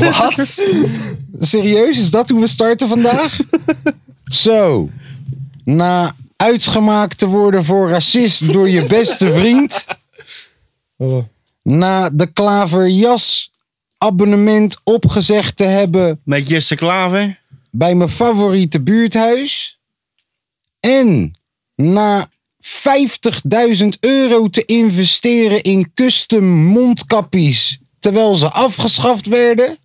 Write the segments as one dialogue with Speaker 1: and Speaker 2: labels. Speaker 1: Wat? Serieus, is dat hoe we starten vandaag? Zo. Na uitgemaakt te worden voor racist door je beste vriend. Na de klaverjas abonnement opgezegd te hebben
Speaker 2: Met Jesse Klaver.
Speaker 1: bij mijn favoriete buurthuis. En na 50.000 euro te investeren in custom mondkapjes terwijl ze afgeschaft werden,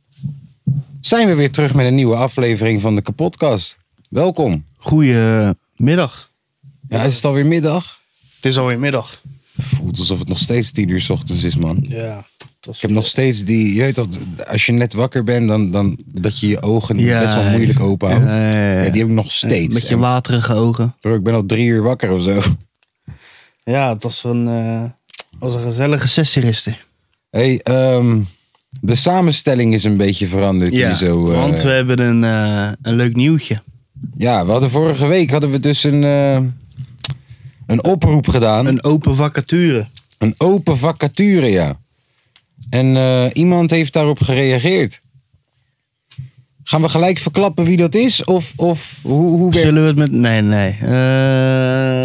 Speaker 1: zijn we weer terug met een nieuwe aflevering van de kapotkast. Welkom.
Speaker 2: Goedemiddag.
Speaker 1: Ja, is het alweer middag?
Speaker 2: Het is alweer middag.
Speaker 1: Voelt alsof het nog steeds 10 uur 's ochtends is, man.
Speaker 2: Ja. Het was
Speaker 1: Ik heb nog steeds die, je weet dat, als je net wakker bent, dan, dan dat je je ogen
Speaker 2: Ja,
Speaker 1: best wel moeilijk open houdt.
Speaker 2: ja, ja, ja.
Speaker 1: Ja, die heb ik nog steeds.
Speaker 2: Met je
Speaker 1: En-
Speaker 2: waterige ogen.
Speaker 1: Bro, ik ben al drie uur wakker of zo.
Speaker 2: Ja, het was een, eh, was een gezellige sessie gisteren.
Speaker 1: hey, ehm, de samenstelling is een beetje veranderd hier zo. eh.
Speaker 2: want we hebben een, eh, een leuk nieuwtje.
Speaker 1: Ja, we hadden vorige week hadden we dus een, eh, een oproep gedaan. Een,
Speaker 2: Een open vacature.
Speaker 1: open vacature, ja. En eh, iemand heeft daarop gereageerd. Gaan we gelijk verklappen wie dat is? Of, of hoe, hoe werkt
Speaker 2: Zullen we het met... Nee, nee. Eh, ja,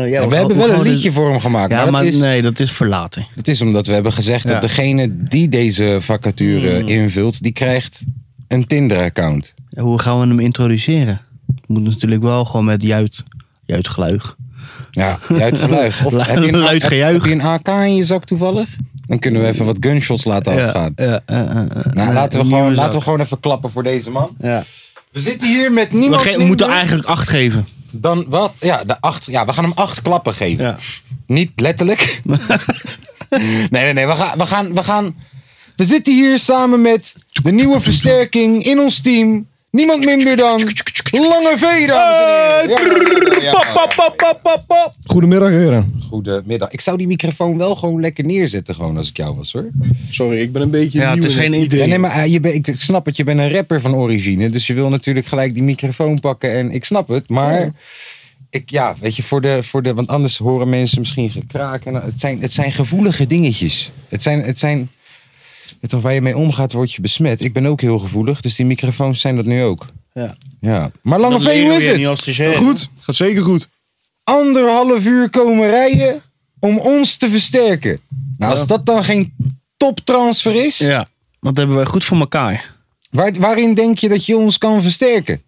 Speaker 1: Ja,
Speaker 2: hoe
Speaker 1: we hebben
Speaker 2: gaan
Speaker 1: wel een
Speaker 2: dit-
Speaker 1: liedje voor hem gemaakt.
Speaker 2: Ja,
Speaker 1: maar
Speaker 2: maar,
Speaker 1: dat is,
Speaker 2: nee, dat is voor later.
Speaker 1: het is omdat we hebben gezegd
Speaker 2: Ja. Hmm.
Speaker 1: dat degene die deze vacature invult, die krijgt een Tinder-account.
Speaker 2: Hoe gaan we hem introduceren? Het moet natuurlijk wel gewoon met juid, juidgeluig.
Speaker 1: Ja, luid geluid. Of
Speaker 2: Lu-
Speaker 1: heb je, een,
Speaker 2: luid
Speaker 1: heb-
Speaker 2: gejuich.
Speaker 1: heb je een AK in je zak toevallig? Dan kunnen we even wat gunshots laten afgaan.
Speaker 2: ja, eh, eh, eh,
Speaker 1: Oh, Nou, laten,
Speaker 2: eh,
Speaker 1: we
Speaker 2: een
Speaker 1: gewoon,
Speaker 2: nieuwe
Speaker 1: laten we
Speaker 2: zak.
Speaker 1: gewoon even klappen voor deze man.
Speaker 2: Ja.
Speaker 1: We zitten hier met
Speaker 2: We,
Speaker 1: niemand
Speaker 2: ge- we
Speaker 1: minder
Speaker 2: moeten eigenlijk acht geven.
Speaker 1: dan wat? Ja, de acht, ja, we gaan hem acht klappen geven.
Speaker 2: Ja.
Speaker 1: Niet letterlijk. nee, nee, nee. We gaan, we, gaan, we gaan. We zitten hier samen met de nieuwe versterking in ons team. Niemand minder dan Lange V, dames en heren. Ja, ja, ja, ja, ja.
Speaker 3: Goedemiddag, heren.
Speaker 1: Goedemiddag. Ik zou die microfoon wel gewoon lekker neerzetten, gewoon als ik jou was hoor.
Speaker 3: Sorry, ik ben een beetje.
Speaker 2: Ja,
Speaker 3: nieuw
Speaker 2: het is
Speaker 3: in
Speaker 2: geen
Speaker 3: idee.
Speaker 1: Ja, nee, maar eh, je ben- ik ik snap het, je bent een rapper van origine. Dus je wil natuurlijk gelijk die microfoon pakken en ik snap het. Maar ik, ja, weet je, voor de, voor de, want anders horen mensen misschien gekraak. En, het, zijn, het zijn gevoelige dingetjes. Het zijn, het zijn, het, waar je mee omgaat, word je besmet. Ik ben ook heel gevoelig, dus die microfoons zijn dat nu ook.
Speaker 2: Ja.
Speaker 1: Ja. Maar Lange
Speaker 2: Dat
Speaker 1: V,
Speaker 2: leren
Speaker 1: hoe
Speaker 2: we
Speaker 1: is
Speaker 2: je niet
Speaker 1: het?
Speaker 2: als stagiair.
Speaker 3: Goed, gaat zeker goed.
Speaker 1: Anderhalf uur komen rijden om ons te versterken. Nou, als dat dan geen toptransfer is,
Speaker 2: Ja, dat hebben wij goed voor elkaar.
Speaker 1: waar, waarin denk je dat je ons kan versterken?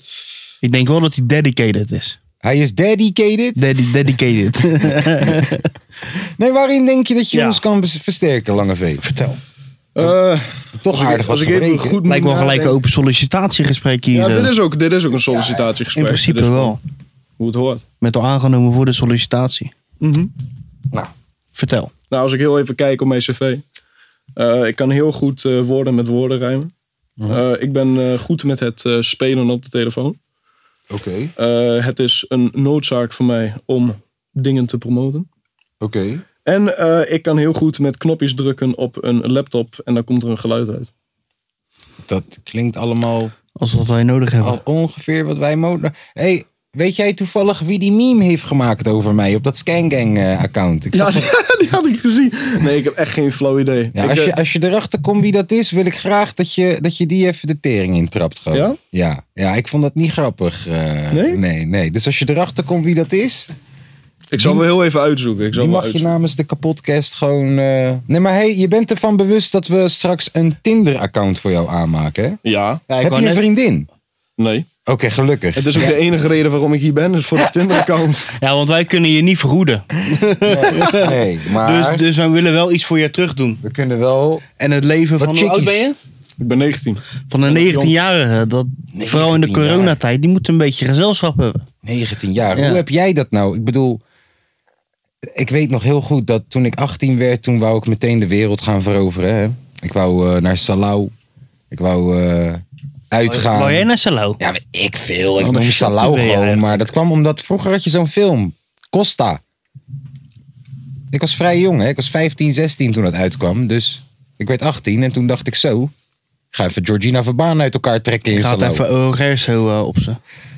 Speaker 2: Ik denk wel dat hij dedicated is.
Speaker 1: Hij is dedicated.
Speaker 2: Dedi- dedicated.
Speaker 3: Nou,
Speaker 1: Nee, waarin denk je dat je
Speaker 2: Ja.
Speaker 1: ons kan bes- versterken, Lange V? Vertel.
Speaker 3: Eh,
Speaker 1: Toch
Speaker 3: als ik,
Speaker 1: aardig was
Speaker 3: als ik even
Speaker 1: gebreken.
Speaker 3: goed moet
Speaker 2: Lijkt wel gelijk een
Speaker 3: nadenken-
Speaker 2: open sollicitatiegesprek hier.
Speaker 3: Ja,
Speaker 2: zo.
Speaker 3: dit is, ook, dit is ook een
Speaker 2: In
Speaker 3: sollicitatiegesprek.
Speaker 2: principe
Speaker 3: Dit is
Speaker 2: wel.
Speaker 3: gewoon Hoe het hoort.
Speaker 2: Met al aangenomen voor de sollicitatie.
Speaker 3: Mhm.
Speaker 1: Nou.
Speaker 2: Vertel.
Speaker 3: Nou, als ik heel even kijk op mijn cv. eh, ik kan heel goed eh, woorden met woorden rijmen. Eh, ik ben eh, goed met het eh, spelen op de telefoon.
Speaker 1: Oké,
Speaker 3: Eh, het is een noodzaak voor mij om dingen te promoten.
Speaker 1: oké.
Speaker 3: En eh, ik kan heel goed met knopjes drukken op een laptop en dan komt er een geluid uit.
Speaker 1: Dat klinkt allemaal
Speaker 2: Als wat wij nodig hebben.
Speaker 1: al ongeveer wat wij mogen. hey, weet jij toevallig wie die meme heeft gemaakt over mij op dat Scangang-account? Ik
Speaker 3: Ja,
Speaker 1: zag
Speaker 3: die,
Speaker 1: dat-
Speaker 3: die had ik gezien. Nee, ik heb echt geen flauw idee.
Speaker 1: Ja,
Speaker 3: Ik,
Speaker 1: als,
Speaker 3: eh,
Speaker 1: je, als je erachter komt wie dat is, wil ik graag dat je, dat je die even de tering intrapt. Gewoon.
Speaker 3: Ja?
Speaker 1: ja? Ja, ik vond dat niet grappig. eh,
Speaker 3: Nee?
Speaker 1: nee? Nee, Dus als je erachter komt wie dat is,
Speaker 3: ik zal hem heel even uitzoeken. Ik zal
Speaker 1: Die
Speaker 3: hem
Speaker 1: mag je
Speaker 3: uitzoeken.
Speaker 1: namens de kapotcast gewoon. eh, Nee, maar hey, je bent ervan bewust dat we straks een Tinder-account voor jou aanmaken. Hè?
Speaker 3: Ja,
Speaker 1: Heb je een vriendin?
Speaker 3: nee.
Speaker 1: Oké, gelukkig.
Speaker 3: Het is ook de enige reden waarom ik hier ben, is voor de Tinder-account.
Speaker 2: Ja, want wij kunnen je niet vergoeden.
Speaker 1: Nee, maar
Speaker 2: Dus, dus wij willen wel iets voor je terug doen.
Speaker 1: we kunnen wel.
Speaker 2: En het leven
Speaker 1: Wat
Speaker 2: van... Hoe oud
Speaker 1: chickies.
Speaker 2: ben je?
Speaker 3: ik ben 19.
Speaker 2: Van een 19-jarige. Dat, vooral in de
Speaker 1: 19 jaar.
Speaker 2: coronatijd. Die moet een beetje gezelschap hebben.
Speaker 1: 19 jaar.
Speaker 2: Ja.
Speaker 1: Hoe heb jij dat nou? Ik bedoel, ik weet nog heel goed dat toen ik 18 werd, toen wou ik meteen de wereld gaan veroveren. Hè? Ik wou eh, naar Salau. Ik wou eh, uitgaan.
Speaker 2: Wou jij naar Salau?
Speaker 1: Ja, weet ik veel. Ik
Speaker 2: Wat
Speaker 1: noem
Speaker 2: een
Speaker 1: Salau
Speaker 2: shit ben jij
Speaker 1: gewoon.
Speaker 2: eigenlijk.
Speaker 1: Maar dat kwam omdat vroeger had je zo'n film. Costa. Ik was vrij jong, hè. Ik was 15, 16 toen dat uitkwam. Dus ik werd 18 en toen dacht ik zo... ik Ga even Georgina Verbaan uit elkaar trekken in
Speaker 2: Ik had
Speaker 1: Salau.
Speaker 2: even Oger zo eh, op ze.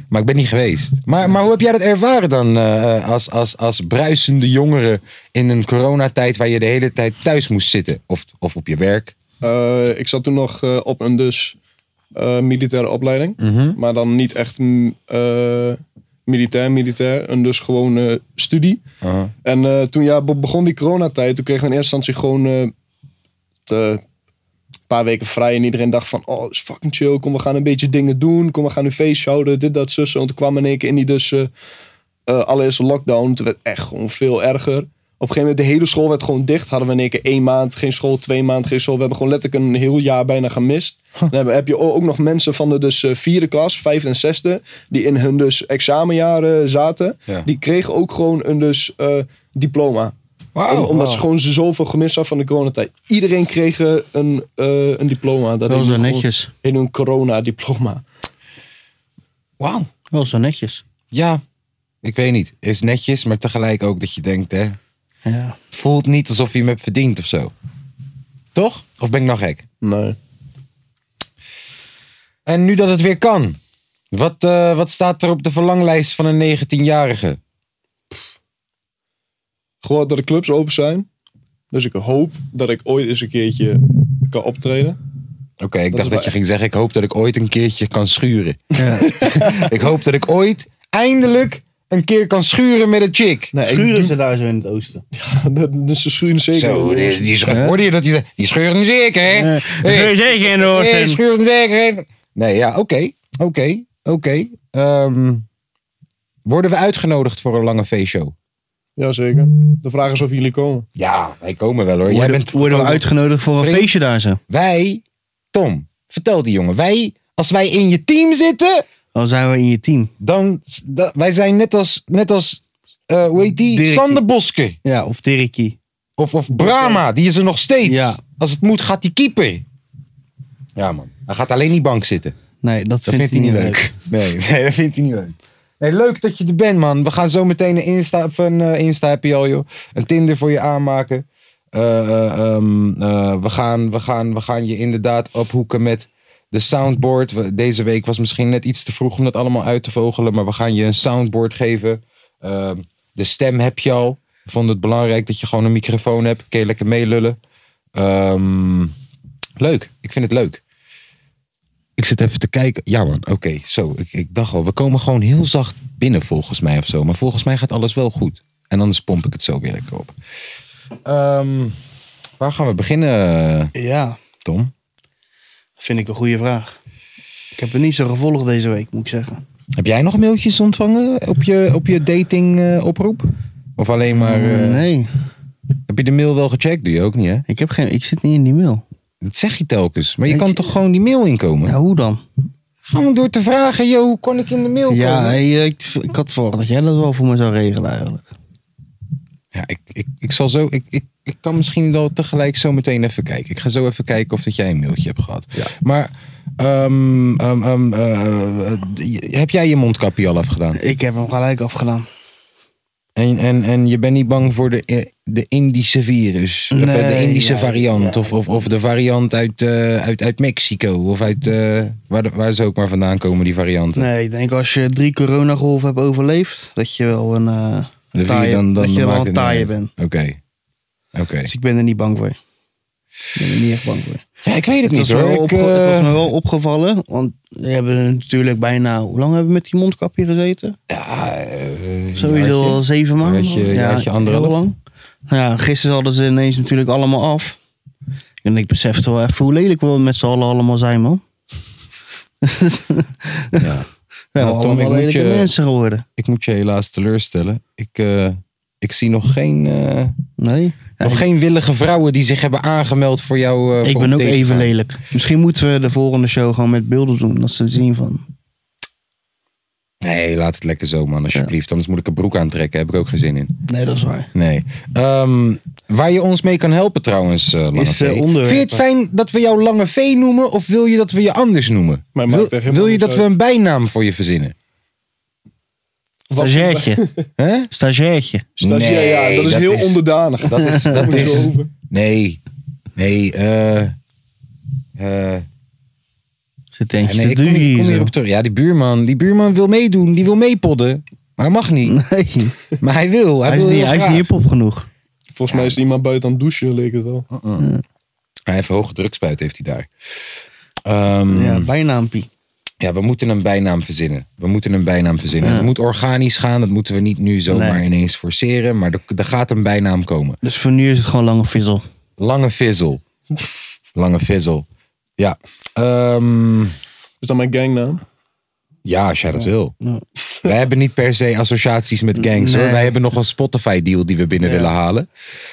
Speaker 1: Maar ik ben niet geweest. Maar, maar hoe heb jij dat ervaren dan eh, eh, als, als, als bruisende jongere in een coronatijd waar je de hele tijd thuis moest zitten? Of, of op je werk?
Speaker 3: Eh, ik zat toen nog eh, op een dus eh, militaire opleiding. Maar dan niet echt mm, eh, militair, militair. Een dus gewoon eh, studie.
Speaker 1: Uh-huh.
Speaker 3: En eh, toen ja, be- begon die coronatijd, toen kregen we in eerste instantie gewoon eh, het, eh, een paar weken vrij. En iedereen dacht van, oh, is fucking chill. Kom, we gaan een beetje dingen doen. Kom, we gaan nu feestje houden. Dit, dat, zussen. En toen kwam in één keer in die dus eh eh, allereerste lockdown. Toen werd echt gewoon veel erger. Op een gegeven moment, de hele school werd gewoon dicht. Hadden we in één keer één maand geen school, twee maanden geen school. We hebben gewoon letterlijk een heel jaar bijna gemist. Dan heb- heb je o- ook nog mensen van de dus eh, vierde klas, vijfde en zesde... die in hun dus examenjaren zaten.
Speaker 1: Ja.
Speaker 3: Die kregen ook gewoon een dus eh, diploma. Om- omdat ze gewoon zoveel gemist hadden van de coronatijd. Iedereen kreeg eh, een, eh, een diploma. Dat
Speaker 2: Wel
Speaker 3: heet
Speaker 2: zo
Speaker 3: nu gewoon-
Speaker 2: netjes.
Speaker 3: heet nu een corona-diploma.
Speaker 1: Wauw.
Speaker 2: Wel zo netjes.
Speaker 1: Ja, ik weet niet. Is netjes, maar tegelijk ook dat je denkt, hè.
Speaker 2: Ja.
Speaker 1: Voelt niet alsof je hem hebt verdiend of zo. Toch? Of ben ik nog gek?
Speaker 3: Nee.
Speaker 1: En nu dat het weer kan, wat, eh, wat staat er op de verlanglijst van een 19-jarige?
Speaker 3: Gehoord dat de clubs open zijn. Dus ik hoop dat ik ooit eens een keertje kan optreden.
Speaker 1: Oké, ik
Speaker 3: Dat
Speaker 1: dacht
Speaker 3: is
Speaker 1: dat je
Speaker 3: wel-
Speaker 1: ging zeggen, ik hoop dat ik ooit een keertje kan schuren. ik hoop dat ik ooit eindelijk een keer kan schuren met een chick.
Speaker 3: Nee, ik
Speaker 2: Schuren
Speaker 3: doe-
Speaker 2: ze daar zo in het oosten.
Speaker 3: dat, dus ze schuren zeker.
Speaker 1: Zo, die, die schu- hoorde je dat die zei, die scheuren zeker, hè? Hey,
Speaker 2: Zeker in de
Speaker 1: hey, schuren zeker, hè? Nee, ja, oké, oké, oké. Ehm, worden we uitgenodigd voor een lange feestshow?
Speaker 3: Jazeker. De vraag is of jullie komen.
Speaker 1: Ja, wij komen wel hoor. Jij
Speaker 2: Worden,
Speaker 1: bent
Speaker 2: worden we uitgenodigd voor een
Speaker 1: Vreemd.
Speaker 2: feestje daar zo?
Speaker 1: Wij, Tom, vertel die jongen. Wij, als wij in je team zitten,
Speaker 2: Al zijn we in je team.
Speaker 1: dan, da- wij zijn net als, net als eh, hoe heet die?
Speaker 2: Dirkie.
Speaker 1: Sander Boske.
Speaker 2: Ja, of Dirkie.
Speaker 1: Of, of Brahma, die is er nog steeds.
Speaker 2: Ja.
Speaker 1: Als het moet, gaat die keeper. Ja man, hij gaat alleen die bank zitten.
Speaker 2: Nee, dat,
Speaker 1: Dat vindt, hij niet leuk. Nee, nee, dat vindt hij niet leuk. Nee, leuk dat je er bent, man. We gaan zo meteen een Insta, of een, eh, Insta heb je al, joh. Een Tinder voor je aanmaken. Eh, eh, ehm, eh, we, gaan, we, gaan, we gaan je inderdaad ophoeken met de soundboard. We- Deze week was misschien net iets te vroeg om dat allemaal uit te vogelen. Maar we gaan je een soundboard geven. Ehm, de stem heb je al. We vonden het belangrijk dat je gewoon een microfoon hebt. Kun je lekker meelullen. Ehm, leuk. Ik vind het leuk. Ik zit even te kijken. Ja man, oké. Zo, ik, ik dacht al, we komen gewoon heel zacht binnen volgens mij of zo. Maar volgens mij gaat alles wel goed. En anders pomp ik het zo weer lekker op. Ehm, waar gaan we beginnen,
Speaker 2: Ja,
Speaker 1: Tom?
Speaker 2: vind ik een goede vraag. Ik heb het niet zo gevolgd deze week, moet ik zeggen.
Speaker 1: Heb jij nog mailtjes ontvangen op je, op je dating eh, oproep? Of alleen maar... eh,
Speaker 2: Mm, nee,
Speaker 1: Heb je de mail wel gecheckt? Doe je ook niet, hè?
Speaker 2: ik, heb geen, ik zit niet in die mail.
Speaker 1: Dat zeg je telkens. Maar je
Speaker 2: Ik- Nou.
Speaker 1: kan toch gewoon die mail inkomen?
Speaker 2: Ja, hoe dan?
Speaker 1: Gewoon door te vragen, joh, hoe kon ik in de mail
Speaker 2: Ja,
Speaker 1: komen?
Speaker 2: hey, ik, ik had verwacht dat jij dat wel voor me zou regelen eigenlijk.
Speaker 1: Ja, ik, ik, ik zal zo. Ik, ik, ik kan misschien wel tegelijk zo meteen even kijken. Ik ga zo even kijken of dat jij een mailtje hebt gehad. Maar ehm, ehm, ehm, eh, eh, d- heb jij je mondkapje al afgedaan?
Speaker 2: Ik heb hem gelijk afgedaan.
Speaker 1: En, en, en je bent niet bang voor de, eh, de Indische virus? Of eh, de
Speaker 2: Nee,
Speaker 1: Indische
Speaker 2: ja,
Speaker 1: variant?
Speaker 2: ja.
Speaker 1: Of, of, of de variant uit, eh, uit, uit Mexico? Of uit. eh, waar, de- waar ze ook maar vandaan komen, die varianten?
Speaker 2: Nee, ik denk als je drie coronagolven hebt overleefd, dat je wel een eh
Speaker 1: De vier,
Speaker 2: taaie-
Speaker 1: dan- dan
Speaker 2: dat je
Speaker 1: maakt
Speaker 2: wel een
Speaker 1: het niet
Speaker 2: taaie
Speaker 1: uit.
Speaker 2: bent.
Speaker 1: Oké. Oké.
Speaker 2: Dus ik ben er niet bang voor. Ik ben er niet echt bang voor.
Speaker 1: Ja, ik weet het,
Speaker 2: Het was,
Speaker 1: niet
Speaker 2: wel
Speaker 1: hoor. Ik,
Speaker 2: opge- het was
Speaker 1: eh,
Speaker 2: me wel opgevallen, want we hebben natuurlijk bijna... Hoe lang hebben we met die mondkapje gezeten?
Speaker 1: ja, eh,
Speaker 2: Sowieso al zeven maanden.
Speaker 1: Jaartje- jaartje anderhalf.
Speaker 2: heel lang. Nou ja, gisteren hadden ze ineens natuurlijk allemaal af. En ik besefte wel even hoe lelijk we met z'n allen allemaal zijn, man.
Speaker 1: Ja.
Speaker 2: Ja,
Speaker 1: Nou, Tom, ik
Speaker 2: allemaal
Speaker 1: moet
Speaker 2: lelijke
Speaker 1: je-
Speaker 2: mensen geworden.
Speaker 1: ik moet je helaas teleurstellen. Ik, eh, ik zie nog geen, eh,
Speaker 2: Nee. Ja,
Speaker 1: nog
Speaker 2: ik-
Speaker 1: geen willige vrouwen die zich hebben aangemeld voor jou. eh,
Speaker 2: ik
Speaker 1: voor
Speaker 2: ben
Speaker 1: een
Speaker 2: ook
Speaker 1: date
Speaker 2: even
Speaker 1: gaan.
Speaker 2: lelijk. Misschien moeten we de volgende show gewoon met beelden doen. Dat ze zien van...
Speaker 1: Nee, laat het lekker zo, man, alsjeblieft. Anders moet ik een broek aantrekken. Heb ik ook geen zin in.
Speaker 2: Nee, dat is waar.
Speaker 1: Nee. Ehm, waar je ons mee kan helpen, trouwens, eh, Lange
Speaker 2: Is, eh,
Speaker 1: V.
Speaker 2: onderwerpen.
Speaker 1: Vind je het fijn dat we jou Lange V noemen of wil je dat we je anders noemen?
Speaker 3: Mij maakt
Speaker 1: Wil,
Speaker 3: echt helemaal
Speaker 1: wil je
Speaker 3: niks
Speaker 1: dat
Speaker 3: uit.
Speaker 1: we een bijnaam voor je verzinnen?
Speaker 2: Stagiairtje.
Speaker 1: Hè?
Speaker 2: Stagiairtje.
Speaker 3: Stagiair, ja, dat is heel onderdanig.
Speaker 1: Dat is, dat
Speaker 3: Moet je
Speaker 1: is,
Speaker 3: zo over.
Speaker 1: nee, nee, eh, eh,
Speaker 2: Zit eentje
Speaker 1: nee,
Speaker 2: te
Speaker 1: ik kom,
Speaker 2: duwen
Speaker 1: hier- ik kom
Speaker 2: hier zo.
Speaker 1: hierop terug. Ja, die buurman, die buurman wil meedoen, die wil meepodden, maar hij mag niet.
Speaker 2: Nee,
Speaker 1: Maar hij wil, hij,
Speaker 2: hij is
Speaker 1: wil
Speaker 2: niet,
Speaker 1: heel
Speaker 2: hij is
Speaker 1: graag.
Speaker 2: niet hip-hop genoeg.
Speaker 3: Volgens mij is er iemand buiten aan het douchen, leek het
Speaker 2: Oh.
Speaker 3: wel.
Speaker 1: Hij heeft hoge drukspuit, heeft hij daar. Ehm,
Speaker 2: Ja, bijnaampie.
Speaker 1: Ja, we moeten een bijnaam verzinnen. We moeten een bijnaam verzinnen. Het moet organisch gaan. Dat moeten we niet nu zomaar
Speaker 2: Nee.
Speaker 1: ineens forceren. Maar er, er gaat een bijnaam komen.
Speaker 2: Dus voor nu is het gewoon lange vissel.
Speaker 1: Lange Vizzel. Lange Vizzel. Ja. Ehm,
Speaker 3: Is dat mijn gangnaam?
Speaker 1: ja, als jij dat wil. Wij hebben niet per se associaties met gangs hoor.
Speaker 2: Nee.
Speaker 1: Wij hebben nog een Spotify deal die we binnen willen halen.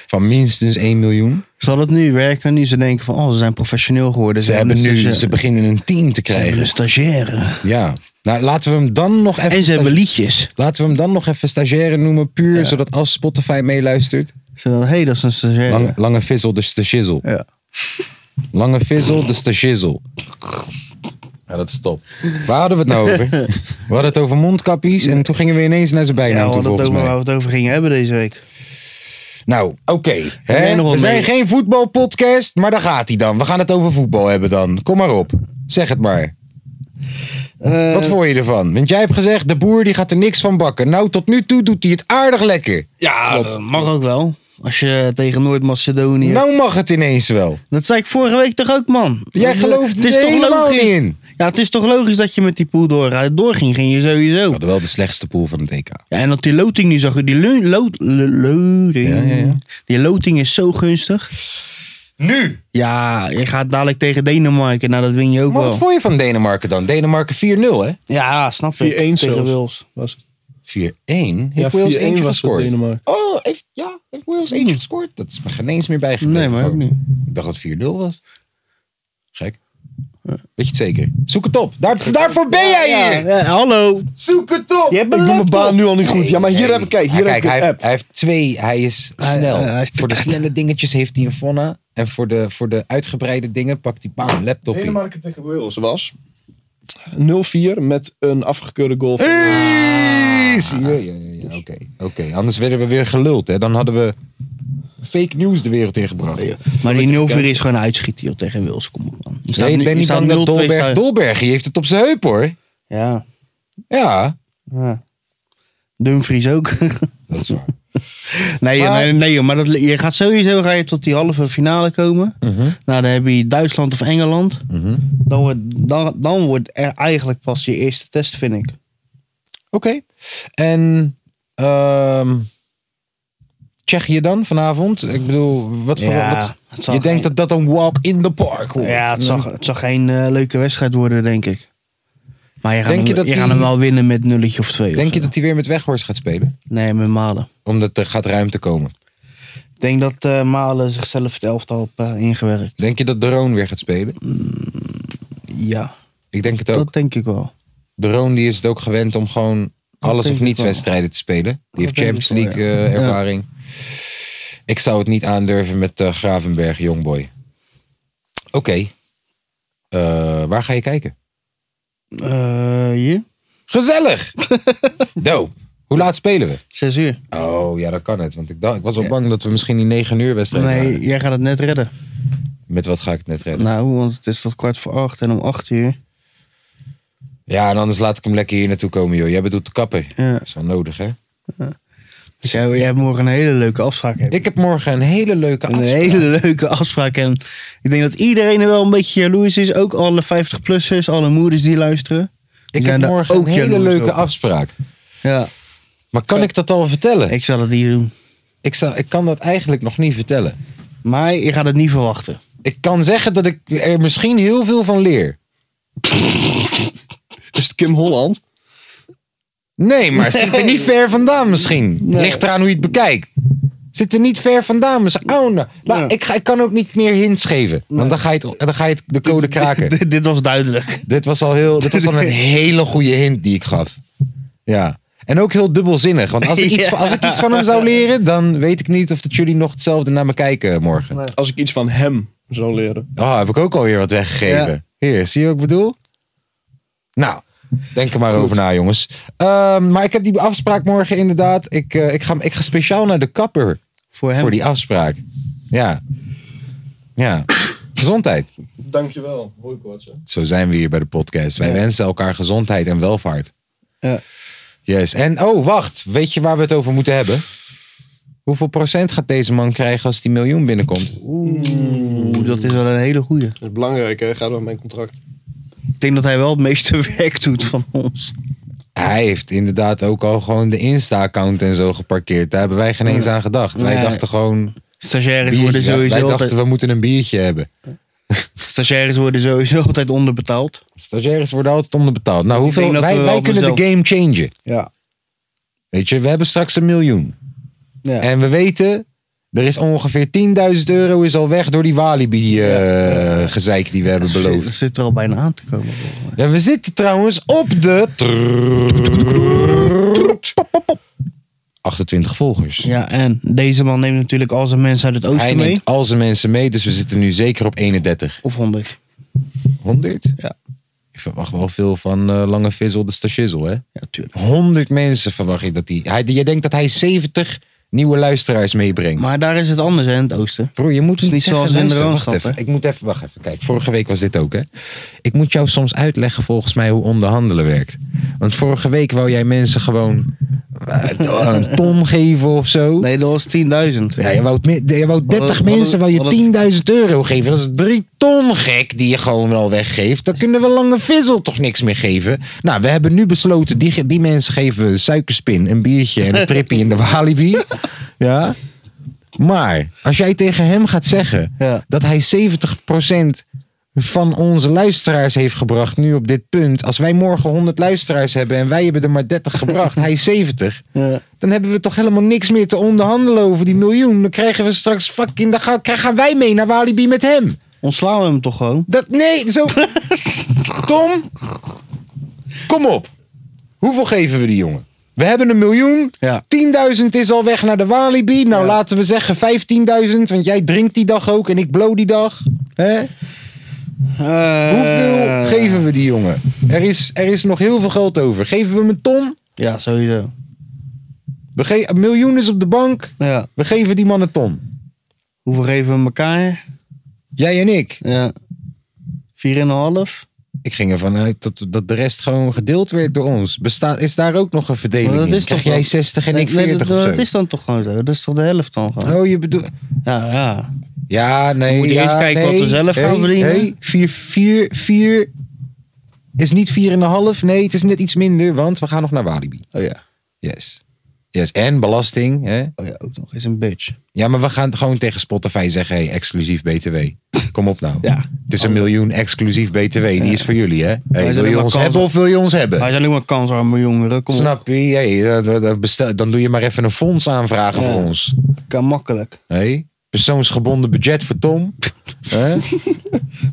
Speaker 1: Van minstens 1 miljoen.
Speaker 2: Zal het nu werken? Nu ze denken van, oh, ze zijn professioneel geworden.
Speaker 1: Ze, hebben nu,
Speaker 2: een
Speaker 1: ze
Speaker 2: stagia-
Speaker 1: beginnen een team te
Speaker 2: ze hebben
Speaker 1: krijgen.
Speaker 2: een stagiaire.
Speaker 1: Ja. Nou, laten we hem dan nog even...
Speaker 2: En ze hebben liedjes.
Speaker 1: Laten we hem dan nog even stagiaire noemen. Puur zodat als Spotify meeluistert.
Speaker 2: Zodat, hé, hey, dat is een stagiaire.
Speaker 1: Lange, lange vissel, dus de shizzle.
Speaker 2: Ja.
Speaker 1: Lange vissel, dus de shizzle. Ja, dat is top. Waar hadden we het nou over? We hadden het over mondkapjes en toen gingen we ineens naar zijn
Speaker 2: Ja,
Speaker 1: bijnaam
Speaker 2: we
Speaker 1: toe,
Speaker 2: hadden het
Speaker 1: volgens
Speaker 2: over
Speaker 1: mij.
Speaker 2: waar we het over gingen hebben deze week.
Speaker 1: Nou, oké. hè?
Speaker 2: jij nog wat
Speaker 1: we zijn
Speaker 2: mee?
Speaker 1: geen voetbalpodcast, maar daar gaat hij dan. We gaan het over voetbal hebben dan. Kom maar op. Zeg het maar.
Speaker 2: Eh,
Speaker 1: Wat vond je ervan? Want jij hebt gezegd, de boer die gaat er niks van bakken. Nou, tot nu toe doet hij het aardig lekker.
Speaker 2: ja, dat mag ook wel. Als je tegen Noord-Macedonië...
Speaker 1: Nou mag het ineens wel.
Speaker 2: Dat zei ik vorige week toch ook, man.
Speaker 1: Jij gelooft
Speaker 2: het is
Speaker 1: er
Speaker 2: toch
Speaker 1: helemaal
Speaker 2: logisch?
Speaker 1: niet in.
Speaker 2: Ja, het is toch logisch dat je met die pool door, eh, doorging, ging je sowieso.
Speaker 1: We hadden wel de slechtste pool van het EK.
Speaker 2: Ja, en dat die loting nu zag je, die lo- lo- lo- loting.
Speaker 1: Ja, ja, ja.
Speaker 2: Die loting is zo gunstig.
Speaker 1: Nu!
Speaker 2: Ja, je gaat dadelijk tegen Denemarken, nou dat win je ook
Speaker 1: Maar
Speaker 2: wel.
Speaker 1: wat vond je van Denemarken dan? Denemarken 4-0, hè? 4-1.
Speaker 2: Ja, snap ik.
Speaker 3: 4-1
Speaker 2: tegen
Speaker 3: zelfs.
Speaker 2: Wales.
Speaker 3: Was het.
Speaker 1: Heeft
Speaker 3: Ja,
Speaker 1: Wales
Speaker 3: 4-1
Speaker 1: eentje
Speaker 3: was het
Speaker 1: gescoord?
Speaker 3: Denemarken.
Speaker 1: Oh, heeft, ja, heeft Wales eentje gescoord? Dat is me geen eens meer bijgebleven.
Speaker 2: Hmm. Nee, maar ook
Speaker 1: Gewoon.
Speaker 2: niet.
Speaker 1: Ik dacht dat het 4-0 was. Gek. Weet je het zeker? Zoek het op. Daar, daarvoor ben jij hier!
Speaker 2: Ja, eh, hallo.
Speaker 1: Zoek het op!
Speaker 2: Je hebt een
Speaker 3: Ik doe mijn
Speaker 2: laptop.
Speaker 3: baan nu al niet goed. Ja, maar hier
Speaker 1: Nee.
Speaker 3: heb ik, kijk, hier
Speaker 1: Ja,
Speaker 3: heb ik
Speaker 1: Ah, hij,
Speaker 3: een
Speaker 1: heeft-
Speaker 3: app.
Speaker 1: hij heeft twee. Hij is
Speaker 2: Hij-
Speaker 1: snel.
Speaker 2: eh, hij is
Speaker 1: voor de
Speaker 2: te-
Speaker 1: snelle dingetjes heeft hij een Fonna. En voor de, voor de uitgebreide dingen pakt hij bam, een laptop in.
Speaker 3: Denemarken tegen Wales was 0-4 met een afgekeurde goal. van-
Speaker 1: Hey, zie je? Ja, ja, ja, Oké, Oké, anders werden we weer geluld. Hè? Dan hadden we fake news de wereld ingebracht.
Speaker 2: Maar die 0 is gewoon uitschieten joh, tegen Wales. Kom op, man. Je staat
Speaker 1: Nee,
Speaker 2: nu-
Speaker 1: ik ben
Speaker 2: je
Speaker 1: niet
Speaker 2: staat
Speaker 1: bang dat
Speaker 2: 0-2
Speaker 1: Dolberg...
Speaker 2: staat-
Speaker 1: Dolberg, die heeft het op zijn heup hoor.
Speaker 2: Ja,
Speaker 1: Ja,
Speaker 2: ja. Dumfries ook.
Speaker 1: dat is waar.
Speaker 2: nee, joh,
Speaker 1: Maar-
Speaker 2: nee, nee, joh, maar dat, je gaat sowieso ga je tot die halve finale komen.
Speaker 1: Mhm.
Speaker 2: Nou, dan heb je Duitsland of Engeland. Dan, wordt, dan, dan wordt er eigenlijk pas je eerste test, vind ik.
Speaker 1: Oké. En ehm Tsjechië dan vanavond? Ik bedoel, wat voor...
Speaker 2: Ja,
Speaker 1: wat-
Speaker 2: het zal
Speaker 1: je denkt
Speaker 2: geen-
Speaker 1: dat dat een walk in the park wordt.
Speaker 2: Ja, het
Speaker 1: En
Speaker 2: zal, het zal geen eh, leuke wedstrijd worden, denk ik. Maar je gaat,
Speaker 1: Denk
Speaker 2: hem,
Speaker 1: je
Speaker 2: je
Speaker 1: dat die-
Speaker 2: gaat hem wel winnen met nulletje of twee. of
Speaker 1: Denk je
Speaker 2: zo.
Speaker 1: dat hij weer met Weghorst gaat spelen?
Speaker 2: Nee, met Malen.
Speaker 1: Omdat er gaat ruimte komen.
Speaker 2: Ik denk dat eh, Malen zichzelf het elftal op eh, ingewerkt.
Speaker 1: Denk je dat De Roon weer gaat spelen?
Speaker 2: Ja,
Speaker 1: Ik denk het ook.
Speaker 2: dat denk ik wel.
Speaker 1: De Roon die is het ook gewend om gewoon alles
Speaker 2: denk
Speaker 1: of
Speaker 2: ik
Speaker 1: niets
Speaker 2: wel.
Speaker 1: wedstrijden te spelen. Die heeft
Speaker 2: denk
Speaker 1: Champions
Speaker 2: ik wel,
Speaker 1: League
Speaker 2: ja.
Speaker 1: eh, ervaring. Ik zou het niet aandurven met eh, Gravenberg, Jongboy. Oké. Eh, waar ga je kijken?
Speaker 2: Eh, hier?
Speaker 1: Gezellig! Do, hoe laat spelen we?
Speaker 2: Zes uur.
Speaker 1: Oh ja, dat kan het. Want ik, dacht, ik was al bang dat we misschien die 9 uur wedstrijd
Speaker 2: Nee,
Speaker 1: hadden.
Speaker 2: jij gaat het net redden.
Speaker 1: Met wat ga ik het net redden?
Speaker 2: Nou, want het is tot kwart voor acht en om acht uur.
Speaker 1: Ja, en anders laat ik hem lekker hier naartoe komen, joh. Jij bedoelt de kapper.
Speaker 2: Ja.
Speaker 1: Dat is wel nodig, hè?
Speaker 2: Dus jij, jij hebt morgen een hele leuke afspraak. Heb. je.
Speaker 1: Ik heb morgen een hele leuke
Speaker 2: een
Speaker 1: afspraak.
Speaker 2: hele leuke afspraak. En ik denk dat iedereen er wel een beetje jaloers is. Ook alle 50-plussers, alle moeders die luisteren. Die
Speaker 1: Ik
Speaker 2: zijn
Speaker 1: heb
Speaker 2: daar
Speaker 1: morgen
Speaker 2: ook
Speaker 1: een hele
Speaker 2: jaloers
Speaker 1: leuke
Speaker 2: op.
Speaker 1: afspraak.
Speaker 2: Ja,
Speaker 1: Maar kan ik dat al vertellen? Ik,
Speaker 2: ik zal het niet doen.
Speaker 1: zou, ik kan dat eigenlijk nog niet vertellen.
Speaker 2: Maar je gaat het niet verwachten.
Speaker 1: Ik kan zeggen dat ik er misschien heel veel van leer.
Speaker 3: Is het Kim Holland?
Speaker 1: Nee, maar zit er niet ver vandaan misschien. Ligt eraan hoe je het bekijkt. Zit er niet ver vandaan misschien. Oh, nou, nou,
Speaker 2: Nee.
Speaker 1: ik, ga, ik kan ook niet meer hints geven. Want dan ga je, het, dan ga je het, de code kraken.
Speaker 2: Dit was duidelijk.
Speaker 1: dit was al, heel, dit was al een hele goede hint die ik gaf. Ja. En ook heel dubbelzinnig. Want als ik, iets,
Speaker 2: Ja.
Speaker 1: als ik iets van hem zou leren, dan weet ik niet of dat jullie nog hetzelfde naar me kijken morgen. Ah,
Speaker 3: Als ik iets van hem zou leren.
Speaker 1: Oh, heb ik ook alweer wat weggegeven. Hier, zie je wat ik bedoel? Nou, denk er maar over na, jongens. Ehm, maar ik heb die afspraak morgen inderdaad. Ik, eh, ik, ga, ik ga speciaal naar de kapper
Speaker 2: Voor hem.
Speaker 1: voor die afspraak. Ja. Ja. Gezondheid.
Speaker 3: Dankjewel. Hoi, Kwartz.
Speaker 1: Zo zijn we hier bij de podcast. Wij wensen elkaar gezondheid en welvaart.
Speaker 2: Ja.
Speaker 1: Yes. En oh, wacht. Weet je waar we het over moeten hebben? Hoeveel procent gaat deze man krijgen als die miljoen binnenkomt?
Speaker 2: Oeh, dat is wel een hele goeie.
Speaker 3: Dat is belangrijk, hè? Ga door mijn contract.
Speaker 2: Ik denk dat hij wel het meeste werk doet van ons.
Speaker 1: Hij heeft inderdaad ook al gewoon de Insta-account en zo geparkeerd. Daar hebben wij geen eens aan gedacht. Wij
Speaker 2: Nee.
Speaker 1: dachten gewoon.
Speaker 2: Stagiaires worden
Speaker 1: Biertje, wij
Speaker 2: sowieso
Speaker 1: dachten
Speaker 2: altijd,
Speaker 1: we moeten een biertje hebben.
Speaker 2: stagiaires worden sowieso altijd onderbetaald.
Speaker 1: Stagiaires worden altijd onderbetaald. Nou,
Speaker 2: Ik denk
Speaker 1: hoeveel,
Speaker 2: dat
Speaker 1: wij,
Speaker 2: we
Speaker 1: wij
Speaker 2: wel
Speaker 1: kunnen de game changen.
Speaker 2: Ja.
Speaker 1: Weet je, we hebben straks een miljoen.
Speaker 2: Ja.
Speaker 1: En we weten, er is ongeveer 10.000 euro is al weg door die Walibi-gezeik die we hebben beloofd.
Speaker 2: Dat zit er al bijna aan te komen. volgens mij.
Speaker 1: En we zitten trouwens op de... 28 volgers.
Speaker 2: Ja, en deze man neemt natuurlijk al zijn mensen uit het
Speaker 1: Hij
Speaker 2: oosten mee.
Speaker 1: neemt al zijn mensen mee, dus we zitten nu zeker op 31.
Speaker 2: Of 100.
Speaker 1: 100?
Speaker 2: Ja.
Speaker 1: Ik verwacht wel veel van eh, Lange Vizzel de Stachizzel, hè?
Speaker 2: Ja, tuurlijk.
Speaker 1: 100 mensen verwacht je dat hij... hij jij denkt dat hij 70 nieuwe luisteraars meebrengt.
Speaker 2: Maar daar is het anders hè, in het oosten.
Speaker 1: Bro, je moet
Speaker 2: is
Speaker 1: niet,
Speaker 2: niet
Speaker 1: zeggen,
Speaker 2: zoals in de
Speaker 1: luister,
Speaker 2: Randstad,
Speaker 1: wacht even.
Speaker 2: hè?
Speaker 1: Ik moet even, wacht even, kijk. Vorige week was dit ook, hè? Ik moet jou soms uitleggen volgens mij hoe onderhandelen werkt. Want vorige week wou jij mensen gewoon eh, een ton geven of zo.
Speaker 2: Nee, dat was 10.000.
Speaker 1: Ja, je wou, mi- je wou 30
Speaker 2: wat-
Speaker 1: mensen wou
Speaker 2: wat-
Speaker 1: je 10.000 euro geven. Dat is 3 ton gek die je gewoon al weggeeft. Dan kunnen we lange vissel toch niks meer geven. Nou, we hebben nu besloten, die, ge- die mensen geven we een suikerspin, een biertje en een trippie in de Walibi. Ja. Maar als jij tegen hem gaat zeggen
Speaker 2: Ja.
Speaker 1: dat hij 70% van onze luisteraars heeft gebracht nu op dit punt. Als wij morgen 100 luisteraars hebben en wij hebben er maar 30 gebracht, hij 70.
Speaker 2: Ja.
Speaker 1: Dan hebben we toch helemaal niks meer te onderhandelen over die miljoen. Dan krijgen we straks fucking. Dan gaan, gaan wij mee naar Walibi met hem.
Speaker 2: Ontslaan we hem toch gewoon?
Speaker 1: Dat, nee, zo. Tom, kom op. Hoeveel geven we die jongen? We hebben een miljoen.
Speaker 2: Ja.
Speaker 1: 10.000 is al weg naar de Walibi. Nou, laten we zeggen 15.000. Want jij drinkt die dag ook en ik blow die dag. Hè?
Speaker 2: Eh.
Speaker 1: Eh, Hoeveel geven we die jongen? Er is, er is nog heel veel geld over. Geven we hem een ton?
Speaker 2: Ja, sowieso.
Speaker 1: We ge- een miljoen is op de bank.
Speaker 2: Ja.
Speaker 1: We geven die man een ton.
Speaker 2: Hoeveel geven we elkaar?
Speaker 1: Jij en ik.
Speaker 2: Ja. 4,5.
Speaker 1: Ik ging ervan uit dat, dat de rest gewoon gedeeld werd door ons. Bestaat, is daar ook nog een verdeling
Speaker 2: Maar dat
Speaker 1: in?
Speaker 2: is
Speaker 1: Krijg
Speaker 2: toch
Speaker 1: jij
Speaker 2: wel-
Speaker 1: 60 en ik
Speaker 2: Nee, nee,
Speaker 1: 40
Speaker 2: dat,
Speaker 1: of zo?
Speaker 2: dat is dan toch gewoon zo. Dat is toch de helft dan gewoon.
Speaker 1: Oh, je bedoelt...
Speaker 2: Ja, ja.
Speaker 1: Ja, nee.
Speaker 2: Moet je
Speaker 1: ja,
Speaker 2: eerst kijken
Speaker 1: nee,
Speaker 2: wat we zelf gaan
Speaker 1: nee,
Speaker 2: verdienen?
Speaker 1: Nee, 4, 4, 4 is niet 4,5. Nee, het is net iets minder, want we gaan nog naar Walibi.
Speaker 2: Oh ja.
Speaker 1: Yes. Yes, en belasting. Hè?
Speaker 2: Oh ja, ook nog eens een bitch.
Speaker 1: Ja, maar we gaan gewoon tegen Spotify zeggen, hey, exclusief BTW. Kom op nou.
Speaker 2: Ja. oh.
Speaker 1: Het is een miljoen exclusief BTW. Die is voor jullie, hè? Hey,
Speaker 2: zijn
Speaker 1: wil je
Speaker 2: helemaal
Speaker 1: ons
Speaker 2: kans
Speaker 1: hebben
Speaker 2: op.
Speaker 1: of wil je ons hebben?
Speaker 2: Hij zijn alleen maar kansarme jongeren. Kom op.
Speaker 1: Snap je? Hey, eh, dat- dat bestel- dan doe je maar even een fonds aanvragen voor ons.
Speaker 2: Kan makkelijk.
Speaker 1: Hey? Persoonsgebonden budget voor Tom. Hè?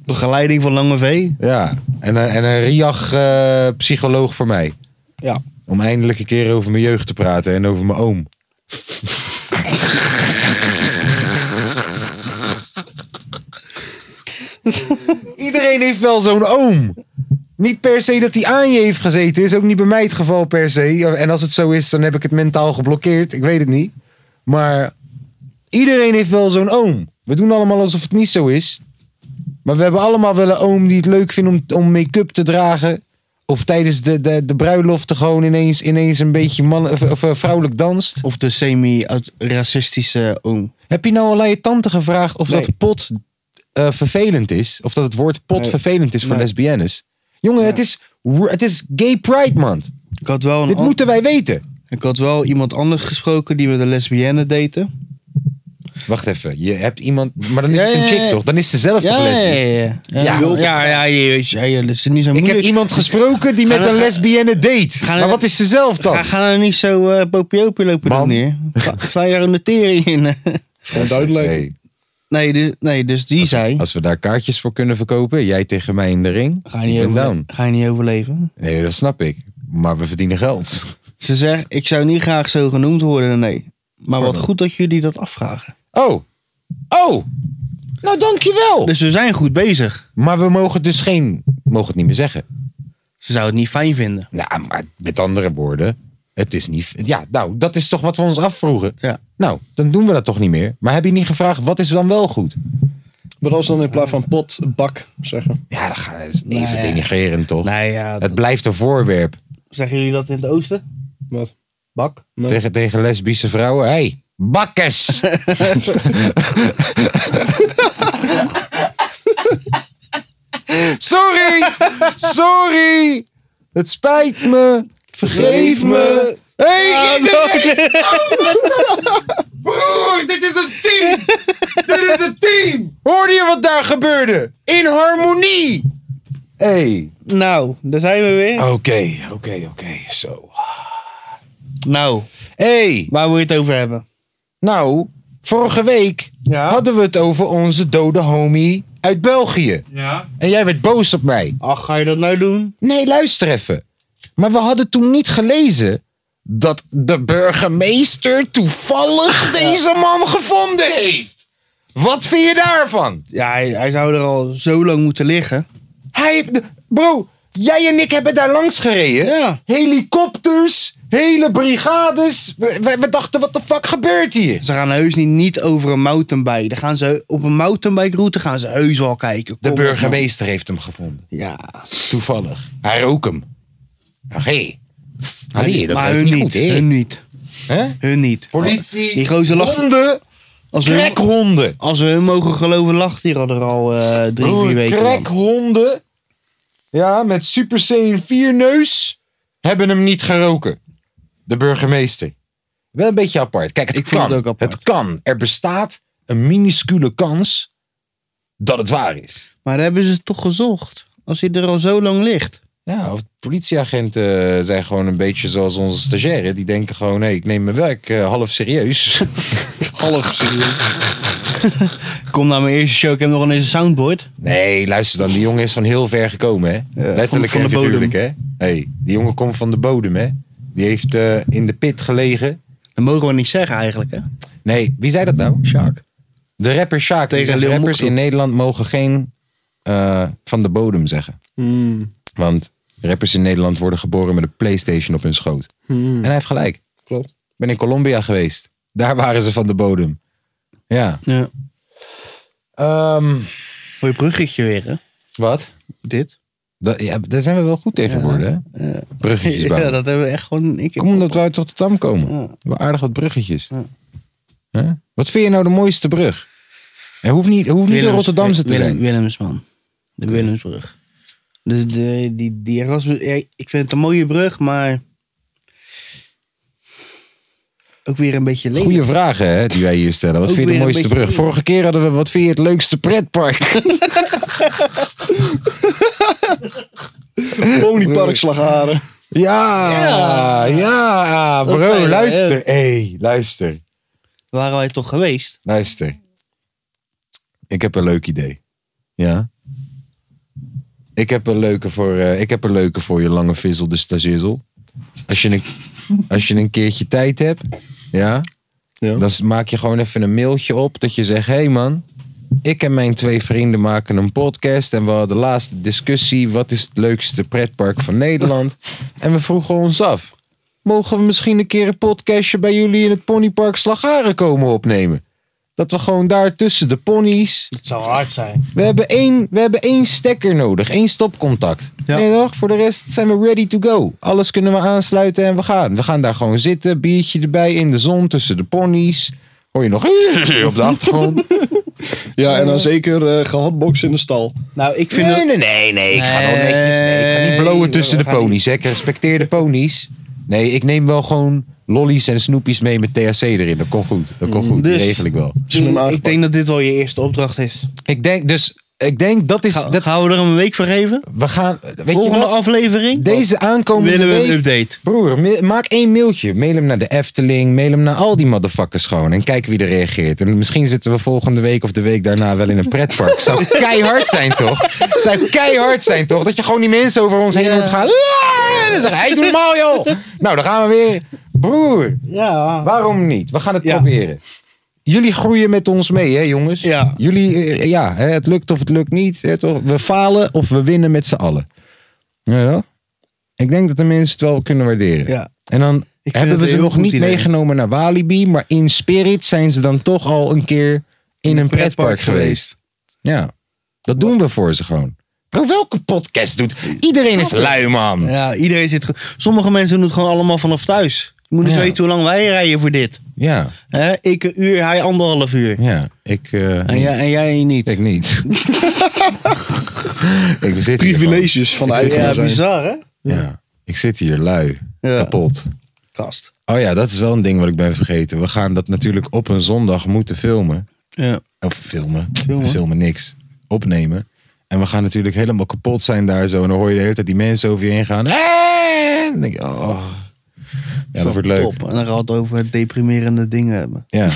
Speaker 2: Begeleiding van Lange V.
Speaker 1: Ja. En, een- en eh, een Riach-psycholoog voor mij.
Speaker 2: Ja.
Speaker 1: Om eindelijk een keer over mijn jeugd te praten en over mijn oom. Iedereen heeft wel zo'n oom. Niet per se dat hij aan je heeft gezeten. Is ook niet bij mij het geval per se. En als het zo is, dan heb ik het mentaal geblokkeerd. Ik weet het niet. Maar iedereen heeft wel zo'n oom. We doen allemaal alsof het niet zo is. Maar we hebben allemaal wel een oom die het leuk vindt om, om make-up te dragen. Of tijdens de, de, de bruiloften gewoon ineens, ineens een beetje man, of, of, eh, vrouwelijk danst.
Speaker 2: Of de semi-racistische oom.
Speaker 1: Heb je nou al aan je tante gevraagd of
Speaker 2: Nee.
Speaker 1: dat pot eh, vervelend is? Of dat het woord pot
Speaker 2: Nee.
Speaker 1: vervelend is voor
Speaker 2: Nee.
Speaker 1: lesbiennes? Jongen, het, is, het is gay pride maand.
Speaker 2: Ik had wel, een
Speaker 1: Dit
Speaker 2: an-
Speaker 1: moeten wij weten.
Speaker 2: ik had wel iemand anders gesproken die met een lesbienne date.
Speaker 1: Wacht even, je hebt iemand... Maar dan is
Speaker 2: Ja,
Speaker 1: het een
Speaker 2: ja,
Speaker 1: chick
Speaker 2: ja.
Speaker 1: toch? Dan is ze zelf toch
Speaker 2: Ja, ja,
Speaker 1: lesbisch?
Speaker 2: ja. Ja,
Speaker 1: Ja.
Speaker 2: ja, ja, ja, je- je- je- dat is niet zo
Speaker 1: Ik
Speaker 2: moeilijk.
Speaker 1: heb iemand gesproken die met
Speaker 2: we-
Speaker 1: een lesbienne date.
Speaker 2: gaan we-
Speaker 1: Maar wat is ze zelf dan?
Speaker 2: Ga, ga nou niet zo eh popiopie lopen
Speaker 1: Man.
Speaker 2: doen hier. Ga- Sla je er een notering in.
Speaker 3: Gewoon duidelijk.
Speaker 1: Nee.
Speaker 2: nee, dus, nee, dus die zei...
Speaker 1: Als we daar kaartjes voor kunnen verkopen, jij tegen mij in de ring,
Speaker 2: Ga je,
Speaker 1: ik
Speaker 2: niet
Speaker 1: ben
Speaker 2: overle-
Speaker 1: down.
Speaker 2: ga je niet overleven?
Speaker 1: Nee, dat snap ik. Maar we verdienen geld.
Speaker 2: Ze zegt, ik zou niet graag zo genoemd worden, nee. Maar wat
Speaker 1: Pardon.
Speaker 2: goed dat jullie dat afvragen.
Speaker 1: Oh. Oh. Nou, dankjewel.
Speaker 2: Dus we zijn goed bezig.
Speaker 1: Maar we mogen dus geen... Mogen het niet meer zeggen.
Speaker 2: Ze zou het niet fijn vinden.
Speaker 1: Nou, maar met andere woorden. Het is niet... Ja, nou, dat is toch wat we ons afvroegen.
Speaker 2: Ja.
Speaker 1: Nou, dan doen we dat toch niet meer. Maar heb je niet gevraagd, wat is dan wel goed?
Speaker 3: Wat als we dan in plaats van pot, bak zeggen?
Speaker 1: Ja, dat gaat- dat is
Speaker 2: Nou
Speaker 1: even
Speaker 2: ja.
Speaker 1: denigrerend, toch?
Speaker 2: Nou ja,
Speaker 1: Het blijft een voorwerp.
Speaker 2: zeggen jullie dat in het oosten?
Speaker 3: Wat?
Speaker 2: Bak?
Speaker 3: Nee.
Speaker 1: Tegen, tegen lesbische vrouwen. Hé, hey, bakkes! Sorry! Sorry! Het spijt me! Vergeef me! Hé, hey, iedereen! Broer, dit is een team! Dit is een team! Hoorde je wat daar gebeurde? In harmonie! Hé. Hey.
Speaker 2: Nou, daar zijn we weer.
Speaker 1: Oké, oké, oké. Zo.
Speaker 2: Nou,
Speaker 1: Hé! Hey.
Speaker 2: waar wil je het over hebben?
Speaker 1: Nou, vorige week
Speaker 2: Ja?
Speaker 1: hadden we het over onze dode homie uit België.
Speaker 4: Ja.
Speaker 1: En jij werd boos op mij.
Speaker 2: Ach, ga je dat nou doen?
Speaker 1: Nee, luister even. Maar we hadden toen niet gelezen dat de burgemeester toevallig deze man gevonden heeft. Wat vind je daarvan?
Speaker 2: Ja, hij, hij zou er al zo lang moeten liggen.
Speaker 1: Hij, bro, jij en ik hebben daar langs gereden.
Speaker 2: Ja.
Speaker 1: Helikopters, hele brigades. We, we- we dachten, wat de fuck gebeurt hier?
Speaker 2: Ze gaan heus niet, niet over een mountainbike. Dan gaan ze, op een mountainbike route gaan ze heus al kijken.
Speaker 1: De
Speaker 2: Kom op,
Speaker 1: burgemeester heeft hem gevonden.
Speaker 2: man. Ja.
Speaker 1: Toevallig. Hij rook hem. Ach, hé. Allee, dat
Speaker 2: maar
Speaker 1: ruikt
Speaker 2: hun
Speaker 1: niet goed,
Speaker 2: hun
Speaker 1: hè?
Speaker 2: niet.
Speaker 1: Hè?
Speaker 2: Hun niet.
Speaker 1: Politie,
Speaker 2: Die gozer lacht.
Speaker 1: honden,
Speaker 2: Als we,
Speaker 1: krekhonden.
Speaker 2: als we hun mogen geloven, lacht hij er al eh, drie,
Speaker 1: Broer,
Speaker 2: vier weken lang.
Speaker 1: Krekhonden. Ja, met Super Saiyan 4 neus. Hebben hem niet geroken. De burgemeester. Wel een beetje apart. Kijk, het
Speaker 2: Ik
Speaker 1: kan.
Speaker 2: vind het ook apart.
Speaker 1: het kan. Er bestaat een minuscule kans dat het waar is.
Speaker 2: Maar daar hebben ze toch gezocht. Als hij er al zo lang ligt.
Speaker 1: Ja, of politieagenten eh, zijn gewoon een beetje zoals onze stagiaire. Die denken gewoon, hé, ik neem mijn werk eh, half serieus.
Speaker 3: Half serieus.
Speaker 2: Kom naar mijn eerste show, ik heb nog ineens een soundboard.
Speaker 1: Nee, luister dan. Die jongen is van heel ver gekomen, hè?
Speaker 2: Ja,
Speaker 1: Letterlijk
Speaker 2: van- van
Speaker 1: en
Speaker 2: de bodem.
Speaker 1: figuurlijk, hè? Hey, die jongen komt van de bodem, hè? Die heeft eh, in de pit gelegen.
Speaker 2: Dat mogen we niet zeggen eigenlijk, hè?
Speaker 1: Nee, wie zei dat nou?
Speaker 2: Shark.
Speaker 1: De rapper Sjaak.
Speaker 2: Tegen
Speaker 1: Tegen
Speaker 2: Lil
Speaker 1: rappers
Speaker 2: Mokko.
Speaker 1: in Nederland mogen geen eh, van de bodem zeggen.
Speaker 2: Hmm.
Speaker 1: Want rappers in Nederland worden geboren met een Playstation op hun schoot.
Speaker 2: Hmm.
Speaker 1: En hij heeft gelijk.
Speaker 3: Klopt.
Speaker 1: Ik ben in Colombia geweest. Daar waren ze van de bodem. Ja.
Speaker 2: Ja.
Speaker 1: Ehm,
Speaker 2: Mooi bruggetje weer, hè?
Speaker 1: wat?
Speaker 2: Dit.
Speaker 1: Dat, ja, daar zijn we wel goed tegenwoordig, hè? Bruggetjes bouwen.
Speaker 2: Ja, dat hebben we echt gewoon... Ik
Speaker 1: Kom omdat we uit Rotterdam komen.
Speaker 2: Ja.
Speaker 1: We hebben aardig wat bruggetjes. Hè? Wat vind je nou de mooiste brug? Het hoeft niet, het hoeft niet de
Speaker 2: Willems-
Speaker 1: Rotterdamse te
Speaker 2: Willem-
Speaker 1: zijn.
Speaker 2: Willemsman. De Willemsbrug. De, de, die, die Erasmus... ja, ik vind het een mooie brug, maar... Ook weer een beetje lelijk.
Speaker 1: Goeie vragen hè, die wij hier stellen. Wat
Speaker 2: Ook
Speaker 1: vind je de
Speaker 2: weer een
Speaker 1: mooiste
Speaker 2: beetje
Speaker 1: brug? Vorige keer hadden we wat vind je het leukste pretpark?
Speaker 3: Ponypark Slagharen.
Speaker 1: ja, ja,
Speaker 2: Dat
Speaker 1: bro,
Speaker 2: zijn we,
Speaker 1: luister. hey, luister,
Speaker 2: Waren wij toch geweest?
Speaker 1: luister. Ik heb een leuk idee. Ja? Ik heb een leuke voor, eh, ik heb een leuke voor je lange vissel, de stagizzel. Als je een, als je een keertje tijd hebt, ja,
Speaker 3: Ja.
Speaker 1: dan s- maak je gewoon even een mailtje op dat je zegt: hé hey man, ik en mijn twee vrienden maken een podcast en we hadden laatst een discussie: wat is het leukste pretpark van Nederland? en we vroegen ons af: mogen we misschien een keer een podcastje bij jullie in het ponypark Slagaren komen opnemen? Dat we gewoon daar tussen de ponies.
Speaker 2: Het zou hard zijn.
Speaker 1: We hebben één, we hebben één stekker nodig, één stopcontact.
Speaker 2: Ja.
Speaker 1: Nee toch? Voor de rest zijn we ready to go. Alles kunnen we aansluiten en we gaan. We gaan daar gewoon zitten, biertje erbij in de zon tussen de ponies. Hoor je nog op de achtergrond?
Speaker 3: Ja, en dan zeker eh, gehatbox in de stal.
Speaker 2: Nou, ik vind...
Speaker 1: nee,
Speaker 2: het-
Speaker 1: nee, nee, nee. Ik ga wel netjes. Nee, ik ga niet
Speaker 2: Nee,
Speaker 1: blowen
Speaker 2: we
Speaker 1: tussen de
Speaker 2: gaan niet-
Speaker 1: ponies. Hè. Ik respecteer de ponies. Nee, ik neem wel gewoon lollies en snoepjes mee met THC erin. Dat komt goed. Dat komt goed. Die
Speaker 2: Dus-
Speaker 1: regel ik wel.
Speaker 3: Slim aangepakt.
Speaker 2: ik denk dat dit wel je eerste opdracht is.
Speaker 1: Ik denk dus ik denk dat is...
Speaker 2: Ga-
Speaker 1: Dat,
Speaker 2: Gaan we er een week voor geven?
Speaker 1: we gaan... Weet je
Speaker 2: Volgende
Speaker 1: wat?
Speaker 2: aflevering?
Speaker 1: Deze aankomende
Speaker 2: willen we een
Speaker 1: week-
Speaker 2: update.
Speaker 1: Broer, ma- maak één mailtje. Mail hem naar de Efteling. Mail hem naar al die motherfuckers gewoon. En kijk wie er reageert. En misschien zitten we volgende week of de week daarna wel in een pretpark. Zou keihard zijn, toch? Zou keihard zijn, toch? Dat je gewoon die mensen over ons heen
Speaker 2: Ja.
Speaker 1: hoort gaan. "Ah!" En dan zeggen, hey, doe normaal, joh. Nou, dan gaan we weer. Broer,
Speaker 2: Ja.
Speaker 1: waarom niet? We gaan het
Speaker 2: Ja.
Speaker 1: proberen. Jullie groeien met ons mee, hè, jongens?
Speaker 2: Ja.
Speaker 1: Jullie, eh, ja, hè, het lukt of het lukt niet. Hè, toch? We falen of we winnen met z'n allen. Ja. Ik denk dat de mensen het wel kunnen waarderen.
Speaker 2: Ja.
Speaker 1: En dan
Speaker 2: vind
Speaker 1: hebben
Speaker 2: het
Speaker 1: we
Speaker 2: een
Speaker 1: ze
Speaker 2: heel
Speaker 1: nog
Speaker 2: goed
Speaker 1: niet
Speaker 2: idee.
Speaker 1: meegenomen naar Walibi, maar in spirit zijn ze dan toch al een keer in, een pretpark, geweest. Ja, dat doen we voor ze gewoon. Bro, welke podcast doet? Iedereen is lui, man.
Speaker 2: ja, iedereen zit. ge- Sommige mensen doen het gewoon allemaal vanaf thuis. Je moet eens
Speaker 1: Ja.
Speaker 2: weten hoe lang wij rijden voor dit.
Speaker 1: Ja,
Speaker 2: Hè? Ik een uur, hij anderhalf uur.
Speaker 1: ja. Ik, eh,
Speaker 2: En, jij, en jij niet.
Speaker 1: ik niet. ik zit hier gewoon-
Speaker 3: Privileges van de
Speaker 2: ja,
Speaker 3: eigenaar zijn.
Speaker 2: bizar hè?
Speaker 1: ja, ik zit hier lui.
Speaker 2: Ja.
Speaker 1: Kapot.
Speaker 2: Kast.
Speaker 1: Oh ja, dat is wel een ding wat ik ben vergeten. We gaan dat natuurlijk op een zondag moeten filmen.
Speaker 2: Ja.
Speaker 1: Of filmen.
Speaker 2: Filmen.
Speaker 1: Filmen. niks. Opnemen. En we gaan natuurlijk helemaal kapot zijn daar zo. En dan hoor je de hele tijd die mensen over je heen gaan. En dan denk je, oh. Ja, dat wordt leuk.
Speaker 2: Top. En dan gaat het over deprimerende dingen hebben.
Speaker 1: Ja.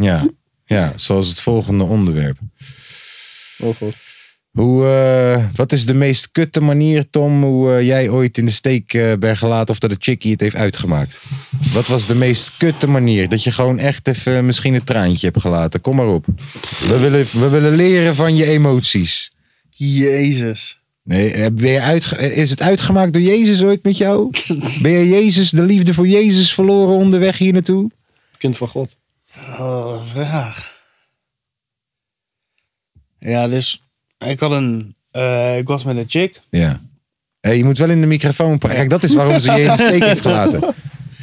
Speaker 1: ja. Ja, zoals het volgende onderwerp.
Speaker 3: Oh god.
Speaker 1: Hoe, eh, wat is de meest kutte manier, Tom, hoe eh, jij ooit in de steek eh, bent gelaten of dat de chickie het heeft uitgemaakt? Wat was de meest kutte manier? Dat je gewoon echt even misschien een traantje hebt gelaten. Kom maar op. We willen, we willen leren van je emoties.
Speaker 2: Jezus.
Speaker 1: Nee, eh, ben je uitge- eh, is het uitgemaakt door Jezus ooit met jou? Ben je Jezus, de liefde voor Jezus verloren onderweg hier naartoe?
Speaker 3: Kind van God.
Speaker 2: Oh, vraag. Ja, dus ik had een. eh, ik was met een chick.
Speaker 1: Ja. Hé, je moet wel in de microfoon praten. Kijk, dat is waarom ze je in de steek heeft gelaten.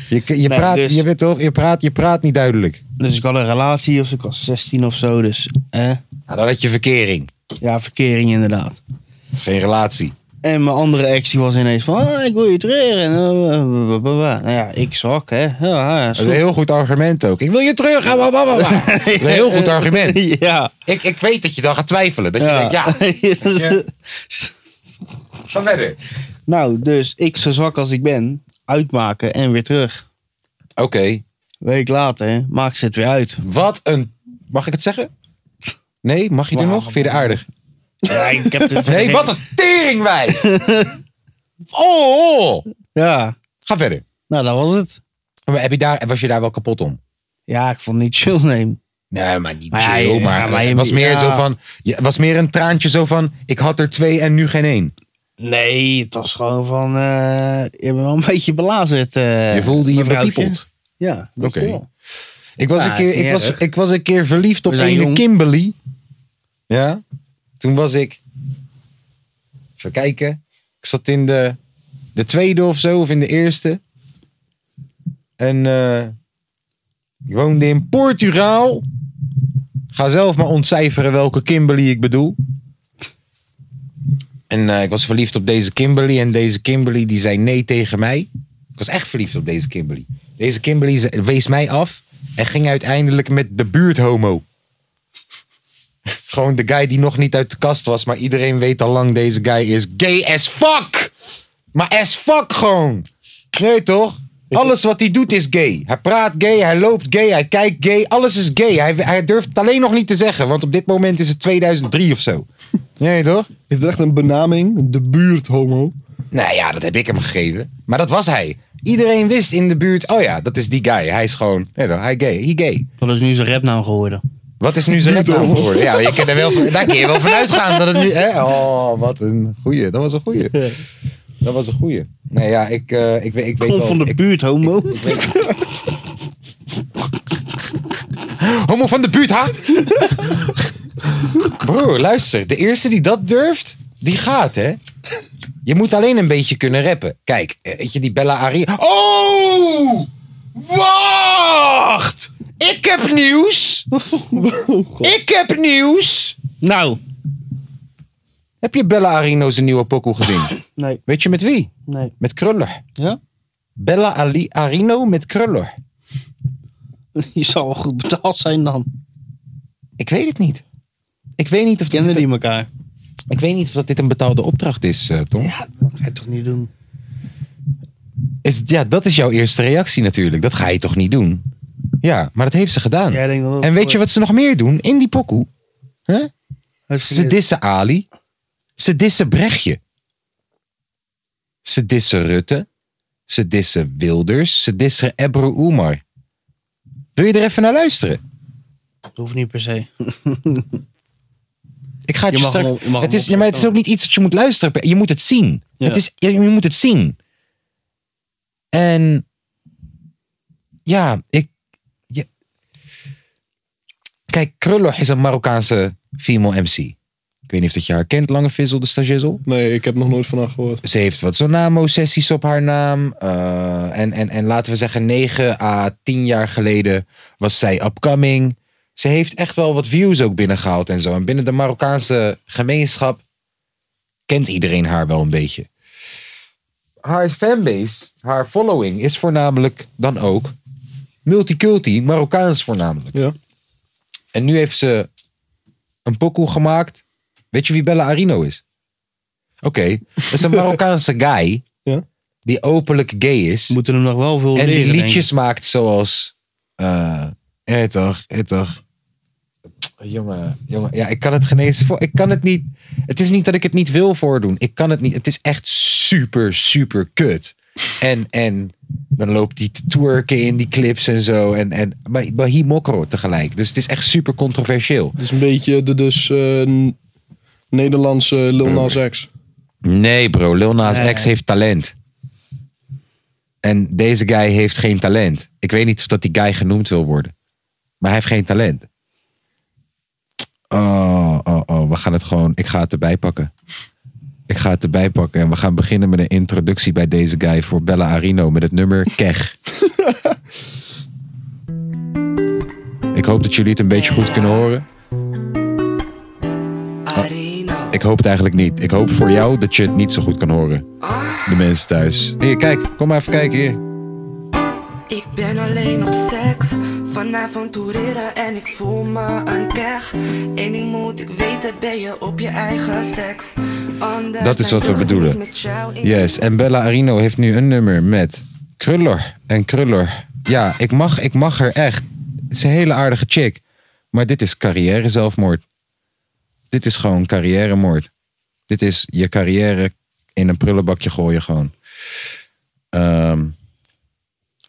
Speaker 1: Je, je,
Speaker 2: Nee,
Speaker 1: praat,
Speaker 2: dus-
Speaker 1: je, weet toch, je, praat, je praat niet duidelijk.
Speaker 2: Dus ik had een relatie of zo, ik was 16 of zo. Dus hè?
Speaker 1: Nou, dan had je verkering.
Speaker 2: ja, verkering inderdaad.
Speaker 1: Geen relatie.
Speaker 2: En mijn andere ex die was ineens van, ah, ik wil je terug. En, eh, blablabla. nou ja, ik zak, hè. Ja, ja,
Speaker 1: Dat is een heel goed argument ook. Ik wil je terug. ah, bah, bah, bah, bah. Dat is een heel goed argument.
Speaker 2: Ja.
Speaker 1: Ik, ik weet dat je dan gaat twijfelen. Dat je denkt, ja, je- ga verder.
Speaker 2: nou, dus ik zo zwak als ik ben, uitmaken en weer terug.
Speaker 1: Oké,
Speaker 2: Week later maak ze het weer uit.
Speaker 1: wat een... Mag ik het zeggen? Nee, mag je er nog? Vind je het aardig?
Speaker 2: Ja, ik heb het
Speaker 1: Nee, wat een teringwijf! Oh, oh.
Speaker 2: Ja,
Speaker 1: Ga verder.
Speaker 2: nou, dat was het.
Speaker 1: Maar heb je daar, was je daar wel kapot om?
Speaker 2: Ja, ik vond het niet chill, nee.
Speaker 1: Nee, maar niet
Speaker 2: Maar ja,
Speaker 1: chill.
Speaker 2: ja,
Speaker 1: maar
Speaker 2: maar je-
Speaker 1: het was meer
Speaker 2: ja.
Speaker 1: zo van... je- Het was meer een traantje zo van... Ik had er twee en nu geen één.
Speaker 2: Nee, het was gewoon van, eh, je bent wel een beetje belazerd. eh,
Speaker 1: Je voelde je
Speaker 2: mevrouwtje.
Speaker 1: verpiepeld.
Speaker 2: Ja,
Speaker 1: Oké.
Speaker 2: oké.
Speaker 1: Ik was,
Speaker 2: Ja,
Speaker 1: een
Speaker 2: is
Speaker 1: keer,
Speaker 2: niet
Speaker 1: ik, was,
Speaker 2: erg.
Speaker 1: ik was een keer verliefd op
Speaker 2: We zijn
Speaker 1: een
Speaker 2: jong.
Speaker 1: Kimberly. Ja. Toen was ik... Even kijken. Ik zat in de, de tweede of zo. Of in de eerste. En eh, ik woonde in Portugal. Ga zelf maar ontcijferen welke Kimberly ik bedoel. En eh, ik was verliefd op deze Kimberly. En deze Kimberly die zei nee tegen mij. Ik was echt verliefd op deze Kimberly. Deze Kimberly ze- wees mij af. En ging uiteindelijk met de buurthomo. Gewoon de guy die nog niet uit de kast was. Maar iedereen weet al lang deze guy is gay as fuck. Maar as fuck gewoon. Nee toch? Alles wat hij doet is gay. Hij praat gay, hij loopt gay, hij kijkt gay. Alles is gay. Hij, hij durft het alleen nog niet te zeggen. Want op dit moment is het 2003 of zo. Nee toch?
Speaker 3: Heeft er echt een benaming? De buurt homo.
Speaker 1: Nou ja, dat heb ik hem gegeven. Maar dat was hij. Iedereen wist in de buurt, oh ja, dat is die guy. Hij is gewoon, nee, toch, hij gay, he gay.
Speaker 2: Dat is nu zijn rapnaam geworden.
Speaker 1: Wat is nu zijn netnaam geworden? Ja, je kan er wel, van- daar kun je wel van uitgaan dat het nu... Hè? Oh, wat een goeie. Dat was een goeie. Dat was een goeie. Nee, ja, ik, eh, ik, weet- ik weet
Speaker 2: Kom
Speaker 1: wel...
Speaker 2: van de
Speaker 1: ik-
Speaker 2: buurt, homo.
Speaker 1: Homo van de buurt, ha? Broer, luister. De eerste die dat durft, die gaat, hè? Je moet alleen een beetje kunnen rappen. Kijk, eh, weet je, die Bella Aria... Oh! Wacht! Ik heb nieuws! Ik heb nieuws!
Speaker 2: Nou.
Speaker 1: Heb je Bella Arino zijn nieuwe pokoe gezien?
Speaker 2: Nee,
Speaker 1: Weet je met wie?
Speaker 2: nee.
Speaker 1: Met Kruller.
Speaker 2: Ja?
Speaker 1: Bella Ali Arino met Kruller.
Speaker 2: Je zou wel goed betaald zijn dan.
Speaker 1: Ik weet het niet. Ik weet niet of dat,
Speaker 2: Kennen
Speaker 1: dit,
Speaker 2: die elkaar?
Speaker 1: ik weet niet of dat dit een betaalde opdracht is, eh, Tom.
Speaker 2: Ja, dat ga je toch niet doen?
Speaker 1: Is, ja, dat is jouw eerste reactie natuurlijk. Dat ga je toch niet doen? Ja, maar dat heeft ze gedaan.
Speaker 2: Jij denkt dat het
Speaker 1: en weet
Speaker 2: voor-
Speaker 1: je wat ze nog meer doen? In die pokoe. Hè? Ze dissen Ali. Ze dissen Brechtje. Ze dissen Rutte. Ze dissen Wilders. Ze dissen Ebru Umar. Wil je er even naar luisteren?
Speaker 2: Dat hoeft niet per se.
Speaker 1: Ik ga het
Speaker 2: Je
Speaker 1: je,
Speaker 2: mag
Speaker 1: straks...
Speaker 2: hem op- je mag
Speaker 1: het
Speaker 2: hem
Speaker 1: is, ja, maar het is ook
Speaker 2: opzetten.
Speaker 1: niet iets dat je moet luisteren. Je moet het zien.
Speaker 2: Ja.
Speaker 1: Het is, je, je moet het zien. En... Ja, ik... je- Kijk, Krullo is een Marokkaanse female MC. Ik weet niet of dat je haar kent, Lange Vizzel, de stagizel.
Speaker 3: Nee, ik heb nog nooit van haar gehoord.
Speaker 1: Ze heeft wat Zonamo-sessies op haar naam. Eh, en, en, en laten we zeggen, 9 à 10 jaar geleden was zij upcoming. Ze heeft echt wel wat views ook binnengehaald en zo. En binnen de Marokkaanse gemeenschap kent iedereen haar wel een beetje. Haar fanbase, haar following, is voornamelijk dan ook multiculti, Marokkaans voornamelijk.
Speaker 3: Ja.
Speaker 1: En nu heeft ze een pokoe gemaakt. Weet je wie Bella Arino is? Oké, dat is een Marokkaanse guy
Speaker 3: Ja.
Speaker 1: die openlijk gay is.
Speaker 2: We moeten hem nog wel veel
Speaker 1: en
Speaker 2: leren.
Speaker 1: die
Speaker 2: denk ik.
Speaker 1: liedjes maakt zoals... eh eh toch, eh toch. Jongen, jongen, ja, ik kan het genezen voor. Ik kan het niet. Het is niet dat ik het niet wil voordoen. Ik kan het niet. Het is echt super, super kut. En, en dan loopt die te twerken in die clips en zo. En, en, maar, maar hier mokro tegelijk. Dus het is echt super controversieel.
Speaker 3: Het is een beetje de dus eh, Nederlandse Lil Nas X.
Speaker 1: Nee, bro. Lil Nas
Speaker 2: Nee.
Speaker 1: X heeft talent. En deze guy heeft geen talent. Ik weet niet of dat die guy genoemd wil worden. Maar hij heeft geen talent. Oh, oh, oh. We gaan het gewoon... Ik ga het erbij pakken. Ik ga het erbij pakken. En we gaan beginnen met een introductie bij deze guy... voor Bella Arino met het nummer Keg. ik hoop dat jullie het een beetje goed kunnen horen. Ik hoop het eigenlijk niet. Ik hoop voor jou dat je het niet zo goed kan horen. De mensen thuis. Hier, kijk. Kom maar even kijken hier.
Speaker 5: Ik ben alleen op seks. Vanavond toereren en ik voel me een keg. Eén ding moet ik weten, ben je op je eigen seks. Anders
Speaker 1: Dat is wat we
Speaker 5: dan doe ik
Speaker 1: bedoelen.
Speaker 5: met jou in-
Speaker 1: Yes, en Bella Arino heeft nu een nummer met Kruller en Kruller. Ja, ik mag, ik mag haar echt. Het is een hele aardige chick. Maar dit is carrière zelfmoord. Dit is gewoon carrière moord. Dit is je carrière in een prullenbakje gooien gewoon. Ehm,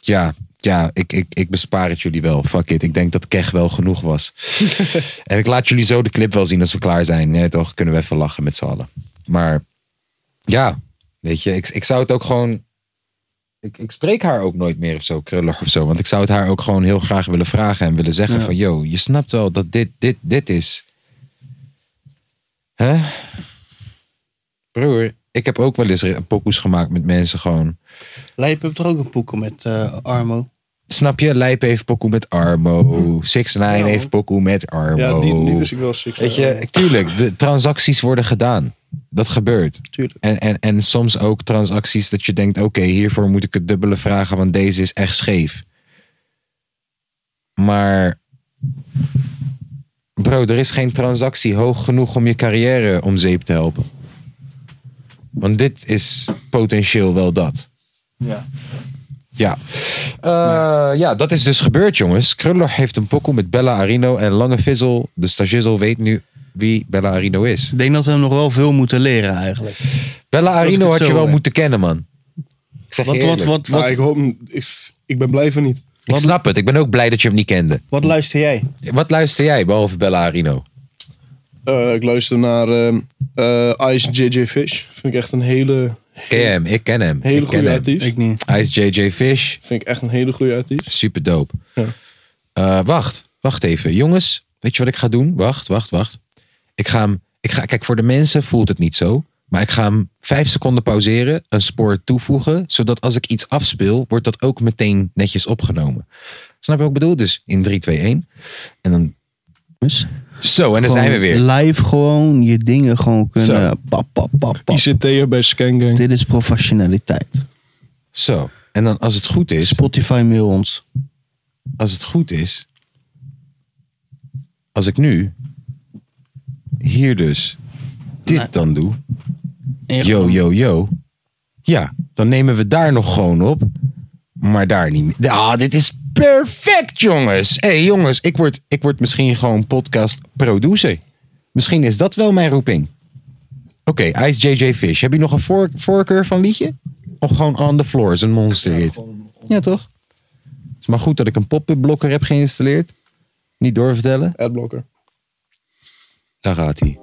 Speaker 1: ja, ja ik, ik, ik bespaar het jullie wel. Fuck it. Ik denk dat Kech wel genoeg was. en ik laat jullie zo de clip wel zien als we klaar zijn. Nee, toch kunnen we even lachen met z'n allen. Maar ja, weet je, ik, ik zou het ook gewoon. Ik, ik spreek haar ook nooit meer of zo, krullig of zo. Want ik zou het haar ook gewoon heel graag willen vragen en willen zeggen: van yo, je snapt wel dat dit, dit, dit is. Hè? Broer, ik heb ook wel eens re- pokoes gemaakt met mensen gewoon.
Speaker 2: Lijp heeft toch ook een poeken met eh, Armo?
Speaker 1: Snap je? Lijp heeft pokoe met Armo. 6 9
Speaker 3: Ja.
Speaker 1: heeft pokoe met Armo.
Speaker 3: Ja, die, die wist ik wel. Six eh,
Speaker 1: Weet je, tuurlijk, de transacties worden gedaan. Dat gebeurt.
Speaker 2: Tuurlijk.
Speaker 1: En, en, en soms ook transacties dat je denkt: oké, hiervoor moet ik het dubbele vragen, want deze is echt scheef. Maar. Bro, er is geen transactie hoog genoeg om je carrière om zeep te helpen. Want dit is potentieel wel dat.
Speaker 2: Ja.
Speaker 1: Ja. Eh, ja, dat is dus gebeurd, jongens. Kruller heeft een pokoe met Bella Arino en Lange Vizzel. De stagizel weet nu wie Bella Arino is.
Speaker 2: Ik denk dat we hem nog wel veel moeten leren eigenlijk.
Speaker 1: Bella
Speaker 2: ik
Speaker 1: Arino
Speaker 2: het
Speaker 1: had
Speaker 2: zo
Speaker 1: je wel
Speaker 2: hoor.
Speaker 1: moeten kennen, man. Ik zeg
Speaker 2: Wat,
Speaker 1: je
Speaker 2: wat,
Speaker 1: eerlijk. Nou,
Speaker 2: wat,
Speaker 3: Maar
Speaker 2: wat,
Speaker 3: ik hoop, ik, ik ben blij van niet.
Speaker 1: Ik snap het. Ik ben ook blij dat je hem niet kende.
Speaker 2: wat luister jij?
Speaker 1: Wat luister jij, behalve Bella Arino?
Speaker 3: Eh, ik luister naar ehm, eh, Ice JJ Fish. Vind ik echt een hele,
Speaker 1: Ken je hem? Ik ken hem.
Speaker 3: hele
Speaker 1: ik ken
Speaker 3: goede
Speaker 1: hem.
Speaker 3: artiest.
Speaker 2: Ik niet.
Speaker 1: Hij is JJ Fish.
Speaker 3: Vind ik echt een hele goede artiest.
Speaker 1: Super dope.
Speaker 3: Ja.
Speaker 1: Eh, wacht, wacht even. Jongens, weet je wat ik ga doen? Wacht, wacht, wacht. Ik ga hem. Ik ga, kijk, voor de mensen voelt het niet zo. Maar ik ga hem vijf seconden pauzeren, een spoor toevoegen. Zodat als ik iets afspeel, wordt dat ook meteen netjes opgenomen. Snap je wat ik bedoel? Dus in 3, 2, 1. En dan.
Speaker 2: Dus
Speaker 1: Zo, en dan zijn we weer.
Speaker 2: Live gewoon je dingen gewoon kunnen.
Speaker 1: Zo.
Speaker 2: Pap, pap, pap, pap.
Speaker 3: ICT'er bij Scangang.
Speaker 2: Dit is professionaliteit.
Speaker 1: Zo. En dan als het goed is,
Speaker 2: Spotify mail ons.
Speaker 1: als het goed is, als ik nu hier dus dit
Speaker 2: Nee.
Speaker 1: dan doe,
Speaker 2: En je
Speaker 1: yo,
Speaker 2: gewoon-
Speaker 1: yo, yo. Ja, dan nemen we daar nog gewoon op. Maar daar niet meer. Ah, dit is perfect, jongens. Hé, hey, jongens, ik word, ik word misschien gewoon podcast producer. Misschien is dat wel mijn roeping. Oké, Ice JJ Fish. Heb je nog een voor- voorkeur van liedje? Of gewoon On The Floor is een monster hit? Ja, toch? Het is maar goed dat ik een pop-up blokker heb geïnstalleerd. Niet doorvertellen.
Speaker 3: Adblocker.
Speaker 1: Daar gaat hij.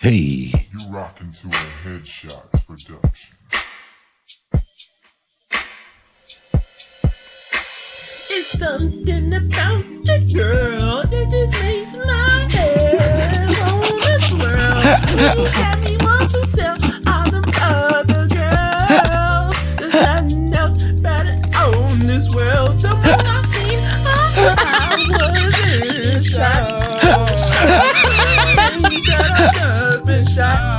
Speaker 1: Hey.
Speaker 6: You rock into a headshot production.
Speaker 7: It's something about the girl that just makes my head wanna swirl. You had me want to tell all them other girls there's nothing else better on this world. The one I've seen, I, I was in shock. I was in shock.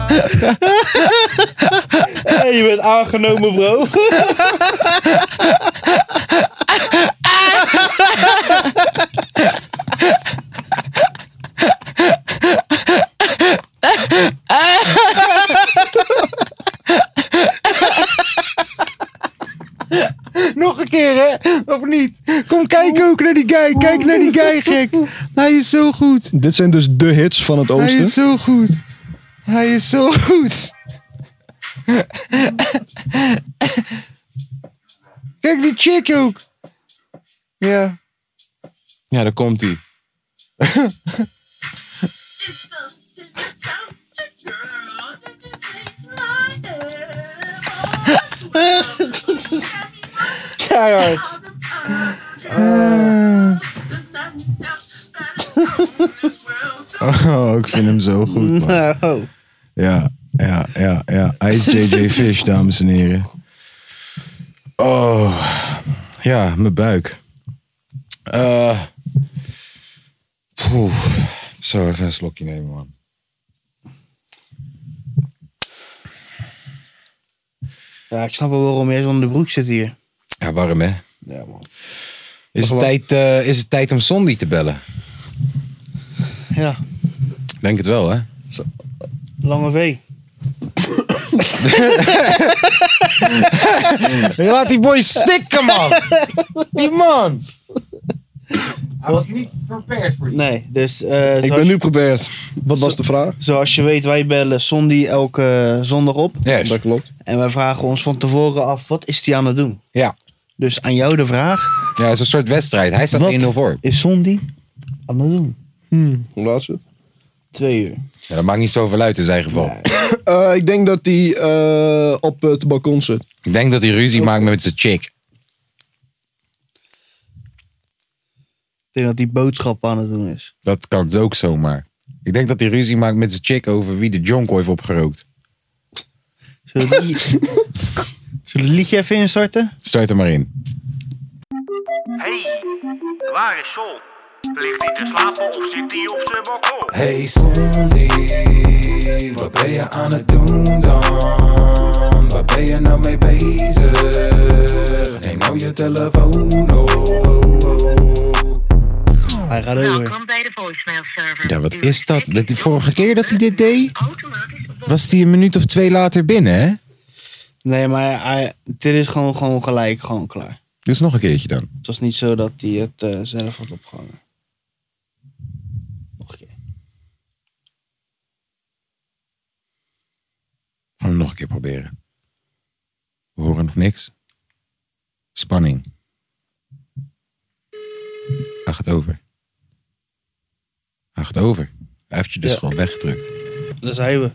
Speaker 2: Hey, je bent aangenomen, bro.
Speaker 1: Nog een keer, hè? Of niet? Kom, kijk ook naar die guy. Kijk naar die guy, gek. Hij is zo goed.
Speaker 3: Dit zijn dus de hits van het
Speaker 1: Hij
Speaker 3: oosten.
Speaker 1: is zo goed. Hij is zo goed. Kijk die chick ook. Ja. Ja, daar komt hij.
Speaker 2: Keihard.
Speaker 1: Oh, ik vind hem zo goed, man.
Speaker 2: Nou,
Speaker 1: Ja, ja, ja, ja. Hij is JJ Fish, dames en heren. Oh, ja, mijn buik. Eh. poeh. Zo, even een slokje nemen, man.
Speaker 2: Ja, ik snap wel waarom jij zo onder de broek zit hier.
Speaker 1: Ja, warm, hè?
Speaker 3: Ja, man.
Speaker 1: Is het, tijd, eh, is het tijd om Sondi te bellen?
Speaker 2: Ja,
Speaker 1: Denk het wel, hè?
Speaker 2: lange V.
Speaker 1: Laat die boy stikken, man! Die man! Hij was niet prepared voor
Speaker 2: Nee, dus eh,
Speaker 3: Ik
Speaker 2: zoals,
Speaker 3: ben nu probeerd. Wat was de vraag?
Speaker 2: zoals je weet, wij bellen Sondi elke eh, zondag op.
Speaker 1: Yes.
Speaker 3: Dat klopt.
Speaker 2: En wij vragen ons van tevoren af, wat is die aan het doen?
Speaker 1: Ja.
Speaker 2: Dus aan jou de vraag,
Speaker 1: ja, het is een soort wedstrijd. Hij staat
Speaker 2: Wat?
Speaker 1: 1-0 voor.
Speaker 2: is Sondi aan het doen?
Speaker 3: Hoe laat is het?
Speaker 2: Twee uur.
Speaker 1: Ja, dat maakt niet zoveel uit in zijn geval.
Speaker 3: Eh, ik denk dat hij eh, op het balkon zit.
Speaker 1: Ik denk dat hij ruzie maakt met zijn chick.
Speaker 2: Ik denk dat die boodschap aan het doen is.
Speaker 1: Dat kan dus ook zomaar. Ik denk dat hij ruzie maakt met zijn chick over wie de jonko heeft opgerookt.
Speaker 2: Zullen we het liedje, Zullen we het liedje even instarten?
Speaker 1: Start er maar in.
Speaker 8: Hey, waar is Sol? Ligt hij te slapen of zit hij op zijn balkon?
Speaker 9: Hey Sondi, wat ben je aan het doen dan? Waar ben je nou mee bezig? Neem nou je telefoon op.
Speaker 2: Hij gaat over.
Speaker 10: Welkom bij de voicemail server.
Speaker 1: Ja, wat is dat? Dat die vorige keer dat hij dit deed,
Speaker 10: Automatisch op
Speaker 1: was hij een minuut of twee later binnen, hè?
Speaker 2: Nee, maar hij, dit is gewoon, gewoon gelijk, gewoon klaar.
Speaker 1: Dus nog een keertje dan.
Speaker 2: Het was niet zo dat hij het eh, zelf had opgehangen. Nog een keer.
Speaker 1: Gaan we nog een keer proberen. We horen nog niks. Spanning. Hij gaat over. Hij gaat over. Hij heeft je dus
Speaker 2: Ja.
Speaker 1: gewoon weggedrukt.
Speaker 2: Daar zijn we.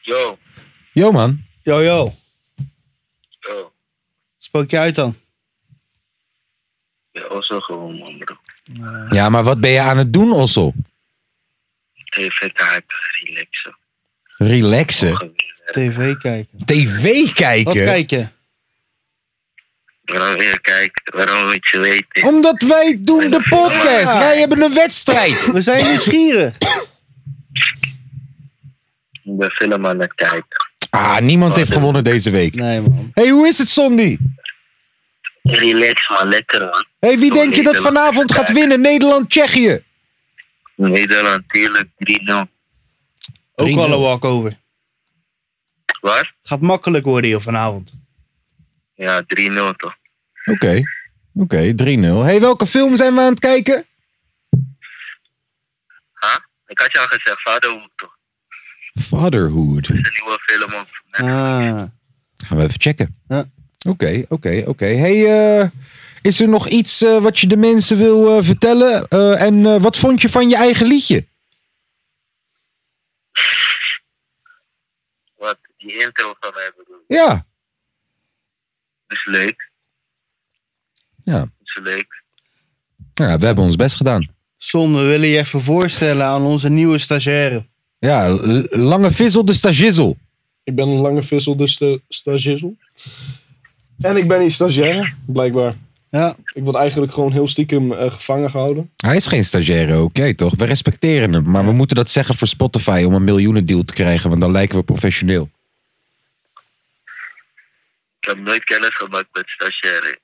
Speaker 8: Yo,
Speaker 1: Yo man.
Speaker 2: Yo, yo.
Speaker 8: yo.
Speaker 2: Spook je uit dan?
Speaker 8: Ja, was zo gewoon, man, bro.
Speaker 1: Ja, maar wat ben je aan het doen, Ossel?
Speaker 8: Even daar relaxen.
Speaker 1: Relaxen.
Speaker 2: TV kijken.
Speaker 1: TV
Speaker 2: Wat
Speaker 1: kijken.
Speaker 2: kijken?
Speaker 8: Waarom weer kijken? Waarom moet je weten?
Speaker 1: Omdat wij doen de podcast. Wij hebben een wedstrijd.
Speaker 2: We zijn nieuwsgierig.
Speaker 11: de film aan het kijken.
Speaker 1: Ah, niemand heeft gewonnen deze week.
Speaker 2: Nee, man.
Speaker 1: hey, hoe is het, Sondi?
Speaker 11: Relax man, lekker man.
Speaker 1: hey, wie denk je dat vanavond gaat winnen? Nederland-Tsjechië.
Speaker 11: Nederland, tuurlijk, 3-0.
Speaker 2: Ook
Speaker 1: 3-0.
Speaker 2: al een walkover.
Speaker 11: Waar?
Speaker 2: Gaat makkelijk worden hier vanavond.
Speaker 11: Ja, 3-0 toch.
Speaker 1: Oké, oké, 3-0. hey, welke film zijn we aan het kijken?
Speaker 11: Ik had je al gezegd, Vaderhoek toch.
Speaker 1: Fatherhood.
Speaker 11: De nieuwe film op
Speaker 2: Ah.
Speaker 1: Gaan we even checken.
Speaker 2: Ja.
Speaker 1: Oké, oké, oké. Hey, eh, is er nog iets eh, wat je de mensen wil eh, vertellen? Eh, en eh, wat vond je van je eigen liedje?
Speaker 11: wat die intro van mij bedoelt.
Speaker 1: Ja.
Speaker 11: Dus leuk.
Speaker 1: Ja.
Speaker 11: Dus leuk.
Speaker 1: ja, we hebben ons best gedaan.
Speaker 2: Son, we willen je even voorstellen aan onze nieuwe stagiaire.
Speaker 1: Ja, l- lange vissel de stagizel.
Speaker 3: Ik ben een lange vissel, dus de stagizel. En ik ben niet stagiair, blijkbaar.
Speaker 2: Ja,
Speaker 3: Ik word eigenlijk gewoon heel stiekem eh, gevangen gehouden.
Speaker 1: Hij is geen stagiaire, oké toch? We respecteren hem. Maar we moeten dat zeggen voor Spotify om een miljoenendeal te krijgen. Want dan lijken we professioneel.
Speaker 11: Ik heb nooit kennis gemaakt met stagiaire.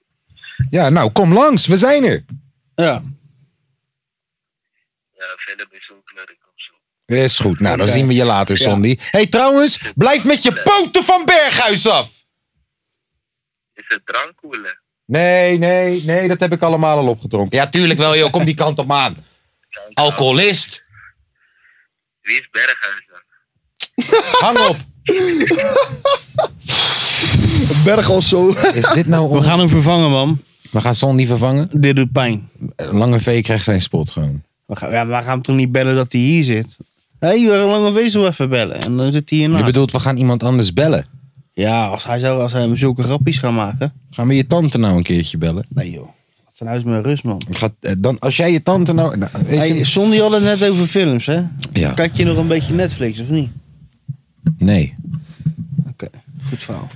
Speaker 1: Ja, nou, kom langs. We zijn er.
Speaker 2: ja.
Speaker 11: Ja, film is ook leuk of zo.
Speaker 1: Is goed. Nou, dan
Speaker 3: Oké.
Speaker 1: zien we je later, Sandy. hey, trouwens, blijf met je poten van Berghuis af.
Speaker 11: Is het drank cool, hè?
Speaker 1: Nee, nee, nee, dat heb ik allemaal al opgedronken. Ja, tuurlijk wel, joh. Kom die kant op aan. Alcoholist.
Speaker 11: Wie is Berghuis dan?
Speaker 1: Hang op.
Speaker 3: Berg al zo.
Speaker 1: Is dit nou...
Speaker 2: We gaan hem vervangen, man.
Speaker 1: We gaan Son niet vervangen.
Speaker 2: Dit doet pijn.
Speaker 1: Lange V krijgt zijn spot gewoon.
Speaker 2: We gaan, ja, we gaan hem toch niet bellen dat hij hier zit? Hé, hey, we gaan lange wezel even bellen. En dan zit hij hiernaast.
Speaker 1: Je bedoelt, we gaan iemand anders bellen.
Speaker 2: Ja, als hij, zou, als hij hem zulke grappies gaat maken.
Speaker 1: Gaan we je tante nou een keertje bellen?
Speaker 2: Nee, joh. Laat dan huis met rust, man.
Speaker 1: Gaat, eh, dan, als jij je tante nou... nou, weet je-
Speaker 2: Hey, Son, die had het net over films, hè?
Speaker 1: Ja.
Speaker 2: Kijk je nog een beetje Netflix, of niet?
Speaker 1: Nee.
Speaker 2: Oké, goed verhaal.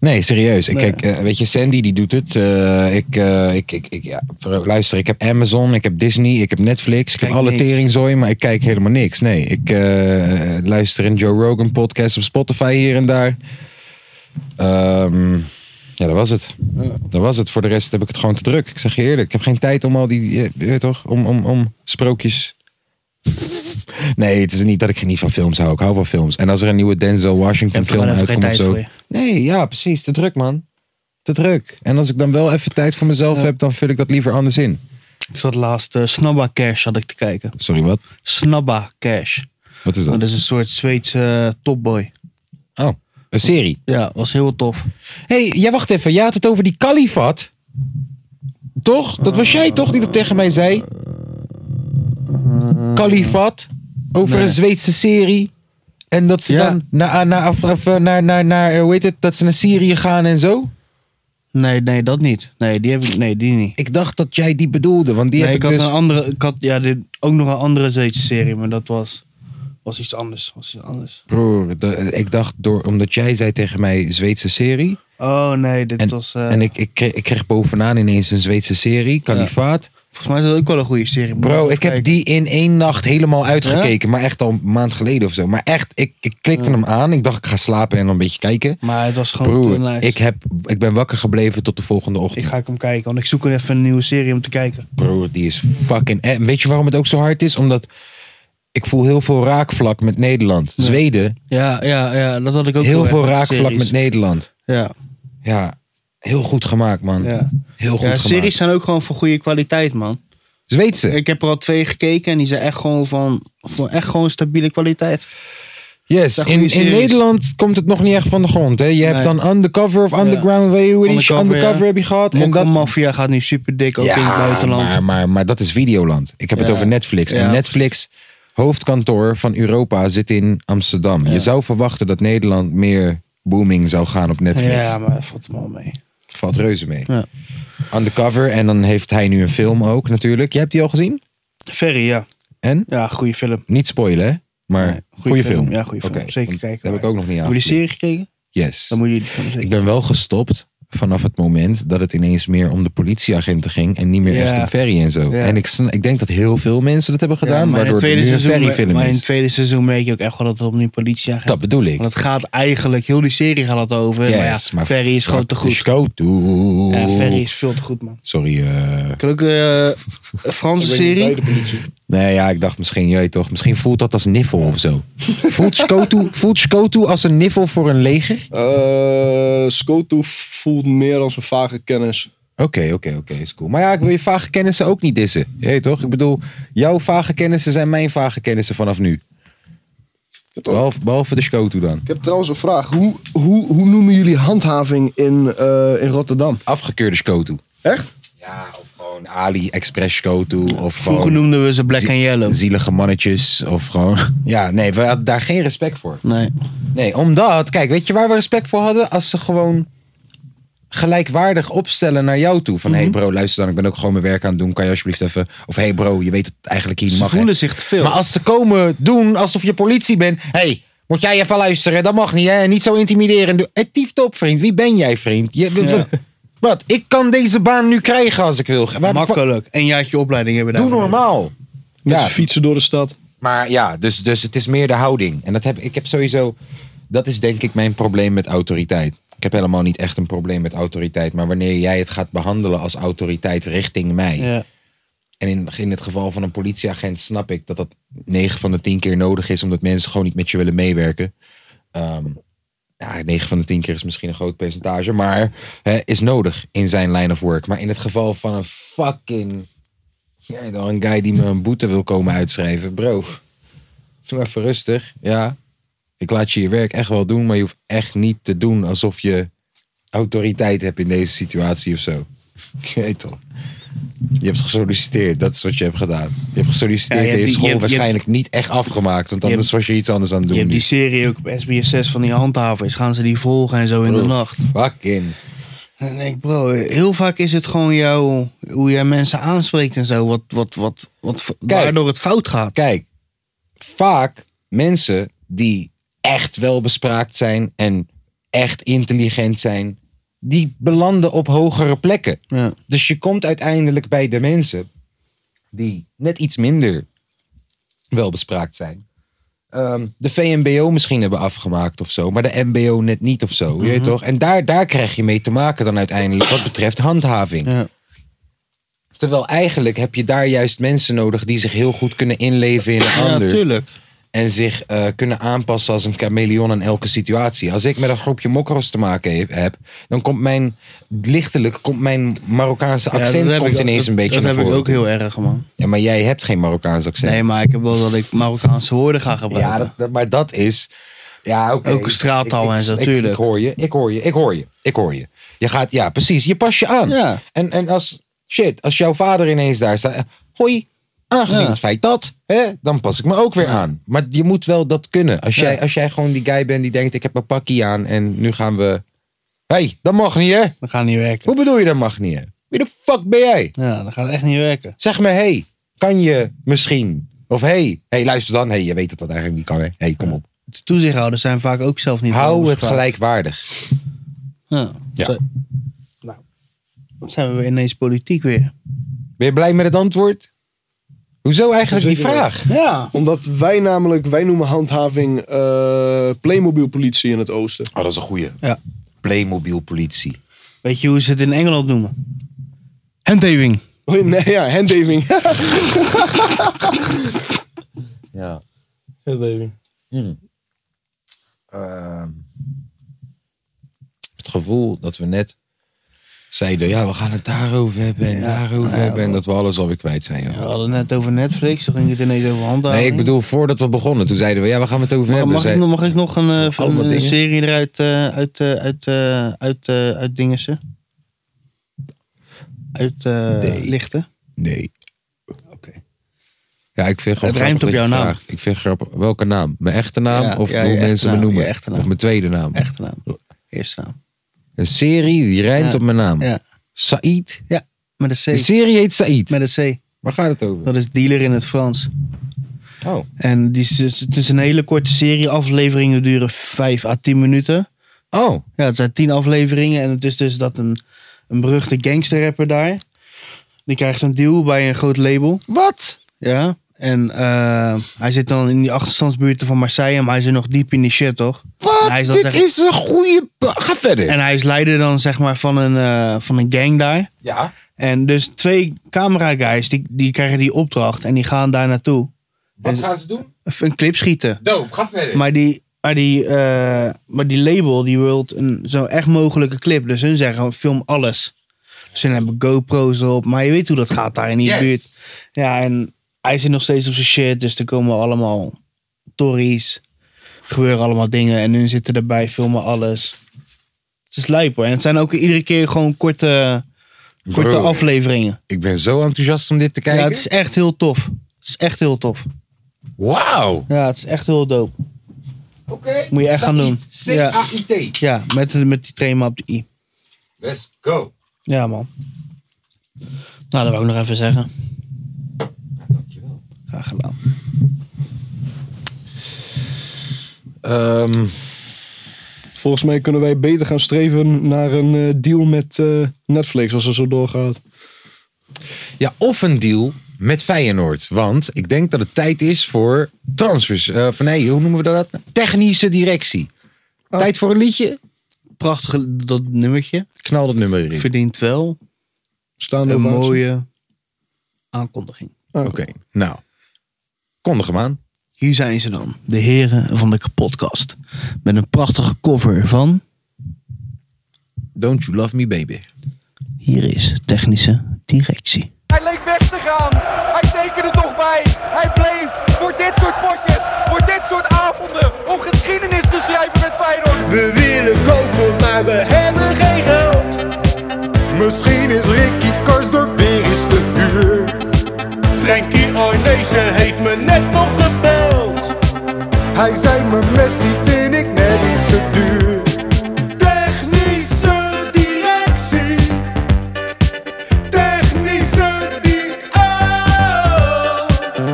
Speaker 1: Nee, serieus. Ik
Speaker 2: Nee.
Speaker 1: Kijk, eh, weet je, Sandy die doet het. Eh, ik, eh, ik, ik, ik, ja, bro, luister, ik heb Amazon, ik heb Disney, ik heb Netflix, ik
Speaker 2: Kijk
Speaker 1: heb alle
Speaker 2: niks.
Speaker 1: teringzooi, maar ik kijk helemaal niks. Nee, ik eh, luister een Joe Rogan podcast op Spotify hier en daar. Ehm, ja, dat was het. Dat was het. Voor de rest heb ik het gewoon te druk. Ik zeg je eerlijk, ik heb geen tijd om al die, eh, je weet toch, om, om, om sprookjes. Nee, het is niet dat ik niet van films hou. Ik hou van films. En als er een nieuwe Denzel Washington
Speaker 2: Ik heb er
Speaker 1: film
Speaker 2: gewoon even geen
Speaker 1: uitkomt of
Speaker 2: tijd
Speaker 1: zo.
Speaker 2: voor je.
Speaker 1: Nee, ja, precies. Te druk, man. Te druk. En als ik dan wel even tijd voor mezelf heb, dan vul ik dat liever anders in.
Speaker 2: Ik zat laatst eh, Snabba Cash had ik te kijken.
Speaker 1: Sorry, wat?
Speaker 2: Snabba Cash.
Speaker 1: Wat is
Speaker 2: Dat
Speaker 1: dat?
Speaker 2: is een soort Zweedse eh, topboy.
Speaker 1: Oh, een serie.
Speaker 2: Ja, was heel tof.
Speaker 1: Hé, hey, jij wacht even. Jij had het over die kalifat. Toch? Dat was jij toch die dat tegen mij zei? Kalifat. Over
Speaker 2: Nee.
Speaker 1: een Zweedse serie. En dat ze
Speaker 2: Ja.
Speaker 1: dan naar, ah, naar, af- af- naar, naar, naar, eh, hoe heet het, dat ze naar Syrië gaan en zo.
Speaker 2: Nee, nee, dat niet. Nee, die heb ik nee, die niet.
Speaker 1: Ik dacht dat jij die bedoelde, want die
Speaker 2: nee,
Speaker 1: heb
Speaker 2: ik
Speaker 1: ik
Speaker 2: had
Speaker 1: dus...
Speaker 2: een andere, ik had ja, dit, ook nog een andere Zweedse serie, maar dat was, was iets anders. Was iets anders.
Speaker 1: Broer, de- eh, ik dacht door, omdat jij zei tegen mij Zweedse serie.
Speaker 2: Oh nee, dit
Speaker 1: En,
Speaker 2: was. eh,
Speaker 1: en ik, ik, kreeg, ik kreeg bovenaan ineens een Zweedse serie, Kalifaat.
Speaker 2: volgens mij is dat ook wel een goede serie. Moet
Speaker 1: Bro,
Speaker 2: even
Speaker 1: ik heb
Speaker 2: kijken.
Speaker 1: die in één nacht helemaal uitgekeken. Maar echt al een maand geleden of zo. Maar echt, ik, ik klikte hem aan. Ik dacht, ik ga slapen en een beetje kijken.
Speaker 2: Maar het was gewoon te
Speaker 1: Broer,
Speaker 2: nice.
Speaker 1: ik, heb, ik ben wakker gebleven tot de volgende ochtend.
Speaker 2: Ik ga hem kijken, want ik zoek er even een nieuwe serie om te kijken.
Speaker 1: Broer, die is fucking... En weet je waarom het ook zo hard is? Omdat ik voel heel veel raakvlak met Nederland. Zweden,
Speaker 2: Ja, ja, ja, dat had ik ook.
Speaker 1: heel
Speaker 2: wel,
Speaker 1: veel
Speaker 2: hè,
Speaker 1: raakvlak
Speaker 2: series.
Speaker 1: met Nederland.
Speaker 2: Ja,
Speaker 1: Ja, heel goed gemaakt, man.
Speaker 2: ja.
Speaker 1: Heel goed
Speaker 2: ja,
Speaker 1: gemaakt.
Speaker 2: series zijn ook gewoon van goede kwaliteit, man.
Speaker 1: Zweedse.
Speaker 2: Ik heb er al twee gekeken en die zijn echt gewoon van, van echt gewoon stabiele kwaliteit.
Speaker 1: Yes,
Speaker 2: Dat
Speaker 1: in,
Speaker 2: goede
Speaker 1: in
Speaker 2: series.
Speaker 1: Nederland komt het nog niet echt van de grond. Hè? Je hebt
Speaker 2: Nee.
Speaker 1: dan Undercover of Underground, weet je hoe die
Speaker 2: Undercover,
Speaker 1: Undercover
Speaker 2: ja.
Speaker 1: heb je gehad.
Speaker 2: En
Speaker 1: dat,
Speaker 2: Mafia gaat nu super dik, ook in het
Speaker 1: ja,
Speaker 2: buitenland.
Speaker 1: maar, maar, maar dat is Videoland. Ik heb het
Speaker 2: Ja.
Speaker 1: over Netflix. En
Speaker 2: Ja.
Speaker 1: Netflix, hoofdkantoor van Europa, zit in Amsterdam. Je zou verwachten dat Nederland meer booming zou gaan op Netflix.
Speaker 2: Ja, maar dat valt me al mee.
Speaker 1: Valt reuze mee.
Speaker 2: Ja.
Speaker 1: Undercover, en dan heeft hij nu een film ook natuurlijk. Je hebt die al gezien?
Speaker 2: Ferry, ja.
Speaker 1: En?
Speaker 2: Ja, goede film.
Speaker 1: Niet spoilen, hè? Maar
Speaker 2: Nee,
Speaker 1: goede, film.
Speaker 2: Ja, goede film.
Speaker 1: Oké,
Speaker 2: Zeker
Speaker 1: want
Speaker 2: kijken.
Speaker 1: Dat heb ik ook nog niet
Speaker 2: Heb je die
Speaker 1: aangeklikt.
Speaker 2: serie gekeken?
Speaker 1: Yes.
Speaker 2: Dan moet je die film
Speaker 1: Ik
Speaker 2: zeker
Speaker 1: ben wel gestopt vanaf het moment dat het ineens meer om de politieagenten ging en niet meer
Speaker 2: Ja.
Speaker 1: echt om Ferry en zo.
Speaker 2: Ja.
Speaker 1: En ik, sn- ik denk dat heel veel mensen dat hebben gedaan,
Speaker 2: maar in het
Speaker 1: waardoor het
Speaker 2: tweede
Speaker 1: nu een
Speaker 2: seizoen-
Speaker 1: Ferry-film
Speaker 2: Maar in het
Speaker 1: is.
Speaker 2: tweede seizoen merk je ook echt wel dat het opnieuw politie gaat.
Speaker 1: Dat bedoel ik.
Speaker 2: Want het gaat eigenlijk, heel die serie gaat het over. maar
Speaker 1: Yes,
Speaker 2: ja, Ferry is gewoon te
Speaker 1: fuck the
Speaker 2: goed.
Speaker 1: scout, dude.
Speaker 2: Ja, Ferry is veel te goed, man.
Speaker 1: Sorry. eh
Speaker 2: Ik had ook eh, een Franse serie.
Speaker 1: nee, ja, ik dacht misschien, jij toch, misschien voelt dat als niffel of zo. voelt Skotu, voelt Skotu als een niffel voor een leger?
Speaker 3: Eh Skotu voelt meer als een vage kennis.
Speaker 1: Oké, oké, oké, is cool. Maar ja, ik wil je vage kennissen ook niet dissen. Je weet toch? Ik bedoel, jouw vage kennissen zijn mijn vage kennissen vanaf nu. Behalve, behalve de Skotu dan.
Speaker 3: Ik heb trouwens een vraag. Hoe, hoe, hoe noemen jullie handhaving in, eh, in Rotterdam?
Speaker 1: Afgekeurde Skotu.
Speaker 3: Echt?
Speaker 1: Ja, of gewoon AliExpress Skotu. Of
Speaker 2: Vroeger
Speaker 1: gewoon
Speaker 2: noemden we ze Black
Speaker 1: zie-
Speaker 2: and Yellow.
Speaker 1: zielige mannetjes. Of gewoon... Ja, nee, we hadden daar geen respect voor.
Speaker 2: Nee.
Speaker 1: Nee, omdat... Kijk, weet je waar we respect voor hadden? Als ze gewoon gelijkwaardig opstellen naar jou toe. Van,
Speaker 2: Mhm.
Speaker 1: hey bro, luister dan, ik ben ook gewoon mijn werk aan het doen. Kan je alsjeblieft even... Of, hey bro, je weet dat het eigenlijk hier niet
Speaker 2: Ze
Speaker 1: mag. hè?
Speaker 2: voelen zich te veel.
Speaker 1: Maar als ze komen doen alsof je politie bent. Hé, hey, moet jij even luisteren? Dat mag niet, hè? En Niet zo intimideren. Doe- Het tieft op, vriend. Wie ben jij, vriend? Je, w- w- Wat? Ik kan deze baan nu krijgen als ik wil. Waar-
Speaker 2: Makkelijk. Een jaartje opleiding hebben
Speaker 1: wa-
Speaker 2: daar.
Speaker 1: Doe normaal.
Speaker 3: Met
Speaker 1: Ja,
Speaker 3: fietsen door de stad.
Speaker 1: maar ja, dus, dus het is meer de houding. En dat heb, ik heb sowieso... Dat is denk ik mijn probleem met autoriteit. Ik heb helemaal niet echt een probleem met autoriteit. Maar wanneer jij het gaat behandelen als autoriteit richting mij...
Speaker 2: Ja.
Speaker 1: En in, in het geval van een politieagent snap ik dat dat 9 van de 10 keer nodig is, omdat mensen gewoon niet met je willen meewerken. Ehm ja, 9 van de 10 keer is misschien een groot percentage, maar hè, is nodig in zijn line of work. Maar in het geval van een fucking. Ja, dan een guy die me een boete wil komen uitschrijven, bro. Doe even rustig. Ja, ik laat je je werk echt wel doen, maar je hoeft echt niet te doen alsof je autoriteit hebt in deze situatie of zo. Ik weet toch. Je hebt gesolliciteerd, dat is wat je hebt gedaan. Je hebt gesolliciteerd
Speaker 2: Ja, je
Speaker 1: en je
Speaker 2: hebt die-
Speaker 1: school
Speaker 2: je hebt- je
Speaker 1: waarschijnlijk niet echt afgemaakt, want
Speaker 2: Je hebt-
Speaker 1: anders was je iets anders aan het
Speaker 2: Je
Speaker 1: doen.
Speaker 2: hebt die
Speaker 1: nu.
Speaker 2: serie ook op SBS6 van die handhavers. Gaan ze die volgen en zo in de
Speaker 1: Bro.
Speaker 2: nacht.
Speaker 1: Fucking.
Speaker 2: En dan denk ik, bro, heel vaak is het gewoon jou, hoe jij mensen aanspreekt en zo. Wat, wat, wat, wat, waardoor het fout gaat.
Speaker 1: Nou, Kijk, vaak mensen die echt welbespraakt zijn en echt intelligent zijn, die belanden op hogere plekken.
Speaker 2: Ja.
Speaker 1: Dus je komt uiteindelijk bij de mensen die net iets minder welbespraakt zijn. Ehm, de VMBO misschien hebben afgemaakt of zo, maar de MBO net niet of zo. Je weet
Speaker 2: Mhm.
Speaker 1: toch? En daar, daar krijg je mee te maken dan uiteindelijk wat betreft handhaving.
Speaker 2: Ja.
Speaker 1: Terwijl eigenlijk heb je daar juist mensen nodig die zich heel goed kunnen inleven in een
Speaker 2: Ja,
Speaker 1: ander.
Speaker 2: tuurlijk.
Speaker 1: en zich eh, kunnen aanpassen als een chameleon aan elke situatie. Als ik met een groepje mokros te maken he- heb, dan komt mijn, lichtelijk komt mijn Marokkaanse
Speaker 2: Ja, dat
Speaker 1: accent
Speaker 2: heb
Speaker 1: komt
Speaker 2: ik-
Speaker 1: ineens
Speaker 2: dat-
Speaker 1: een beetje
Speaker 2: Dat
Speaker 1: naar
Speaker 2: heb ik
Speaker 1: voren.
Speaker 2: ook heel erg, man.
Speaker 1: Ja, maar jij hebt geen Marokkaans accent.
Speaker 2: Nee, maar ik heb wel dat ik Marokkaanse woorden ga gebruiken.
Speaker 1: ja, dat, dat- maar dat is... Ja, oké.
Speaker 2: Ook een straaltaal
Speaker 1: Ik- ik-
Speaker 2: en zo,
Speaker 1: ik- Ik,
Speaker 2: tuurlijk.
Speaker 1: hoor je, ik hoor je, ik hoor je, ik hoor je. Je gaat, ja, precies. Je pas je aan.
Speaker 2: Ja.
Speaker 1: En, en als, shit, als jouw vader ineens daar staat... eh, Hoi, aangezien
Speaker 2: Ja.
Speaker 1: het feit dat, hè, dan pas ik me ook weer aan. Maar je moet wel dat kunnen. Als jij,
Speaker 2: Ja.
Speaker 1: als jij gewoon die guy bent die denkt, ik heb mijn pakkie aan en nu gaan we... Hé, hey, dat mag niet, hè?
Speaker 2: Dat gaat niet werken.
Speaker 1: Hoe bedoel je dat mag niet, hè? Wie de fuck ben jij?
Speaker 2: Ja, dat gaat echt niet werken.
Speaker 1: Zeg me, hey, kan je misschien? Of hey, hey, luister dan. Hey, je weet dat dat eigenlijk niet kan, hè? Hey, kom op.
Speaker 2: De toezichthouders zijn vaak ook zelf niet
Speaker 1: Hou het
Speaker 2: onderschaald.
Speaker 1: gelijkwaardig.
Speaker 2: Ja.
Speaker 1: Ja.
Speaker 2: Zo- Nou, dan zijn we weer ineens politiek weer.
Speaker 1: Ben je blij met het antwoord? Hoezo eigenlijk die
Speaker 3: Zeker wel.
Speaker 1: vraag?
Speaker 2: Ja.
Speaker 3: Omdat wij namelijk, wij noemen handhaving eh Playmobil politie in het oosten.
Speaker 1: Oh, dat is een goeie.
Speaker 2: Ja.
Speaker 1: Playmobil politie.
Speaker 2: Weet je hoe ze het in Engeland noemen? Handhaving.
Speaker 3: Oh, nee, ja, handhaving.
Speaker 1: Ja.
Speaker 3: handhaving.
Speaker 1: Ehm, het gevoel dat we net zeiden, ja, we gaan het daarover hebben en daarover hebben. En dat we alles alweer kwijt zijn. joh.
Speaker 2: We hadden het net over Netflix, toen ging het ineens over handhaving.
Speaker 1: Nee, ik bedoel, voordat we begonnen, toen zeiden we, ja, we gaan het over
Speaker 2: Mag,
Speaker 1: hebben.
Speaker 2: mag, ik,
Speaker 1: Zei-
Speaker 2: nog- mag ik nog een, eh, van
Speaker 1: Allemaal
Speaker 2: een
Speaker 1: dingen.
Speaker 2: serie eruit eh, uit, eh, uit, eh, uit, eh, uit Dingense? Uit eh,
Speaker 1: Nee.
Speaker 2: Lichten?
Speaker 1: Nee. Ja, ik vind gewoon
Speaker 2: Het rijmt
Speaker 1: grappig dat
Speaker 2: op jouw
Speaker 1: je
Speaker 2: naam.
Speaker 1: vraagt. Ik vind grappig. Welke naam? Mijn echte naam
Speaker 2: Ja,
Speaker 1: of
Speaker 2: ja, je
Speaker 1: hoe
Speaker 2: echte
Speaker 1: mensen me
Speaker 2: naam,
Speaker 1: noemen?
Speaker 2: je echte naam.
Speaker 1: Of mijn tweede naam?
Speaker 2: Echte naam. Eerste naam.
Speaker 1: Een serie die rijmt
Speaker 2: Ja,
Speaker 1: op mijn naam.
Speaker 2: ja.
Speaker 1: Said.
Speaker 2: Met een
Speaker 1: De
Speaker 2: C.
Speaker 1: serie heet Said.
Speaker 2: Met een C.
Speaker 1: Waar gaat het over?
Speaker 2: Dat is dealer in het Frans.
Speaker 1: Oh.
Speaker 2: En die, is- het is een hele korte serie. Afleveringen duren 5 à 10 minuten.
Speaker 1: Oh,
Speaker 2: Ja, het zijn tien afleveringen en het is dus dat een, een beruchte gangsterrapper daar, die krijgt een deal bij een groot label.
Speaker 1: wat?
Speaker 2: Ja. En eh, hij zit dan in die achterstandsbuurten van Marseille, maar hij zit nog diep in die shit, toch?
Speaker 1: Wat?
Speaker 2: Hij is dat
Speaker 1: Dit
Speaker 2: zeggen-
Speaker 1: is een goede. Ga verder.
Speaker 2: En hij is leider dan, zeg maar, van een, eh, van een gang daar.
Speaker 1: ja.
Speaker 2: En dus twee camera guys, die, die krijgen die opdracht en die gaan daar naartoe.
Speaker 1: Wat gaan ze doen?
Speaker 2: Even een clip schieten.
Speaker 1: Doop, ga verder.
Speaker 2: Maar die, maar die, eh, maar die label die wilt een zo echt mogelijke clip. Dus hun zeggen, film alles. Dus hun hebben GoPro's erop. Maar je weet hoe dat gaat daar in die
Speaker 1: Yes.
Speaker 2: buurt. Ja, en hij zit nog steeds op zijn shit. Dus er komen allemaal tories. Er gebeuren allemaal dingen. En hun zitten erbij, filmen alles. Het is lijp hoor. En het zijn ook iedere keer gewoon korte, korte
Speaker 1: Bro.
Speaker 2: afleveringen.
Speaker 1: Ik ben zo enthousiast om dit te
Speaker 2: Ja,
Speaker 1: kijken.
Speaker 2: het is echt heel tof. Het is echt heel tof.
Speaker 1: Wauw.
Speaker 2: Ja, het is echt heel dope.
Speaker 1: Oké.
Speaker 2: Moet je echt gaan doen. Ja.
Speaker 1: Ah, C-A-I-T.
Speaker 2: Ja, met, met die thema op de i.
Speaker 1: Let's go.
Speaker 2: Ja, man. Nou, dat wou ik nog even zeggen.
Speaker 1: Dankjewel.
Speaker 2: Graag gedaan.
Speaker 1: Ehm,
Speaker 3: Volgens mij kunnen wij beter gaan streven naar een eh, deal met eh, Netflix als het zo doorgaat.
Speaker 1: ja, of een deal met Feyenoord. Want ik denk dat het tijd is voor transfers. Eh van, nee, hoe noemen we dat? Technische directie. Tijd voor een liedje?
Speaker 2: Prachtig dat nummertje.
Speaker 1: Knal dat nummer erin.
Speaker 2: Verdient wel
Speaker 3: Staan
Speaker 2: een mooie aankondiging.
Speaker 1: Oké, nou. Kondig hem aan.
Speaker 2: Hier zijn ze dan, de heren van de podcast. Met een prachtige cover van...
Speaker 1: Don't you love me, baby.
Speaker 2: Hier is technische directie.
Speaker 12: Hij leek weg te gaan. Hij tekende toch bij. Hij bleef voor dit soort potjes, voor dit soort avonden, om geschiedenis te schrijven met Feyenoord.
Speaker 4: We willen kopen, maar we hebben geen geld. Misschien is Ricky Karsdorp weer eens te duur. Frankie Arnezen heeft me net nog gebeld. Hij zei me Messi vind ik net iets te duur. Technische directie. Technische di- oh.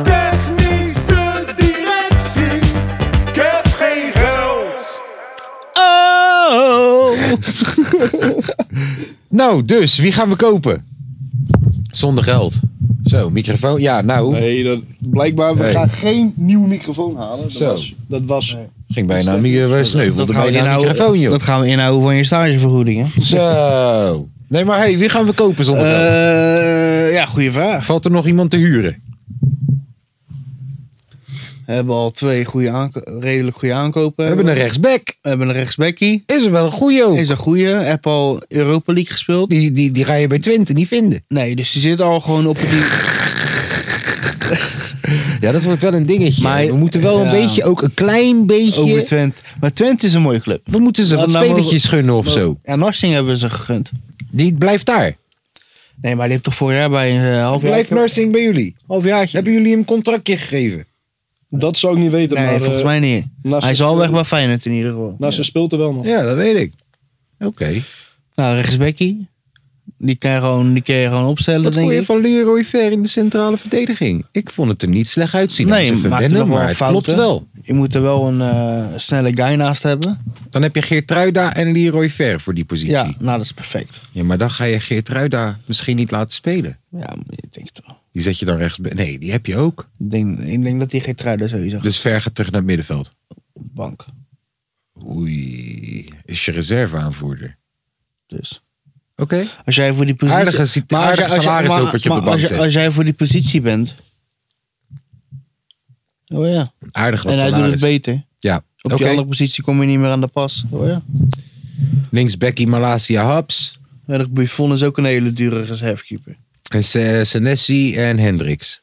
Speaker 4: Technische directie. Ik heb geen geld.
Speaker 2: Oh!
Speaker 1: Nou, dus, wie gaan we kopen? Zonder geld. Zo, microfoon. Ja, nou.
Speaker 3: Nee, dat, blijkbaar, we
Speaker 1: Hey.
Speaker 3: gaan geen nieuw microfoon halen. Dat
Speaker 1: Zo.
Speaker 3: was... Dat was
Speaker 1: Ging bijna een uh,
Speaker 2: Dat
Speaker 1: sneuvelde
Speaker 2: gaan, we
Speaker 1: bijna een
Speaker 2: inhouden,
Speaker 1: microfoon, joh.
Speaker 2: dat gaan we inhouden van je stagevergoeding, hè?
Speaker 1: Zo. Nee, maar hey, wie gaan we kopen zonder geld?
Speaker 2: Eh, ja, goede vraag.
Speaker 1: Valt er nog iemand te huren?
Speaker 2: We hebben al twee goede aanko- redelijk goede aankopen.
Speaker 1: We hebben een rechtsback.
Speaker 2: We hebben een rechtsbackie.
Speaker 1: eh, Is er wel een goeie ook.
Speaker 2: Is een goeie. Heb al Europa League gespeeld.
Speaker 1: Die, die, die ga je bij Twente niet vinden.
Speaker 2: Nee, dus die zit al gewoon op die...
Speaker 1: Ja, dat wordt wel een dingetje.
Speaker 2: Maar-
Speaker 1: we moeten wel
Speaker 2: ja.
Speaker 1: een beetje, ook een klein
Speaker 2: Over
Speaker 1: beetje...
Speaker 2: Twente. Maar Twente is een mooie club.
Speaker 1: We moeten ze
Speaker 2: Nou,
Speaker 1: wat
Speaker 2: nou,
Speaker 1: spelertjes gunnen of zo.
Speaker 2: Ja, Narsing hebben we ze gegund.
Speaker 1: Die blijft daar.
Speaker 2: Nee, maar die heeft toch vorig jaar bij een eh, half jaar...
Speaker 1: Narsing bij jullie?
Speaker 2: halfjaartje?
Speaker 1: Hebben jullie hem een contractje gegeven?
Speaker 3: Dat zou ik niet weten,
Speaker 2: Nee,
Speaker 3: maar
Speaker 2: volgens
Speaker 3: eh,
Speaker 2: mij niet.
Speaker 3: Narsing
Speaker 2: Hij is al weg
Speaker 3: speelde-
Speaker 2: bij Feyenoord in ieder geval.
Speaker 3: nou, ze speelt er wel nog.
Speaker 1: Ja, dat weet ik. Oké.
Speaker 2: Nou, rechtsbackie. Die kan je gewoon, die kan je gewoon opstellen,
Speaker 1: Wat
Speaker 2: denk
Speaker 1: vond je
Speaker 2: ik.
Speaker 1: van Leroy Ver in de centrale verdediging? Ik vond het er niet slecht uitzien.
Speaker 2: Nee,
Speaker 1: Nee, ze
Speaker 2: maakte nog
Speaker 1: verwennen,
Speaker 2: wel
Speaker 1: maar het
Speaker 2: fouten.
Speaker 1: klopt wel.
Speaker 2: Je moet er wel een eh, snelle guy naast hebben.
Speaker 1: Dan heb je Geertruida en Leroy Ver voor die positie.
Speaker 2: Ja,
Speaker 1: Ja.
Speaker 2: nou dat is perfect.
Speaker 1: maar dan ga je Geertruida misschien niet laten spelen.
Speaker 2: Ja, ik denk het wel.
Speaker 1: Die zet je dan rechts... Nee, die heb je ook.
Speaker 2: Ik denk, ik denk dat die geen trui sowieso gaat
Speaker 1: Dus Ver gaat terug naar het middenveld.
Speaker 2: op de bank.
Speaker 1: Oei, is je reserveaanvoerder.
Speaker 2: Dus.
Speaker 1: Oké.
Speaker 2: Als jij voor die positie...
Speaker 1: Aardige sit-
Speaker 2: Maar als
Speaker 1: aardig
Speaker 2: jij- als jij-
Speaker 1: salaris
Speaker 2: maar-
Speaker 1: ook wat je
Speaker 2: maar
Speaker 1: op de bank
Speaker 2: als jij-
Speaker 1: zet.
Speaker 2: Als jij voor die positie bent... Oh ja.
Speaker 1: Aardig wat
Speaker 2: en hij doet
Speaker 1: salaris.
Speaker 2: het beter.
Speaker 1: ja,
Speaker 2: Op
Speaker 1: oké.
Speaker 2: die andere positie kom je niet meer aan de pas. Oh ja.
Speaker 1: Links Becky Malasia Haps.
Speaker 2: En dat Buffon is ook een hele dure reservekeeper.
Speaker 1: En Se- Senesi en Hendricks.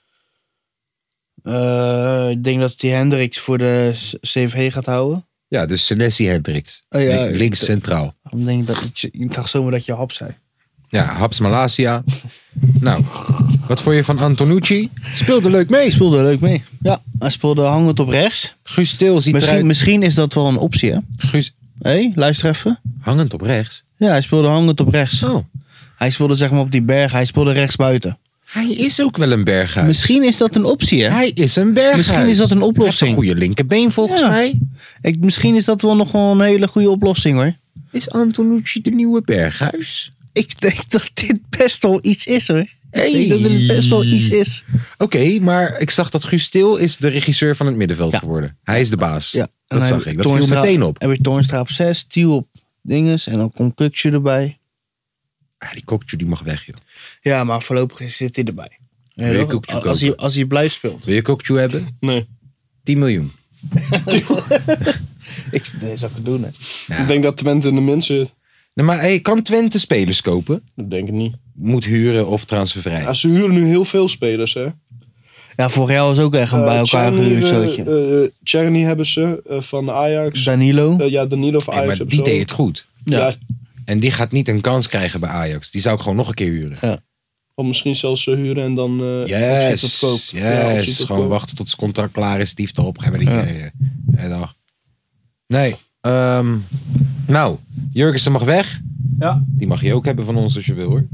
Speaker 2: Eh, ik denk dat die Hendricks voor de C- CVG gaat houden.
Speaker 1: Ja, dus Senesi Hendricks.
Speaker 2: Oh ja,
Speaker 1: Link- links
Speaker 2: ik-
Speaker 1: centraal.
Speaker 2: Ik, denk dat, ik, ik dacht zomaar dat je hap zei.
Speaker 1: Ja, Haps Malasia. nou, wat vond je van Antonucci? Speelde leuk mee.
Speaker 2: Hij speelde leuk mee. Ja, hij speelde hangend op rechts.
Speaker 1: Guus Til ziet
Speaker 2: Misschien,
Speaker 1: eruit.
Speaker 2: misschien is dat wel een optie, hè?
Speaker 1: Guus,
Speaker 2: Hé, luister even.
Speaker 1: hangend op rechts.
Speaker 2: Ja, hij speelde hangend op rechts.
Speaker 1: Oh,
Speaker 2: Hij speelde zeg maar op die berg. Hij speelde rechts buiten.
Speaker 1: hij is ook wel een berghuis.
Speaker 2: Misschien is dat een optie, hè?
Speaker 1: hij is een berghuis.
Speaker 2: Misschien is dat een
Speaker 1: Hij heeft
Speaker 2: oplossing.
Speaker 1: een goede linkerbeen volgens
Speaker 2: Ja.
Speaker 1: mij.
Speaker 2: Ik, misschien is dat wel nog wel een hele goede oplossing, hoor.
Speaker 1: Is Antonucci de nieuwe Berghuis?
Speaker 2: Ik denk dat dit best wel iets is hoor.
Speaker 1: Hey.
Speaker 2: Ik denk dat dit best wel iets is.
Speaker 1: Oké, maar ik zag dat Guus Til is de regisseur van het middenveld geworden. Hij is de baas.
Speaker 2: Ja. En
Speaker 1: Dat
Speaker 2: dan
Speaker 1: zag
Speaker 2: heb je
Speaker 1: ik. Dat viel
Speaker 2: Toornstra-
Speaker 1: meteen op.
Speaker 2: Heb je Toornstra op 6, Tiel op dinges en dan komt Kukje erbij.
Speaker 1: Ah, die kokje die mag weg, joh.
Speaker 2: Ja, maar voorlopig zit hij erbij. Ja,
Speaker 1: Wil je
Speaker 2: toch?
Speaker 1: Kukje
Speaker 2: als, hij,
Speaker 1: kopen?
Speaker 2: als hij blijft speelt.
Speaker 1: Wil je kokje hebben?
Speaker 3: Nee.
Speaker 1: 10 miljoen.
Speaker 2: Ik nee, zou ik het doen hè.
Speaker 3: Ik denk dat Twente in de mensen zit.
Speaker 1: Nee, Nou, maar hey, kan Twente spelers kopen?
Speaker 3: Dat denk ik niet.
Speaker 1: Moet huren of transfervrij?
Speaker 3: Ja, ze huren nu heel veel spelers, hè.
Speaker 2: Ja, vorig jaar was ook echt een bij
Speaker 3: Eh,
Speaker 2: elkaar
Speaker 3: Tjerni,
Speaker 2: gehuurd
Speaker 3: eh,
Speaker 2: zootje.
Speaker 3: eh, Tjerni hebben ze eh, van Ajax.
Speaker 2: Danilo.
Speaker 3: Eh, ja, Danilo van
Speaker 1: Nee,
Speaker 3: Ajax.
Speaker 1: maar
Speaker 3: hebben
Speaker 1: die
Speaker 3: ze
Speaker 1: deed
Speaker 3: ook.
Speaker 1: het goed.
Speaker 3: Ja.
Speaker 2: Ja.
Speaker 1: En die gaat niet een kans krijgen bij Ajax. Die zou ik gewoon nog een keer huren.
Speaker 3: Of misschien zelfs ze huren en dan... eh
Speaker 1: Yes.
Speaker 3: optie tot koop.
Speaker 1: Yes.
Speaker 3: Ja, optie tot
Speaker 1: Gewoon
Speaker 3: koop.
Speaker 1: wachten tot zijn contract klaar is. Dief erop. Gaan we die keer. eh, eh, dag. Nee. ehm, nou, Jurgensen mag weg.
Speaker 2: Ja.
Speaker 1: Die mag je ook hebben van ons als je wil hoor.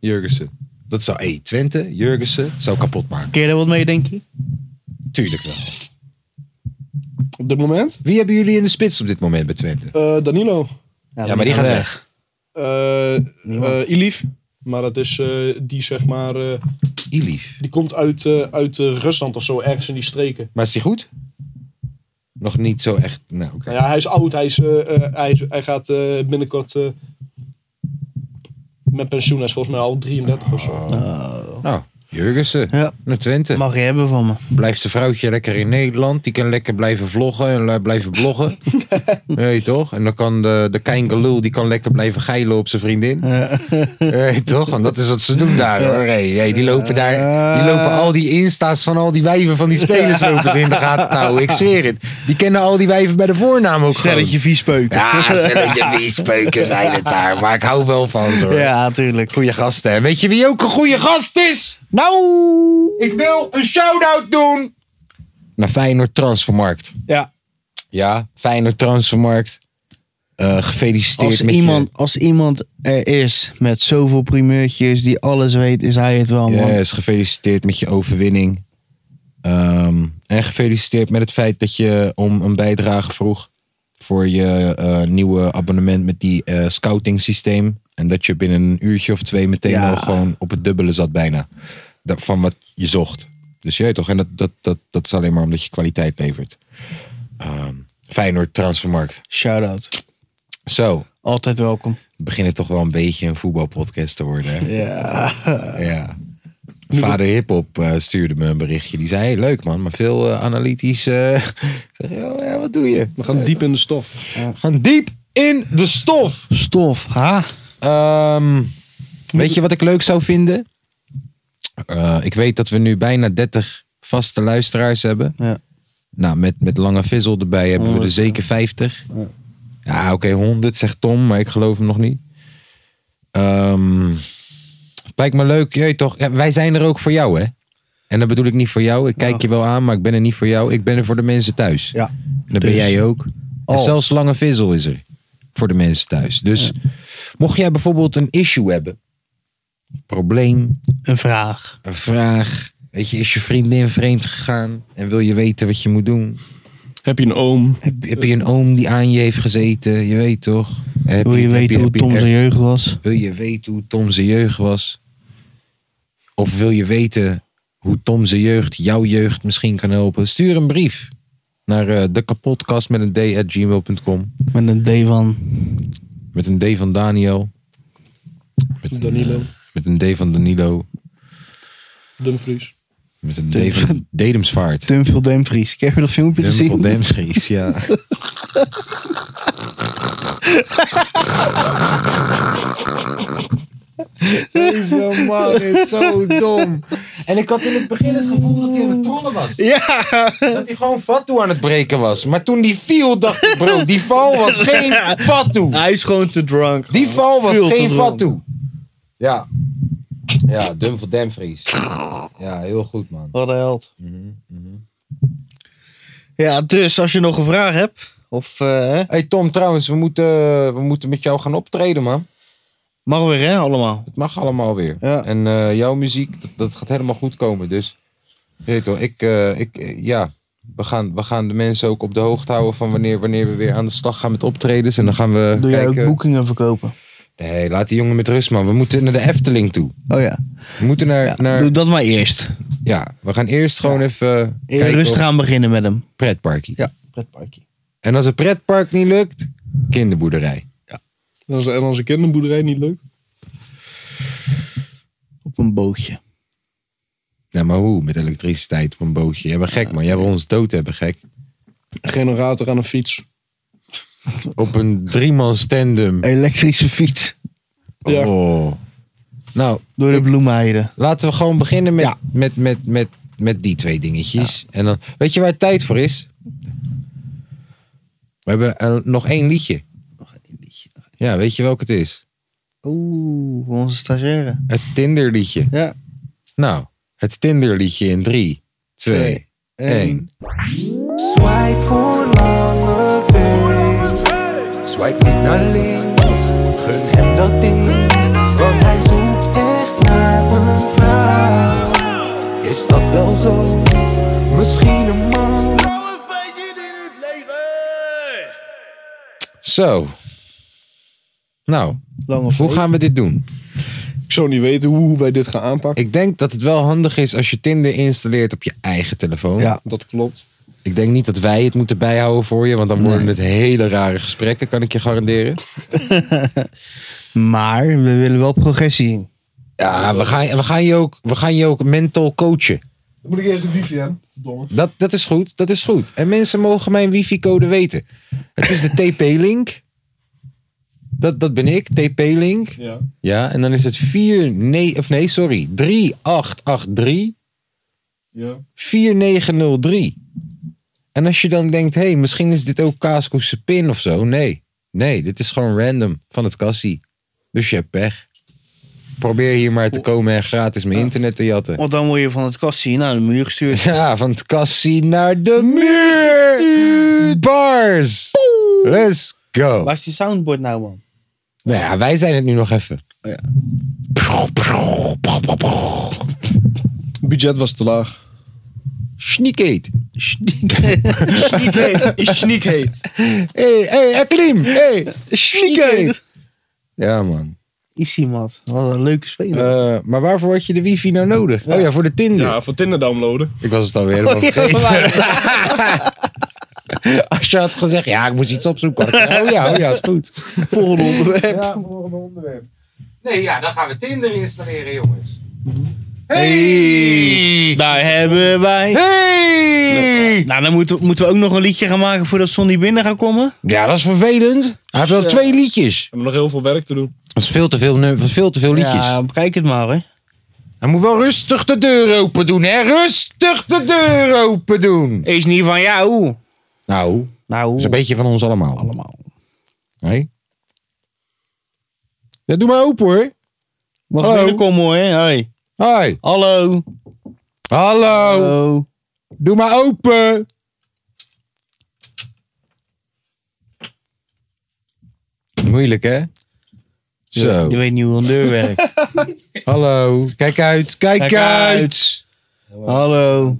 Speaker 1: Jurgensen. Dat zou, hé, Twente, Jurgensen, zou kapot maken.
Speaker 2: Keer er wat mee, denk je?
Speaker 1: Tuurlijk wel.
Speaker 3: Op dit moment?
Speaker 1: Wie hebben jullie in de spits op dit moment bij Twente?
Speaker 3: Eh, Danilo.
Speaker 1: Ja, maar die gaat weg.
Speaker 3: Eh eh, Ilief. Maar dat is eh, die, zeg maar... eh,
Speaker 1: Ilief.
Speaker 3: die komt uit, eh, uit eh, Rusland of zo, ergens in die streken.
Speaker 1: Maar is die goed? Nog niet zo echt. Nou, oké.
Speaker 3: Nou ja, hij is oud. Hij, is, eh, eh, hij, is- hij gaat eh, binnenkort... eh, met pensioen, hij is volgens mij al 33 of zo.
Speaker 1: Nou, Jurgensen
Speaker 2: Ja.
Speaker 1: naar Twente.
Speaker 2: Mag je hebben van me.
Speaker 1: Blijft zijn vrouwtje lekker in Nederland. Die kan lekker blijven vloggen en le- blijven bloggen. Weet je toch? En dan kan de, de Kein Galul, die kan lekker blijven geilen op zijn vriendin. Weet je toch? En dat is wat ze doen daar hoor. Hey, hey, die lopen daar, die lopen al die insta's van al die wijven van die spelers lopen ze in de gaten te houden. Ik zweer het. Die kennen al die wijven bij de voornaam ook gewoon.
Speaker 2: Stelletje viespeuk.
Speaker 1: Ja, stelletje wiespeuken zijn het daar. Maar ik hou wel van ze hoor.
Speaker 2: Ja, tuurlijk.
Speaker 1: Goeie gasten. En weet je wie ook een goede gast is?
Speaker 2: Nou!
Speaker 1: Ik wil een shout-out doen. Naar Feyenoord Transfermarkt.
Speaker 2: Ja.
Speaker 1: Ja, Feyenoord Transfermarkt. Eh, gefeliciteerd
Speaker 2: Als
Speaker 1: met
Speaker 2: iemand, als iemand er is met zoveel primeurtjes die alles weet, is hij het wel,
Speaker 1: je...
Speaker 2: man.
Speaker 1: Yes, gefeliciteerd met je overwinning. Ehm, en gefeliciteerd met het feit dat je om een bijdrage vroeg. Voor je eh, nieuwe abonnement met die eh, scouting systeem. En dat je binnen een uurtje of twee meteen
Speaker 2: Ja.
Speaker 1: al gewoon op het dubbele zat bijna. Dat, van wat je zocht. Dus je weet toch. En dat, dat, dat, dat is alleen maar omdat je kwaliteit levert. Ehm, Feyenoord Transfermarkt.
Speaker 2: Shout-out.
Speaker 1: Zo.
Speaker 2: Altijd welkom.
Speaker 1: beginnen toch wel een beetje een voetbalpodcast te worden. Hè?
Speaker 2: Ja.
Speaker 1: Ja. Vader Hiphop eh, stuurde me een berichtje. Die zei, hey, leuk man, maar veel eh, analytisch. eh, ik zeg, "Yo, ja, wat doe je?
Speaker 3: We gaan diep in de stof.
Speaker 1: We gaan diep in de stof.
Speaker 2: Stof, ha?
Speaker 1: Ehm, weet je wat ik leuk zou vinden? Eh, ik weet dat we nu bijna 30 vaste luisteraars hebben.
Speaker 2: Ja.
Speaker 1: Nou, met, met Lange Vissel erbij hebben we er zeker 50. Ja, oké, 100 zegt Tom, maar ik geloof hem nog niet. Ehm, het lijkt me leuk, jeet toch? Ja, wij zijn er ook voor jou, hè? En dat bedoel ik niet voor jou. Ik kijk je wel aan, maar ik ben er niet voor jou. Ik ben er voor de mensen thuis.
Speaker 2: Ja.
Speaker 1: En dat ben
Speaker 2: Dus-
Speaker 1: jij ook. En
Speaker 2: Oh.
Speaker 1: zelfs Lange Vissel is er. Voor de mensen thuis. Dus mocht jij bijvoorbeeld een issue hebben. Probleem,
Speaker 2: Een vraag.
Speaker 1: een vraag. Weet je, is je vriendin vreemd gegaan? En wil je weten wat je moet doen?
Speaker 3: Heb je een oom?
Speaker 1: Heb, heb je een oom die aan je heeft gezeten? Je weet toch? En heb
Speaker 2: Wil je
Speaker 1: heb
Speaker 2: weten hoe
Speaker 1: heb
Speaker 2: Tom
Speaker 1: heb-
Speaker 2: zijn jeugd was?
Speaker 1: Wil je weten hoe Tom zijn jeugd was? Of wil je weten hoe Tom zijn jeugd jouw jeugd misschien kan helpen? Stuur een brief naar eh, de kapotkast met een d at gmail.com.
Speaker 2: Met een D van...
Speaker 1: Met een D van Daniel. Met een,
Speaker 3: Danilo.
Speaker 1: eh, met een D van Danilo.
Speaker 3: Dumfries.
Speaker 1: Met een D van Dedemsvaart.
Speaker 2: Dumfil Dumfries. Heb je dat filmpje
Speaker 1: Dumfries,
Speaker 2: gezien?
Speaker 1: Dumfries, ja. Deze man is zo dom. En ik had in het begin het gevoel dat hij aan het trollen was.
Speaker 2: Ja!
Speaker 1: Dat hij gewoon Fatou aan het breken was. Maar toen die viel, dacht ik, bro, die val was geen Fatou.
Speaker 2: Hij is gewoon te drunk.
Speaker 1: Die val was
Speaker 2: Veel te
Speaker 1: geen
Speaker 2: dronk.
Speaker 1: Fatou. Ja. Ja, Dumfries Dumfries. Ja, heel goed, man.
Speaker 2: Wat een held.
Speaker 1: Mhm,
Speaker 2: Ja, dus als je nog een vraag hebt, of eh, hè,
Speaker 1: Hey Tom, trouwens, we moeten, we moeten met jou gaan optreden, man.
Speaker 2: mag weer hè, allemaal.
Speaker 1: Het mag allemaal weer.
Speaker 2: Ja.
Speaker 1: En eh, jouw muziek, dat, dat gaat helemaal goed komen. Dus, je weet toch, ik, eh, ik, eh, ja, We gaan, we gaan de mensen ook op de hoogte houden van wanneer, wanneer we weer aan de slag gaan met optredens. En dan gaan we
Speaker 2: Doe jij
Speaker 1: kijken.
Speaker 2: ook boekingen verkopen?
Speaker 1: Nee, laat die jongen met rust, man. We moeten naar de Efteling toe.
Speaker 2: Oh ja.
Speaker 1: We moeten naar... Ja, naar,
Speaker 2: Doe dat maar eerst.
Speaker 1: ja we gaan eerst gewoon even
Speaker 2: Eerst
Speaker 1: kijken
Speaker 2: rustig
Speaker 1: of
Speaker 2: aan beginnen met hem.
Speaker 1: pretparkie.
Speaker 2: Ja. Pretparkje.
Speaker 1: En als het pretpark niet lukt, kinderboerderij.
Speaker 3: En als, en als een kinderboerderij niet leuk?
Speaker 2: Op een bootje.
Speaker 1: Ja, maar hoe? Met elektriciteit op een bootje. Jij bent gek, man. Jij wil ons dood hebben, gek.
Speaker 3: Een generator aan een fiets.
Speaker 1: Op een driemans tandem.
Speaker 2: Elektrische fiets.
Speaker 3: Ja.
Speaker 1: Oh. Nou,
Speaker 2: Door de bloemheide.
Speaker 1: laten we gewoon beginnen met, met, met, met, met die twee dingetjes. En dan, weet je waar het tijd voor is? We hebben eh, nog één liedje. Ja, weet je welk het is?
Speaker 2: Oeh, voor onze stagiaire.
Speaker 1: Het Tinderliedje.
Speaker 2: Ja.
Speaker 1: Nou, het Tinderliedje in drie, twee, één.
Speaker 13: Swipe voor lange feest. Swipe niet naar links. Gun hem dat ding. Want hij zoekt echt naar een vrouw. Is dat wel zo? Misschien een man.
Speaker 1: Zo. Nou,
Speaker 2: Lange
Speaker 1: hoe gaan we dit doen?
Speaker 3: Ik zou niet weten hoe wij dit gaan aanpakken.
Speaker 1: Ik denk dat het wel handig is als je Tinder installeert op je eigen telefoon.
Speaker 2: Ja.
Speaker 3: Dat klopt.
Speaker 1: Ik denk niet dat wij het moeten bijhouden voor je, want dan worden het hele rare gesprekken, kan ik je garanderen.
Speaker 2: Maar we willen wel progressie in.
Speaker 1: Ja, we gaan, we gaan, je, ook, we gaan je ook mental coachen.
Speaker 3: Dan moet ik eerst een wifi aan. Verdomme.
Speaker 1: Dat, dat is goed, dat is goed. En mensen mogen mijn wifi-code weten. Het is de TP-link. Dat, dat ben ik, TP-link.
Speaker 3: Ja.
Speaker 1: Ja, en dan is het 4, nee, of nee, sorry, 3883.
Speaker 3: Ja.
Speaker 1: 4903. En als je dan denkt, hé, hey, misschien is dit ook Kaaskoese pin of zo. Nee, nee, dit is gewoon random van het kassie. Dus je hebt pech. Probeer hier maar te komen en gratis mijn internet te jatten.
Speaker 2: Want dan word je van het kassie naar de muur gestuurd.
Speaker 1: Ja, van het kassie naar de muur. Bars. Let's go.
Speaker 2: Waar is die soundboard nou, man?
Speaker 1: Nou ja, wij zijn het nu nog even.
Speaker 3: Budget was te laag.
Speaker 1: Sneak eat.
Speaker 3: Sneak heet. Is sneak heet.
Speaker 1: Hé, hé, Aklim. Hé, sneak eat. Ja, man.
Speaker 2: Issy, mat. Wat een leuke speler.
Speaker 1: Eh, maar waarvoor had je de wifi nou nodig? Oh ja, voor de Tinder. Oh,
Speaker 3: Ja, voor Tinder downloaden.
Speaker 1: Ik was het alweer helemaal vergeten. Als je had gezegd, ja, ik moest iets opzoeken. had ik gezegd, Oh ja, oh ja, is goed.
Speaker 2: Volgende onderwerp.
Speaker 1: Ja, volgende onderwerp. Nee, ja, dan gaan we Tinder installeren, jongens. Eh,
Speaker 2: Daar hebben wij.
Speaker 1: Hey!
Speaker 2: Nou, dan moeten, we- moeten we ook nog een liedje gaan maken voordat Sonny binnen gaat komen.
Speaker 1: Ja, dat is vervelend. Hij heeft wel twee liedjes.
Speaker 3: We hebben nog heel veel werk te doen.
Speaker 1: Dat is veel te veel, nu- veel, te veel liedjes.
Speaker 2: Ja, bekijk het maar, hè.
Speaker 1: Hij moet wel rustig de deur open doen, hè? Rustig de deur open doen.
Speaker 2: Is niet van jou.
Speaker 1: Nou, dat
Speaker 2: Nou,
Speaker 1: is een beetje van ons allemaal.
Speaker 2: allemaal.
Speaker 1: Nee? Ja, doe maar open hoor.
Speaker 2: Mag
Speaker 1: Hallo.
Speaker 2: binnenkomen, hoor, hè. Hoi.
Speaker 1: Hoi.
Speaker 2: Hallo.
Speaker 1: Hallo.
Speaker 2: Hallo.
Speaker 1: Doe maar open. Moeilijk hè? Zo.
Speaker 2: Je weet niet hoe een deur werkt. Kijk,
Speaker 1: Hallo. Kijk uit. Kijk, uit.
Speaker 2: uit. Hallo.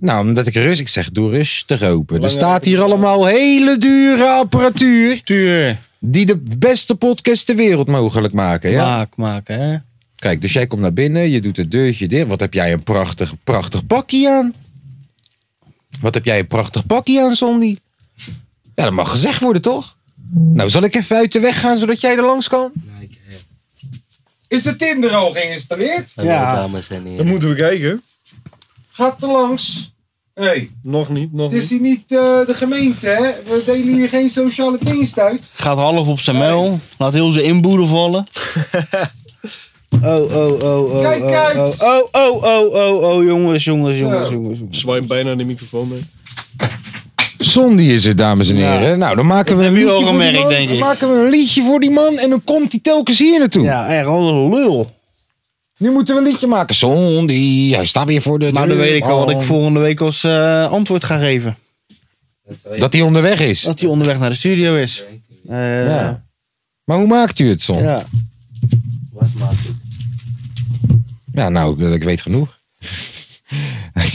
Speaker 1: Nou, omdat ik rust, ik zeg doe rustig open. Er staat hier allemaal hele dure apparatuur.
Speaker 2: Tuur.
Speaker 1: Die de beste podcast ter wereld mogelijk maken. Ja?
Speaker 2: Maak maken, hè.
Speaker 1: Kijk, dus jij komt naar binnen, je doet het deurtje dicht. Wat heb jij een prachtig, prachtig pakje aan? Wat heb jij een prachtig pakje aan, Sondi? Ja, dat mag gezegd worden, toch? Nou, zal ik even uit de weg gaan, zodat jij er langs kan? Is de Tinder al geïnstalleerd?
Speaker 11: Hallo ja. dames en
Speaker 3: Dan
Speaker 11: heren.
Speaker 3: moeten we kijken.
Speaker 1: Gaat er langs? Hé, hey,
Speaker 3: Nog niet, nog
Speaker 1: dit is
Speaker 3: niet.
Speaker 1: hier niet eh, de gemeente, hè? We delen hier geen sociale dienst uit.
Speaker 2: Gaat half op zijn mel. Laat heel zijn inboedel vallen. Oh, oh, oh, oh.
Speaker 1: Kijk
Speaker 2: oh,
Speaker 1: uit!
Speaker 2: Oh, oh, oh, oh, oh, oh, jongens, jongens, jongens, jongens. jongens.
Speaker 3: Swipe bijna de microfoon mee.
Speaker 1: Sondi is er, dames en heren. Nou, dan maken we een
Speaker 2: hebben
Speaker 1: liedje
Speaker 2: jullie al
Speaker 1: voor die man.
Speaker 2: gemerkt, denk
Speaker 1: Dan
Speaker 2: ik.
Speaker 1: maken we een liedje voor die man en dan komt hij telkens hier naartoe.
Speaker 2: Ja, echt, al een lul.
Speaker 1: Nu moeten we een liedje maken. Zondi, hij staat weer voor de
Speaker 2: Nou, dan
Speaker 1: deur.
Speaker 2: weet ik al wat
Speaker 1: Oh.
Speaker 2: ik volgende week als eh, antwoord ga geven.
Speaker 1: Dat hij onderweg is.
Speaker 2: Dat hij onderweg naar de studio is. Eh, ja.
Speaker 1: Ja. Maar hoe maakt u het, Son? Ja,
Speaker 11: Wat maakt het?
Speaker 1: nou, ik, ik weet genoeg.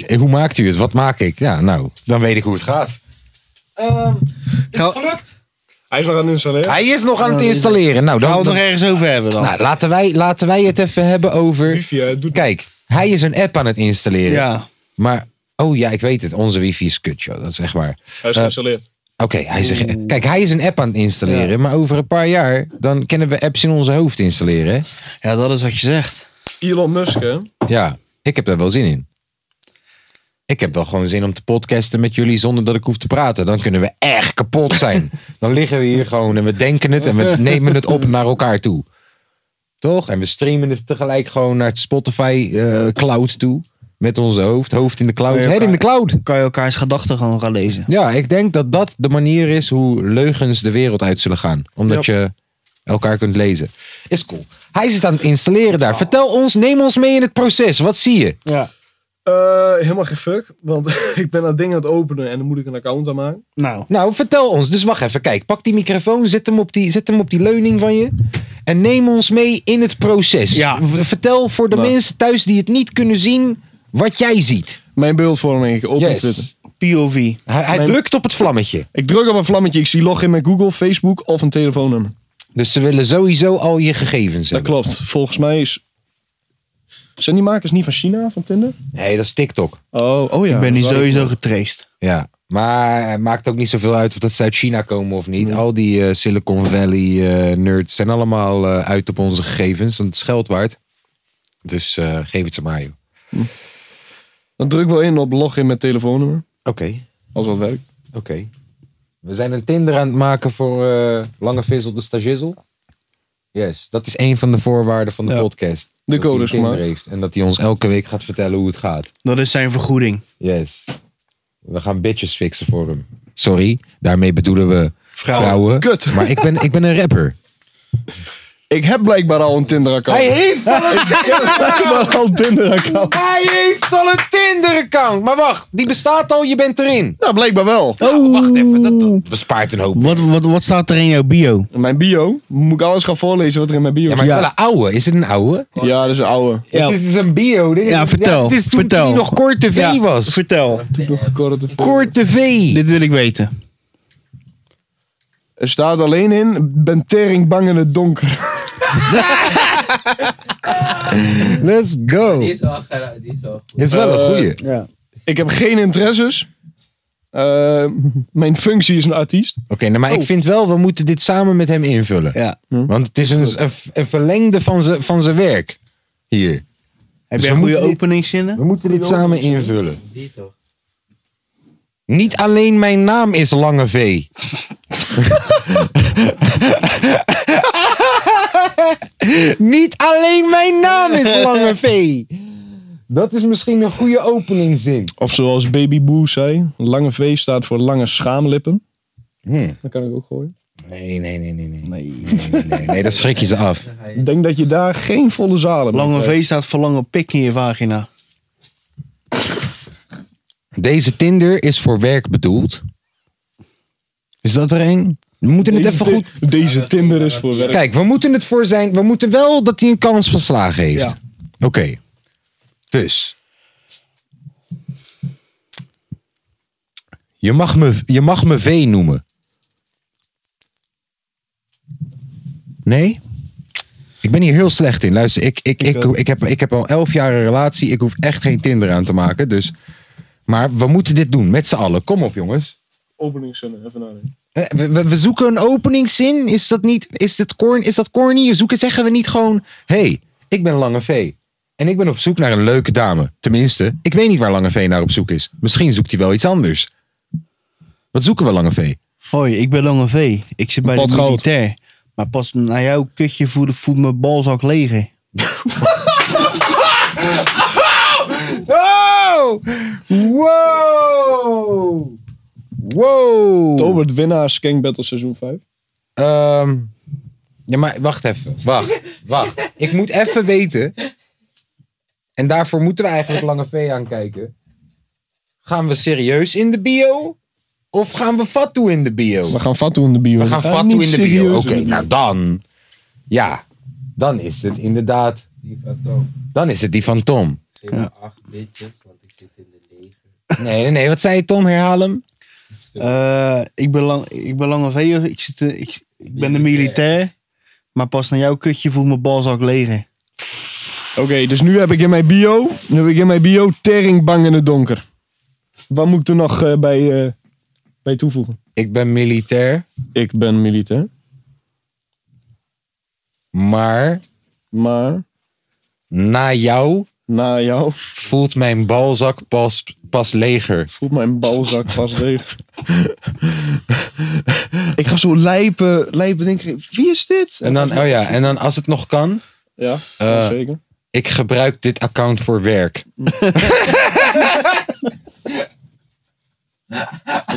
Speaker 1: Hoe maakt u het? Wat maak ik? Ja, nou, dan weet ik hoe het gaat.
Speaker 3: Hij is nog aan het installeren.
Speaker 1: Hij is nog aan het installeren. Nou, dan,
Speaker 2: Gaan we het
Speaker 1: dan-
Speaker 2: nog ergens over hebben dan?
Speaker 1: nou laten, wij, laten wij het even hebben over...
Speaker 3: Wifi, hè, doet
Speaker 1: Kijk, hij is een app aan het installeren.
Speaker 2: ja.
Speaker 1: Maar, oh ja, ik weet het. Onze wifi is kut, joh. Dat is echt waar.
Speaker 3: Hij is
Speaker 1: Eh,
Speaker 3: geïnstalleerd.
Speaker 1: Oké, hij zegt. Kijk, hij is een app aan het installeren. Maar over een paar jaar. dan kunnen we apps in onze hoofd installeren. hè?
Speaker 2: ja, dat is wat je zegt.
Speaker 3: Elon Musk, hè?
Speaker 1: Ja, ik heb daar wel zin in. Ik heb wel gewoon zin om te podcasten met jullie zonder dat ik hoef te praten. Dan kunnen we echt kapot zijn. Dan liggen we hier gewoon en we denken het en we nemen het op naar elkaar toe. Toch? En we streamen het tegelijk gewoon naar het Spotify eh, cloud toe. Met onze hoofd. Hoofd in de cloud. Head in de cloud.
Speaker 2: Kan je elkaars gedachten gewoon gaan lezen.
Speaker 1: Ja, ik denk dat dat de manier is hoe leugens de wereld uit zullen gaan. Omdat je elkaar kunt lezen. Is cool. Hij zit aan het installeren daar. Vertel ons, neem ons mee in het proces. Wat zie je?
Speaker 2: Ja.
Speaker 3: Eh, helemaal geen fuck, want ik ben dat ding aan het openen en dan moet ik een account aanmaken.
Speaker 2: Nou,
Speaker 1: Nou, vertel ons. Dus wacht even. Kijk, pak die microfoon, zet hem op die, zet hem op die leuning van je. En neem ons mee in het proces.
Speaker 2: Ja.
Speaker 1: V- Vertel voor de mensen thuis die het niet kunnen zien, wat jij ziet.
Speaker 3: Mijn beeldvorming, ik open
Speaker 1: Yes.
Speaker 3: Twitter.
Speaker 2: POV.
Speaker 1: Hij, hij
Speaker 3: Mijn-
Speaker 1: drukt op het vlammetje.
Speaker 3: Ik druk op een vlammetje, ik zie login met Google, Facebook of een telefoonnummer.
Speaker 1: Dus ze willen sowieso al je gegevens
Speaker 3: Dat
Speaker 1: hebben.
Speaker 3: klopt. Volgens mij is... Zijn die makers niet van China, van Tinder?
Speaker 1: Nee, dat is TikTok.
Speaker 3: Oh, oh ja.
Speaker 2: Ik ben die
Speaker 3: dat weet ik
Speaker 2: sowieso
Speaker 3: nog.
Speaker 2: getraced.
Speaker 1: Ja, maar het maakt ook niet zoveel uit of dat ze uit China komen of niet. Al die eh, Silicon Valley eh, nerds zijn allemaal eh, uit op onze gegevens, want het is geld waard. Dus eh, geef het ze maar, joh.
Speaker 3: Dan druk wel in op login met telefoonnummer,
Speaker 1: Oké,
Speaker 3: als dat werkt.
Speaker 1: oké. We zijn een Tinder aan het maken voor eh, Lange Vissel de Stagizel. Yes, dat is een van de voorwaarden van de podcast.
Speaker 3: De
Speaker 1: Dat hij
Speaker 3: codes
Speaker 1: Tinder
Speaker 3: gemaakt.
Speaker 1: heeft en dat hij ons elke week gaat vertellen hoe het gaat.
Speaker 2: Dat is zijn vergoeding.
Speaker 1: Yes. We gaan bitches fixen voor hem. Sorry, daarmee bedoelen we vrouwen.
Speaker 3: Kut.
Speaker 1: Maar ik ben, ik ben een rapper.
Speaker 3: Ik heb blijkbaar al een Tinder-account.
Speaker 1: Hij heeft al een,
Speaker 3: blijkbaar al een Tinder-account.
Speaker 1: hij heeft al een Tinder-account. Maar wacht, die bestaat al, je bent erin.
Speaker 3: Nou, blijkbaar wel.
Speaker 1: wacht even, dat, bespaart een hoop.
Speaker 2: Wat, wat, wat staat er in jouw bio?
Speaker 3: In Mijn bio, moet ik alles gaan voorlezen wat er in mijn bio
Speaker 1: Ja, maar
Speaker 3: staat.
Speaker 1: het is wel een ouwe. Is het een ouwe?
Speaker 3: Ja, dat is een oude.
Speaker 2: Ja,
Speaker 1: Het is een bio. Dit is-
Speaker 2: Ja, vertel,
Speaker 1: dit is toen
Speaker 2: vertel.
Speaker 1: die nog Kort TV
Speaker 2: Ja,
Speaker 1: was.
Speaker 2: vertel.
Speaker 1: Kort TV.
Speaker 2: Dit wil ik weten.
Speaker 3: Er staat alleen in, ben tering bang in het donker.
Speaker 1: Let's go.
Speaker 8: Die is wel, ge- die is wel goed.
Speaker 1: Dit is wel een goeie.
Speaker 2: Ja.
Speaker 3: Eh, Ik heb geen interesses. Eh, mijn functie is een artiest.
Speaker 1: Oké, nou, maar ik vind wel, we moeten dit samen met hem invullen.
Speaker 2: ja.
Speaker 1: Want het is een, een, een verlengde van zijn van zijn werk. Hier.
Speaker 2: Heb
Speaker 1: Dus
Speaker 2: jij
Speaker 1: we
Speaker 2: goede
Speaker 1: moeten dit-
Speaker 2: openingszinnen?
Speaker 1: We moeten dit samen invullen.
Speaker 8: Die toch?
Speaker 1: Niet alleen mijn naam is Lange V. Niet alleen mijn naam is Lange V. Dat is misschien een goede openingzin.
Speaker 3: Of zoals Baby Boo zei, lange V staat voor lange schaamlippen.
Speaker 1: Hmm.
Speaker 3: Dat kan ik ook gooien.
Speaker 1: Nee, nee, nee, nee. Nee, nee, nee, nee, nee, dat schrik je ze af.
Speaker 3: Ik denk dat je daar geen volle zalen mee
Speaker 2: Lange
Speaker 3: krijgt.
Speaker 2: V staat voor lange pik in je vagina.
Speaker 1: Deze Tinder is voor werk bedoeld. Is dat er een? We moeten het
Speaker 3: Deze
Speaker 1: even
Speaker 3: ti-
Speaker 1: goed...
Speaker 3: Deze Tinder is voor werk.
Speaker 1: Kijk, we moeten het voor zijn. We moeten wel dat hij een kans van slagen heeft.
Speaker 3: Ja.
Speaker 1: Oké. Dus. Je mag, me, je mag me V noemen. Nee? Ik ben hier heel slecht in. Luister, ik, ik, ik, ik, heb, ik heb al elf jaar een relatie. Ik hoef echt geen Tinder aan te maken. Dus. Maar we moeten dit doen met z'n allen. Kom op, jongens.
Speaker 3: Openingszinnen, even nadenken.
Speaker 1: Eh, We, we, we zoeken een openingszin. Is dat niet? Is, dit corn, is dat corny? Zoeken zeggen we niet gewoon. hey, ik ben Lange V. En ik ben op zoek naar een leuke dame. Tenminste, ik weet niet waar Lange V naar op zoek is. Misschien zoekt hij wel iets anders. Wat zoeken we, Lange V?
Speaker 2: Hoi, ik ben Lange V. Ik zit bij
Speaker 3: Pot
Speaker 2: de
Speaker 3: goud.
Speaker 2: militair. Maar pas naar jouw kutje voelt, voelt mijn balzak leeg.
Speaker 1: Wow! Oh! Wow! Wow!
Speaker 3: Tobert winnaar Skank Battle seizoen 5.
Speaker 1: Ehm, ja, maar wacht even. Wacht, wacht. Ik moet even weten. En daarvoor moeten we eigenlijk Lange V aankijken. Gaan we serieus in de bio? Of gaan we Fatou in de bio?
Speaker 3: We gaan Fatou in de bio.
Speaker 1: We gaan
Speaker 3: Ah,
Speaker 1: Fatou
Speaker 3: niet
Speaker 1: in de bio. Oké,
Speaker 3: serieus.
Speaker 1: nou dan. Ja, dan is het inderdaad.
Speaker 8: Die van Tom.
Speaker 1: Dan is het die van Tom.
Speaker 8: Geef me acht bitches, want ik zit in de
Speaker 1: Nee, nee, nee. Wat zei je, Tom? Herhaal hem.
Speaker 2: Eh, ik ben lang, ik ben lange vee, ik, zit, eh, ik, ik ben een militair. Maar pas naar jouw kutje voelt mijn balzak leger.
Speaker 3: Oké, dus nu heb ik in mijn bio, nu heb ik in mijn bio teringbang in het donker. Wat moet ik er nog eh, bij, eh, bij toevoegen?
Speaker 1: Ik ben militair,
Speaker 3: Ik ben militair,
Speaker 1: maar
Speaker 3: maar
Speaker 1: na jou
Speaker 3: na jou
Speaker 1: voelt mijn balzak pas, pas leger.
Speaker 3: voelt mijn balzak pas leeg. ik ga zo lijpen, lijpen denken, wie is dit?
Speaker 1: En dan, oh ja, en dan als het nog kan,
Speaker 3: Ja,
Speaker 1: Eh.
Speaker 3: zeker.
Speaker 1: ik gebruik dit account voor werk.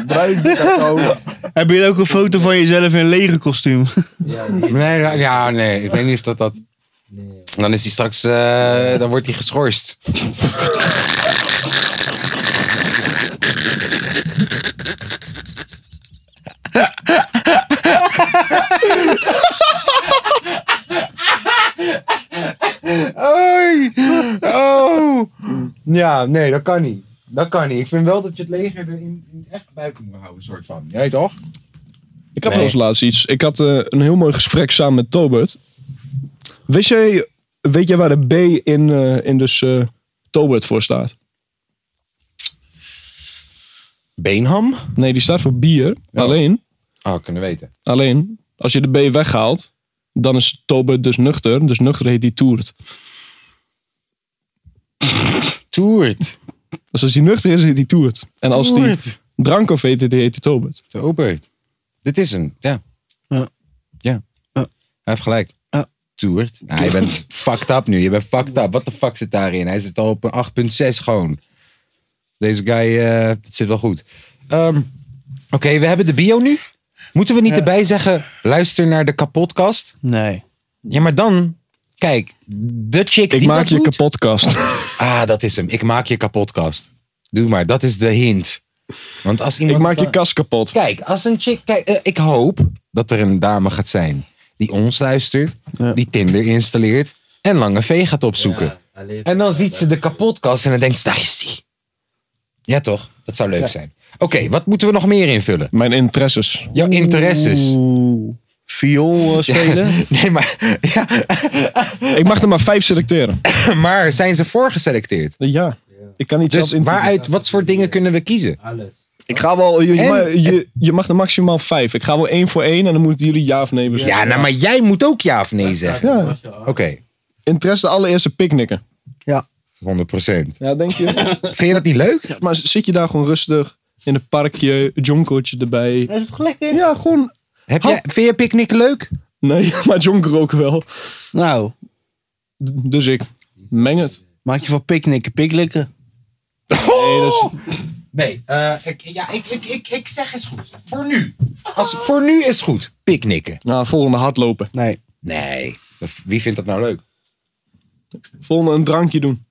Speaker 3: Bruin, cacao.
Speaker 2: Heb je ook een foto van jezelf in een legerkostuum?
Speaker 1: Nee, ra- ja, nee, ik weet niet of dat dat. Dan is hij straks, eh, dan wordt hij geschorst. Oei. Oh. Ja, nee, dat kan niet. Dat kan niet. Ik vind wel dat je het leger er in, in het echt buiten moet houden, soort van. Jij toch?
Speaker 3: Ik had
Speaker 1: Nee.
Speaker 3: wel eens laatst iets. Ik had eh, een heel mooi gesprek samen met Tobert. Wist jij, weet jij waar de B in, eh, in dus eh, Tobert voor staat?
Speaker 1: Beenham?
Speaker 3: Nee, die staat voor bier.
Speaker 1: Ja.
Speaker 3: Alleen,
Speaker 1: Oh, kunnen weten.
Speaker 3: alleen, als je de B weghaalt, dan is Tobert dus nuchter. Dus nuchter heet die Toert.
Speaker 1: Toert.
Speaker 3: Dus als hij nuchter is, heet hij Toert. En als hij drank of heet, heet hij Tobert.
Speaker 1: De Obert. Dit is een, ja.
Speaker 2: Ja.
Speaker 1: Ja.
Speaker 2: Ja.
Speaker 1: Hij heeft gelijk.
Speaker 2: Ja.
Speaker 1: Toert. Hij bent fucked up nu. Je bent fucked up. Wat de fuck zit daarin? Hij zit al op een 8.6 gewoon. Deze guy, eh het zit wel goed. Ehm, Oké, we hebben de bio nu. Moeten we niet erbij zeggen, luister naar de kapotkast?
Speaker 2: Nee.
Speaker 1: Ja, maar dan, kijk, de chick
Speaker 3: Ik
Speaker 1: die
Speaker 3: maak
Speaker 1: dat
Speaker 3: je
Speaker 1: doet-
Speaker 3: kapotkast.
Speaker 1: Ah, dat is hem. Ik maak je kapotkast. Doe maar, dat is de hint. Want als iemand
Speaker 3: Ik maak je kast kapot.
Speaker 1: Kijk, als een chick. Kijk, eh, ik hoop dat er een dame gaat zijn die ons luistert, die Tinder installeert en Lange V gaat opzoeken. en dan ziet ze de kapotkast en dan denkt ze: daar is die. Ja, toch? Dat zou leuk zijn. Oké, wat moeten we nog meer invullen?
Speaker 3: Mijn interesses.
Speaker 1: Jouw interesses.
Speaker 2: Oeh. Viool eh, spelen?
Speaker 1: Nee, maar, ja,
Speaker 3: Ik mag er maar vijf selecteren.
Speaker 1: maar zijn ze voorgeselecteerd?
Speaker 3: Ja. Ik kan niet zelf
Speaker 1: Dus
Speaker 3: in.
Speaker 1: waaruit, wat voor dingen kunnen we kiezen?
Speaker 3: Ik ga wel, Oh, je, je
Speaker 1: En-
Speaker 3: ma- je, je mag er maximaal vijf. Ik ga wel één voor één en dan moeten jullie ja of nee beslissen.
Speaker 1: Ja, nou, maar jij moet ook ja of nee zeggen.
Speaker 3: Ja.
Speaker 1: Oké,
Speaker 3: Interesse allereerste picknicken.
Speaker 1: 100%.
Speaker 3: Ja, denk je?
Speaker 1: Vind je dat niet leuk?
Speaker 3: maar zit je daar gewoon rustig in het parkje, jonkootje erbij?
Speaker 2: Is het toch lekker?
Speaker 3: Ja, gewoon...
Speaker 1: Heb jij, vind je picknick leuk?
Speaker 3: Nee, maar jonker ook wel.
Speaker 2: Nou,
Speaker 3: D- Dus ik meng het.
Speaker 2: maak je van picknicken picklikken.
Speaker 3: Nee, dat is-
Speaker 1: Nee, eh, ik, ja, ik, ik, ik, ik zeg is goed. Voor nu. Als, voor nu is goed. Picknicken.
Speaker 3: Nou, volgende hardlopen.
Speaker 2: Nee.
Speaker 1: Nee. Wie vindt dat nou leuk?
Speaker 3: Volgende een drankje doen.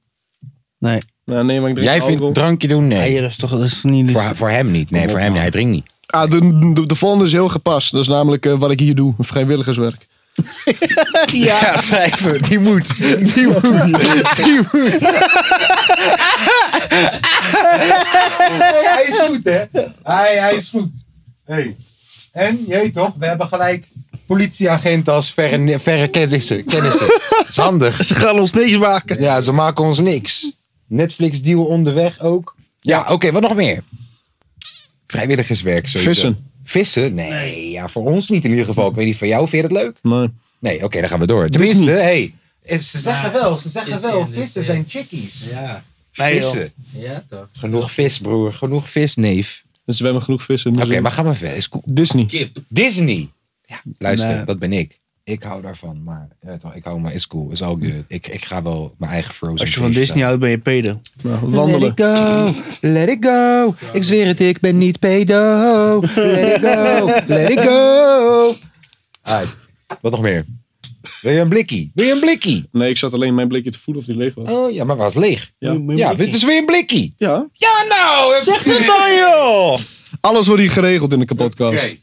Speaker 2: Nee.
Speaker 3: Nou, nee, maar ik drink
Speaker 1: Jij
Speaker 3: alcohol.
Speaker 1: vindt drankje doen? Nee.
Speaker 2: Nee, dat is toch dat is niet...
Speaker 1: Voor, voor hem niet. Nee, voor hem niet. Hij drinkt niet.
Speaker 3: Ah, de, de, de volgende is heel gepast. Dat is namelijk eh, wat ik hier doe. Vrijwilligerswerk.
Speaker 1: Ja, schrijven. Die moet. Die moet. Die moet. hij is goed, hè? Hij, hij is goed. Hey. En, je weet toch, we hebben gelijk politieagenten als verre, verre kennissen. kennissen. Dat is handig.
Speaker 2: Ze gaan ons niks maken.
Speaker 1: Ja, ze maken ons niks. Netflix deal onderweg ook. Ja, oké, wat nog meer? Vrijwilligerswerk. Sowieso.
Speaker 3: Vissen.
Speaker 1: Vissen? Nee, ja, voor ons niet in ieder geval. Ik weet niet, voor jou vind je dat leuk?
Speaker 3: Nee.
Speaker 1: Nee, oké, dan gaan we door. Tenminste, hé. Hey, eh, ze zeggen wel, ze zeggen wel, vissen zijn chickies.
Speaker 8: Ja,
Speaker 2: Nee, joh.
Speaker 1: eh, Vissen.
Speaker 8: ja toch.
Speaker 1: Genoeg vis, broer. Genoeg vis, neef.
Speaker 3: Dus we hebben genoeg vissen.
Speaker 1: Oké,
Speaker 3: Dus
Speaker 1: maar gaan we verder. Is cool.
Speaker 3: Disney.
Speaker 1: Disney. Ja, luister,
Speaker 2: Nee.
Speaker 1: dat ben ik. Ik hou daarvan, maar ja, toch, ik hou me, is cool, is all good. Ik, ik ga wel mijn eigen Frozen
Speaker 2: Als je van
Speaker 1: feestje
Speaker 2: Disney houdt, ben je pedo.
Speaker 3: Nou, wandelen.
Speaker 1: Let it go, let it go. Ik zweer het, ik ben niet pedo. Let it go, let it go. Alright, wat nog meer? Wil je een blikkie? Wil je een blikkie?
Speaker 3: Nee, ik zat alleen mijn blikje te voelen of die leeg was.
Speaker 1: Oh ja, maar was leeg.
Speaker 3: Ja.
Speaker 1: Ja, dus weer een blikkie.
Speaker 3: Ja.
Speaker 1: Ja, nou. Zeg het dan, joh.
Speaker 3: Alles wordt hier geregeld in de kapotkast.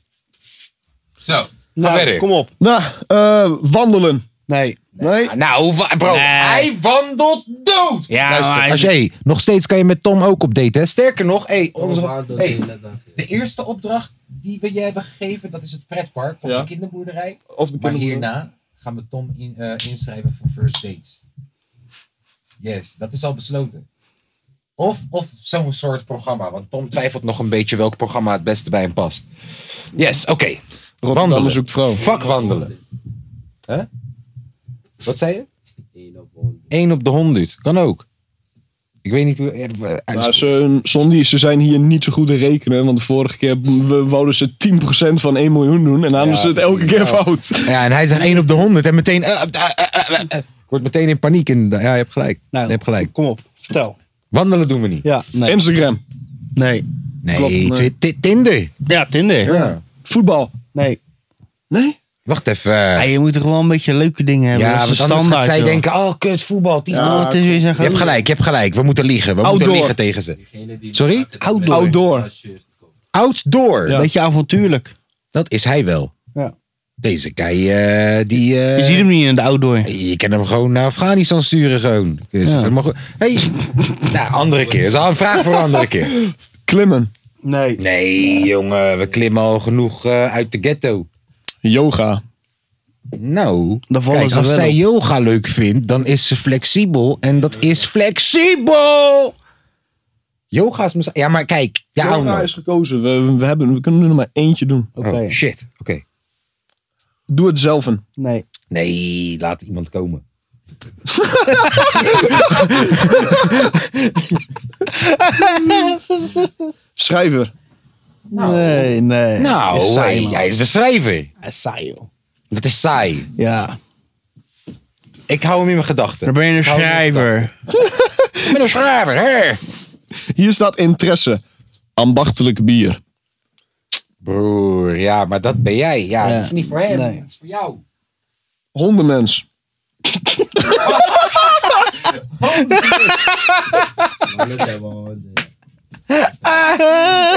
Speaker 1: Zo, ga verder.
Speaker 2: kom op.
Speaker 3: Nou, eh, wandelen.
Speaker 2: Nee.
Speaker 3: Nee?
Speaker 1: Nou, wa- bro,
Speaker 2: Nee.
Speaker 1: hij wandelt dood.
Speaker 2: Ja,
Speaker 1: Luister,
Speaker 2: maar hij-
Speaker 1: als je, hey, nog steeds kan je met Tom ook op date, hè? Sterker nog, hey, onze, hey, de eerste opdracht die we je hebben gegeven, dat is het pretpark of
Speaker 3: Ja.
Speaker 1: de kinderboerderij.
Speaker 3: Of de
Speaker 8: Maar
Speaker 3: kinderen-
Speaker 8: hierna gaan we Tom in, eh, inschrijven voor first dates.
Speaker 1: Yes, dat is al besloten. Of, of zo'n soort programma, want Tom twijfelt nog een beetje welk programma het beste bij hem past. Yes, oké.
Speaker 3: Rotterdam zoekt vrouw.
Speaker 1: Fuck wandelen. Hè? Wat zei je? 1 op de 100. Kan ook. Ik weet niet hoe. eh, eh,
Speaker 3: Nou, ze, Sondi, ze zijn hier niet zo goed in rekenen. Want de vorige keer we wouden ze 10% van 1 miljoen doen. En namen
Speaker 1: Ja,
Speaker 3: ze het elke keer fout.
Speaker 1: Ja, en hij zegt 1 op de 100 en meteen. eh, eh, eh, eh, eh. Ik word meteen in paniek. En, ja, je hebt gelijk.
Speaker 2: Nou,
Speaker 1: je hebt gelijk.
Speaker 2: Kom op, vertel.
Speaker 1: Wandelen doen we niet.
Speaker 2: Ja, nee.
Speaker 3: Instagram.
Speaker 2: nee.
Speaker 1: Nee,
Speaker 3: klopt, nee.
Speaker 1: Twi- Ti- Tinder.
Speaker 2: Ja, Tinder.
Speaker 1: Ja.
Speaker 3: Voetbal.
Speaker 2: Nee.
Speaker 3: Nee?
Speaker 1: Wacht even.
Speaker 2: Ja, je moet er gewoon een beetje leuke dingen hebben.
Speaker 1: ja,
Speaker 2: dat is
Speaker 1: want
Speaker 2: de
Speaker 1: anders gaat
Speaker 2: standaard.
Speaker 1: zij
Speaker 2: joh.
Speaker 1: denken: oh, kut, voetbal. die-
Speaker 2: Oh, het is weer zijn
Speaker 1: Je hebt gelijk, je hebt gelijk. We moeten liegen. We moeten
Speaker 3: Outdoor.
Speaker 1: liegen tegen ze. Sorry?
Speaker 2: Outdoor.
Speaker 3: Outdoor.
Speaker 1: Outdoor.
Speaker 3: Ja.
Speaker 2: Beetje avontuurlijk.
Speaker 1: Dat is hij wel.
Speaker 2: Ja.
Speaker 1: Deze guy, eh, die... eh,
Speaker 2: Je ziet hem niet in de outdoor.
Speaker 1: Je kan hem gewoon naar Afghanistan sturen, gewoon. Dus
Speaker 2: Ja.
Speaker 1: dat mag... Hey. nou, andere keer. Dat is al een vraag voor een andere keer.
Speaker 3: Klimmen.
Speaker 2: Nee.
Speaker 1: Nee, jongen. We klimmen al genoeg eh, uit de ghetto.
Speaker 3: Yoga.
Speaker 1: Nou,
Speaker 2: Dan vallen
Speaker 1: kijk,
Speaker 2: ze
Speaker 1: als
Speaker 2: wel
Speaker 1: zij
Speaker 2: op.
Speaker 1: yoga leuk vindt, dan is ze flexibel. En dat is flexibel! Yoga is misschien... Ja, maar kijk. Ja, hou
Speaker 3: yoga
Speaker 1: nou.
Speaker 3: is gekozen. We, we, hebben, we kunnen er maar eentje doen.
Speaker 2: Oké.
Speaker 1: Oh, shit. Oké.
Speaker 3: Doe het zelf een.
Speaker 2: Nee.
Speaker 1: Nee, laat iemand komen.
Speaker 3: Schrijver.
Speaker 2: Nee, nee.
Speaker 1: Nou,
Speaker 2: Is saai,
Speaker 1: hij,
Speaker 2: man.
Speaker 1: hij is de schrijver.
Speaker 2: Hij is saai, joh.
Speaker 1: Dat is saai.
Speaker 2: Ja.
Speaker 1: Ik hou hem in mijn gedachten.
Speaker 2: Dan ben je een
Speaker 1: Hou hem in mijn
Speaker 2: schrijver.
Speaker 1: Ik ben een schrijver, hè?
Speaker 3: Hier staat interesse. Ambachtelijk bier.
Speaker 1: Broer, ja, maar dat ben jij. Ja,
Speaker 2: Ja.
Speaker 1: dat is niet voor hem.
Speaker 2: Nee.
Speaker 1: Dat is voor jou.
Speaker 3: Hondenmens.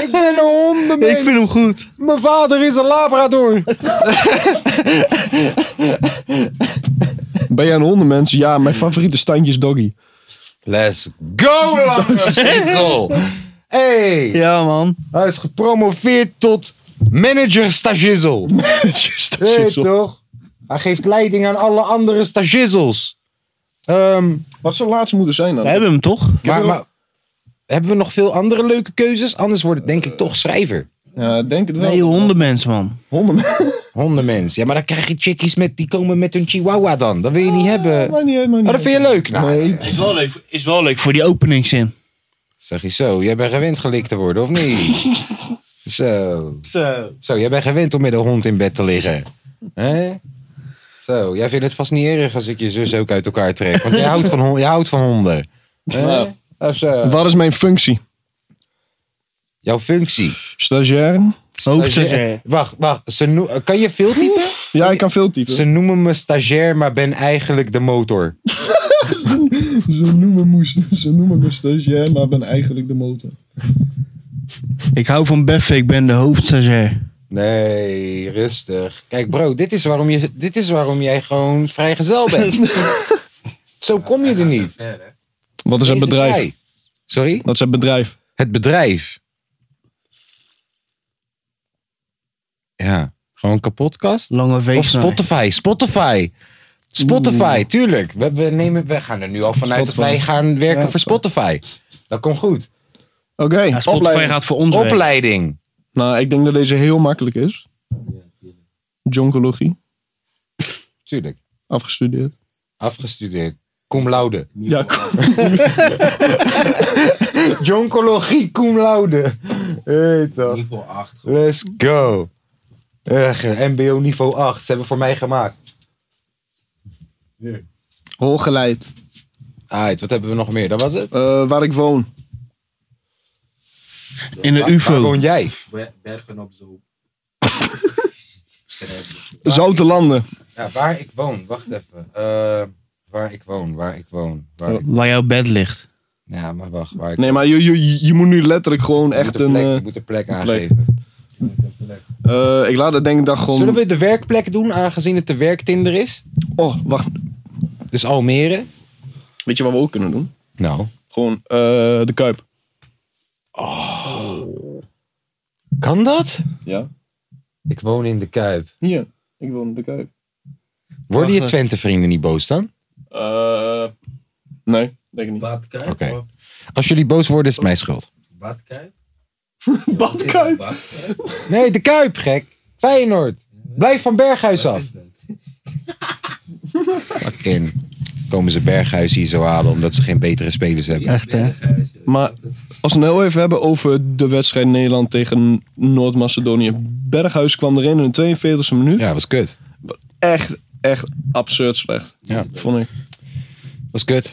Speaker 1: Ik ben een hondenmens.
Speaker 2: Ik vind hem goed.
Speaker 1: Mijn vader is een labrador.
Speaker 3: Ben jij een hondenmens? Ja, mijn favoriete standje is doggy.
Speaker 1: Let's go,
Speaker 2: Oh,
Speaker 1: lange schisel. Hey,
Speaker 2: Ja, man.
Speaker 1: hij is gepromoveerd tot manager stagizel. Weet
Speaker 3: Shizzle.
Speaker 1: toch? Hij geeft leiding aan alle andere stagizels. Ehm,
Speaker 3: Wat zou laatst moeten zijn
Speaker 2: We
Speaker 3: dan?
Speaker 2: hebben hem toch?
Speaker 1: maar, maar hebben we nog veel andere leuke keuzes? Anders wordt het denk ik toch schrijver.
Speaker 3: Ja, ik denk het wel.
Speaker 2: Nee, hondenmens, man.
Speaker 3: hondenmens.
Speaker 1: Hondenmens. Ja, maar dan krijg je chickies met, die komen met hun chihuahua dan. Dat wil je niet hebben.
Speaker 3: Maar niet, maar niet.
Speaker 1: Oh, dat vind je leuk? Nou,
Speaker 3: Nee.
Speaker 2: Is wel leuk, is wel leuk voor die openingszin.
Speaker 1: Zeg je zo, jij bent gewend gelikt te worden, of niet? zo.
Speaker 2: Zo.
Speaker 1: Zo, jij bent gewend om met een hond in bed te liggen. Hè? Zo, jij vindt het vast niet erg als ik je zus ook uit elkaar trek. Want jij houdt van, hon- jij houdt van honden. Hè?
Speaker 3: Nou.
Speaker 1: Of zo.
Speaker 3: Wat is mijn functie?
Speaker 1: Jouw functie.
Speaker 3: Stagiair?
Speaker 2: Hoofdstagiair.
Speaker 1: Wacht, wacht. Ze noe- kan je veel typen?
Speaker 3: Ja, ik kan veel typen.
Speaker 1: Ze noemen me stagiair, maar ben eigenlijk de motor.
Speaker 3: Ze noemen, me, ze noemen me stagiair, maar ben eigenlijk de motor.
Speaker 2: Ik hou van Beffen, ik ben de hoofdstagiair.
Speaker 1: Nee, rustig. Kijk bro, dit is waarom, je, dit is waarom jij gewoon vrijgezel bent. zo kom je er niet.
Speaker 3: Wat is het
Speaker 1: Deze
Speaker 3: bedrijf?
Speaker 1: guy. Sorry?
Speaker 3: Wat is het bedrijf?
Speaker 1: Het bedrijf. Ja, gewoon kapotkast.
Speaker 2: Lange
Speaker 1: Of
Speaker 2: vees.
Speaker 1: Spotify, Spotify. Spotify, tuurlijk. We, we, nemen, we gaan er nu al vanuit dat wij
Speaker 3: Spotify.
Speaker 1: gaan werken
Speaker 3: Ja,
Speaker 1: voor Spotify. Dat komt goed.
Speaker 3: Oké,
Speaker 2: Ja, Spotify
Speaker 3: opleiding.
Speaker 2: gaat voor ons werken.
Speaker 1: Opleiding.
Speaker 3: Nou, ik denk dat deze heel makkelijk is. Jonkologie,
Speaker 1: Tuurlijk.
Speaker 3: afgestudeerd.
Speaker 1: Afgestudeerd. Cum laude.
Speaker 3: Ja, kom.
Speaker 1: Jonkologie, cum laude. Heet dat.
Speaker 8: Niveau 8.
Speaker 1: Let's go. Echt, eh, MBO niveau 8. Ze hebben voor mij gemaakt.
Speaker 3: Hooggeleid.
Speaker 1: Alright, Ah, wat hebben we nog meer? Dat was het.
Speaker 3: Eh, waar ik woon.
Speaker 2: In de
Speaker 1: Waar
Speaker 2: UFO.
Speaker 1: woon jij?
Speaker 8: Be- Bergen op Zoom.
Speaker 3: Zoute landen.
Speaker 1: Ja, waar ik woon. Wacht even. Eh, waar ik woon, waar ik woon. Waar ik...
Speaker 2: Waar jouw bed ligt.
Speaker 1: Ja, maar wacht. Waar ik
Speaker 3: Oh. Nee, maar je, je, je moet nu letterlijk gewoon
Speaker 1: Je
Speaker 3: echt
Speaker 1: moet een
Speaker 3: een...
Speaker 1: plek,
Speaker 3: eh,
Speaker 1: je moet een plek
Speaker 3: plek.
Speaker 1: aangeven.
Speaker 3: eh, ik laat het denk ik dat gewoon...
Speaker 1: Zullen we de werkplek doen, aangezien het de werktinder is?
Speaker 3: Oh, wacht.
Speaker 1: Dus Almere?
Speaker 3: Weet je wat we ook kunnen doen?
Speaker 1: Nou.
Speaker 3: Gewoon eh, de Kuip.
Speaker 1: Kan dat?
Speaker 3: Ja.
Speaker 1: Ik woon in de Kuip.
Speaker 3: Hier, ik wil naar de Kuip.
Speaker 1: Worden je
Speaker 3: Wacht,
Speaker 1: Twente-vrienden niet boos dan?
Speaker 3: Eh, nee, denk ik niet.
Speaker 8: Badkuip?
Speaker 1: Oké. Als jullie boos worden, is het mijn schuld.
Speaker 8: Badkuip?
Speaker 3: Badkuip?
Speaker 1: Nee, de Kuip, gek. Feyenoord. Blijf van Berghuis af. Fucking. Komen ze Berghuis hier zo halen omdat ze geen betere spelers hebben.
Speaker 2: Echt, hè?
Speaker 3: Maar als we het nou even hebben over de wedstrijd Nederland tegen Noord-Macedonië. Berghuis kwam erin in de 42e minuut.
Speaker 1: Ja, was kut.
Speaker 3: Echt, echt absurd slecht.
Speaker 1: Ja.
Speaker 3: Vond ik.
Speaker 1: Was kut.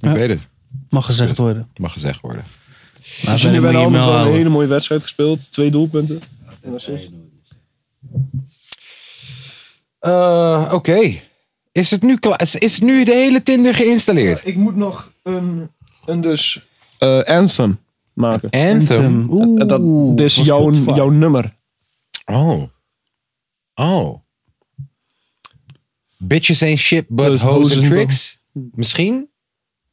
Speaker 1: Ik weet het.
Speaker 2: Mag gezegd worden.
Speaker 1: Mag gezegd worden.
Speaker 2: Maar
Speaker 3: Dus jullie
Speaker 2: ben ik
Speaker 3: hebben
Speaker 2: me niet
Speaker 3: allemaal wel
Speaker 2: mee
Speaker 3: een
Speaker 2: houden.
Speaker 3: hele mooie wedstrijd gespeeld. Twee doelpunten. En assists.
Speaker 1: Eh, Oké. Is het nu klaar? Is, is nu de hele Tinder geïnstalleerd?
Speaker 3: Ik moet nog een, een dus eh, anthem maken.
Speaker 1: Anthem.
Speaker 2: Oeh,
Speaker 3: En dat, dit is
Speaker 2: van
Speaker 3: jouw,
Speaker 2: Spotify.
Speaker 3: jouw nummer.
Speaker 1: Oh. Oh. Bitches ain't shit, but
Speaker 3: Dus
Speaker 1: hoes and
Speaker 3: hozen-
Speaker 1: tricks? Misschien?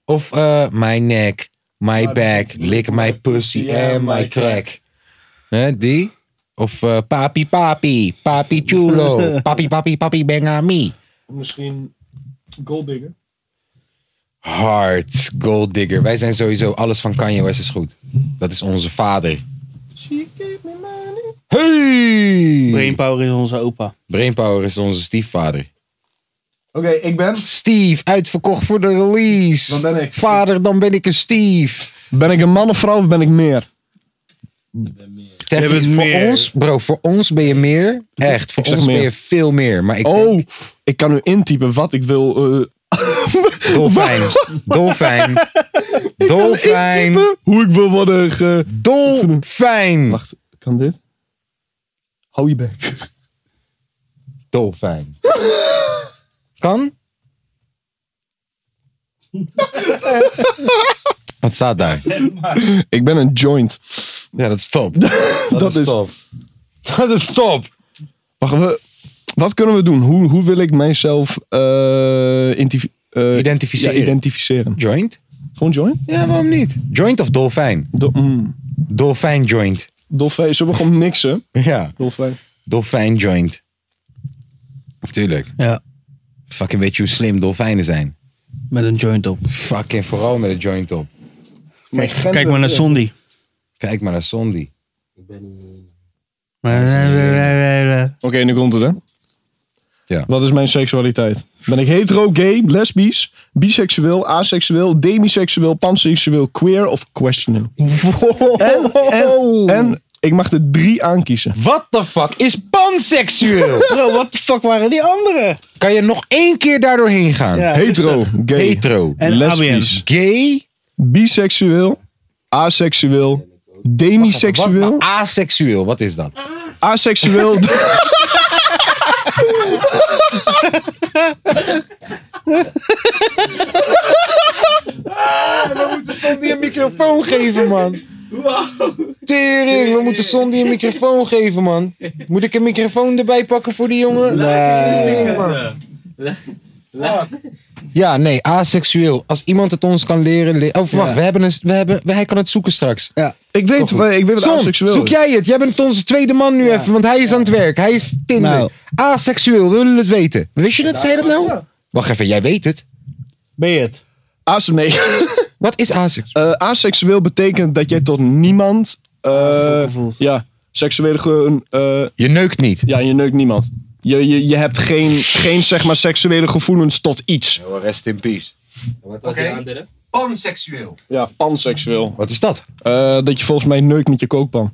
Speaker 1: Of eh, my neck, my back, lick my pussy and my crack. Hè, die? Of eh, papi papi, papi chulo, papi papi papi bengami.
Speaker 3: Misschien Golddigger.
Speaker 1: Hard, gold digger. Wij zijn sowieso, alles van Kanye West is goed. Dat is onze vader. Hey!
Speaker 2: Brainpower is onze opa.
Speaker 1: Brainpower is onze stiefvader.
Speaker 3: Oké, ik ben.
Speaker 1: Steve, uitverkocht voor de release.
Speaker 3: Dan ben ik.
Speaker 1: Vader, dan ben ik een Steve.
Speaker 3: Ben ik een man of vrouw of ben ik meer?
Speaker 1: Ter-
Speaker 2: Je bent
Speaker 1: voor
Speaker 2: meer.
Speaker 1: ons, bro, voor ons ben je meer. Echt, voor
Speaker 3: Ik zeg
Speaker 1: ons ben
Speaker 3: meer.
Speaker 1: je veel meer. Maar ik
Speaker 3: Oh, ik kan nu intypen wat ik wil. eh,
Speaker 1: dolfijn, dolfijn, dolfijn,
Speaker 3: intypen hoe ik wil worden ge...
Speaker 1: dolfijn,
Speaker 3: Wacht, kan dit? Hou je bek.
Speaker 1: dolfijn. Kan? Wat staat daar?
Speaker 3: Ik ben een joint.
Speaker 1: Ja, dat is top. Dat,
Speaker 3: Dat, is...
Speaker 1: top. Dat is top.
Speaker 3: Wacht, we... Wat kunnen we doen? Hoe, hoe wil ik mijzelf eh, inti- eh,
Speaker 1: Identificeren.
Speaker 3: ja, identificeren.
Speaker 1: Joint?
Speaker 3: Gewoon joint?
Speaker 1: Ja, waarom niet? Joint of dolfijn?
Speaker 3: Do mm.
Speaker 1: Dolfijn joint.
Speaker 3: Dolfijn. Zullen we gewoon niksen?
Speaker 1: Ja.
Speaker 3: Dolfijn.
Speaker 1: Dolfijn joint. Tuurlijk.
Speaker 2: Ja,
Speaker 1: Fucking weet je hoe slim dolfijnen zijn.
Speaker 2: met een joint op.
Speaker 1: Fucking vooral met een joint op.
Speaker 3: Mijn gender-
Speaker 2: Kijk maar naar Sondi.
Speaker 1: Kijk maar naar Sondi.
Speaker 2: eh,
Speaker 3: Oké, nu komt het hè.
Speaker 1: Ja.
Speaker 3: Wat is mijn seksualiteit? Ben ik hetero, gay, lesbisch, biseksueel, aseksueel, demiseksueel, panseksueel, queer of questioning? En, en, en ik mag er drie aankiezen.
Speaker 1: What the fuck is panseksueel?
Speaker 2: Bro, wat de fuck waren die anderen?
Speaker 1: kan je nog één keer daar doorheen gaan?
Speaker 2: Ja,
Speaker 3: Hetero, gay,
Speaker 1: Hetero.
Speaker 2: En
Speaker 3: lesbisch,
Speaker 1: Gay.
Speaker 3: biseksueel, aseksueel, demiseksueel,
Speaker 1: Wat? Aseksueel. Wat is dat?
Speaker 3: aseksueel.
Speaker 1: Sondi een microfoon geven, man. Tering, we moeten Sondi een microfoon geven, man. Moet ik een microfoon erbij pakken voor die jongen? Ja, nee, aseksueel. Als iemand het ons kan leren... le- oh, wacht, we hebben een, we hebben, hij kan het zoeken straks.
Speaker 3: ik weet, ik weet wat
Speaker 1: Son,
Speaker 3: aseksueel
Speaker 1: zoek
Speaker 3: is.
Speaker 1: jij het? Jij bent onze tweede man nu even, want hij is aan het werk. Hij is Tinder.
Speaker 2: Nou.
Speaker 1: Aseksueel, we willen het weten. Wist je dat? Zei je dat nou? Wacht even, jij weet het.
Speaker 2: Ben je het?
Speaker 3: Ase- nee.
Speaker 1: Wat is aseksueel?
Speaker 3: Eh, aseksueel betekent dat jij tot niemand. eh,
Speaker 2: gevoeld.
Speaker 3: ja, seksuele. Ge- eh,
Speaker 1: Je neukt niet.
Speaker 3: ja, je neukt niemand. Je, je, je hebt geen, geen zeg maar, seksuele gevoelens tot iets.
Speaker 1: Rest in peace.
Speaker 8: Wat was de andere?
Speaker 1: Panseksueel.
Speaker 3: Ja, panseksueel.
Speaker 1: Wat is dat?
Speaker 3: Eh, dat je volgens mij neukt met je kookpan.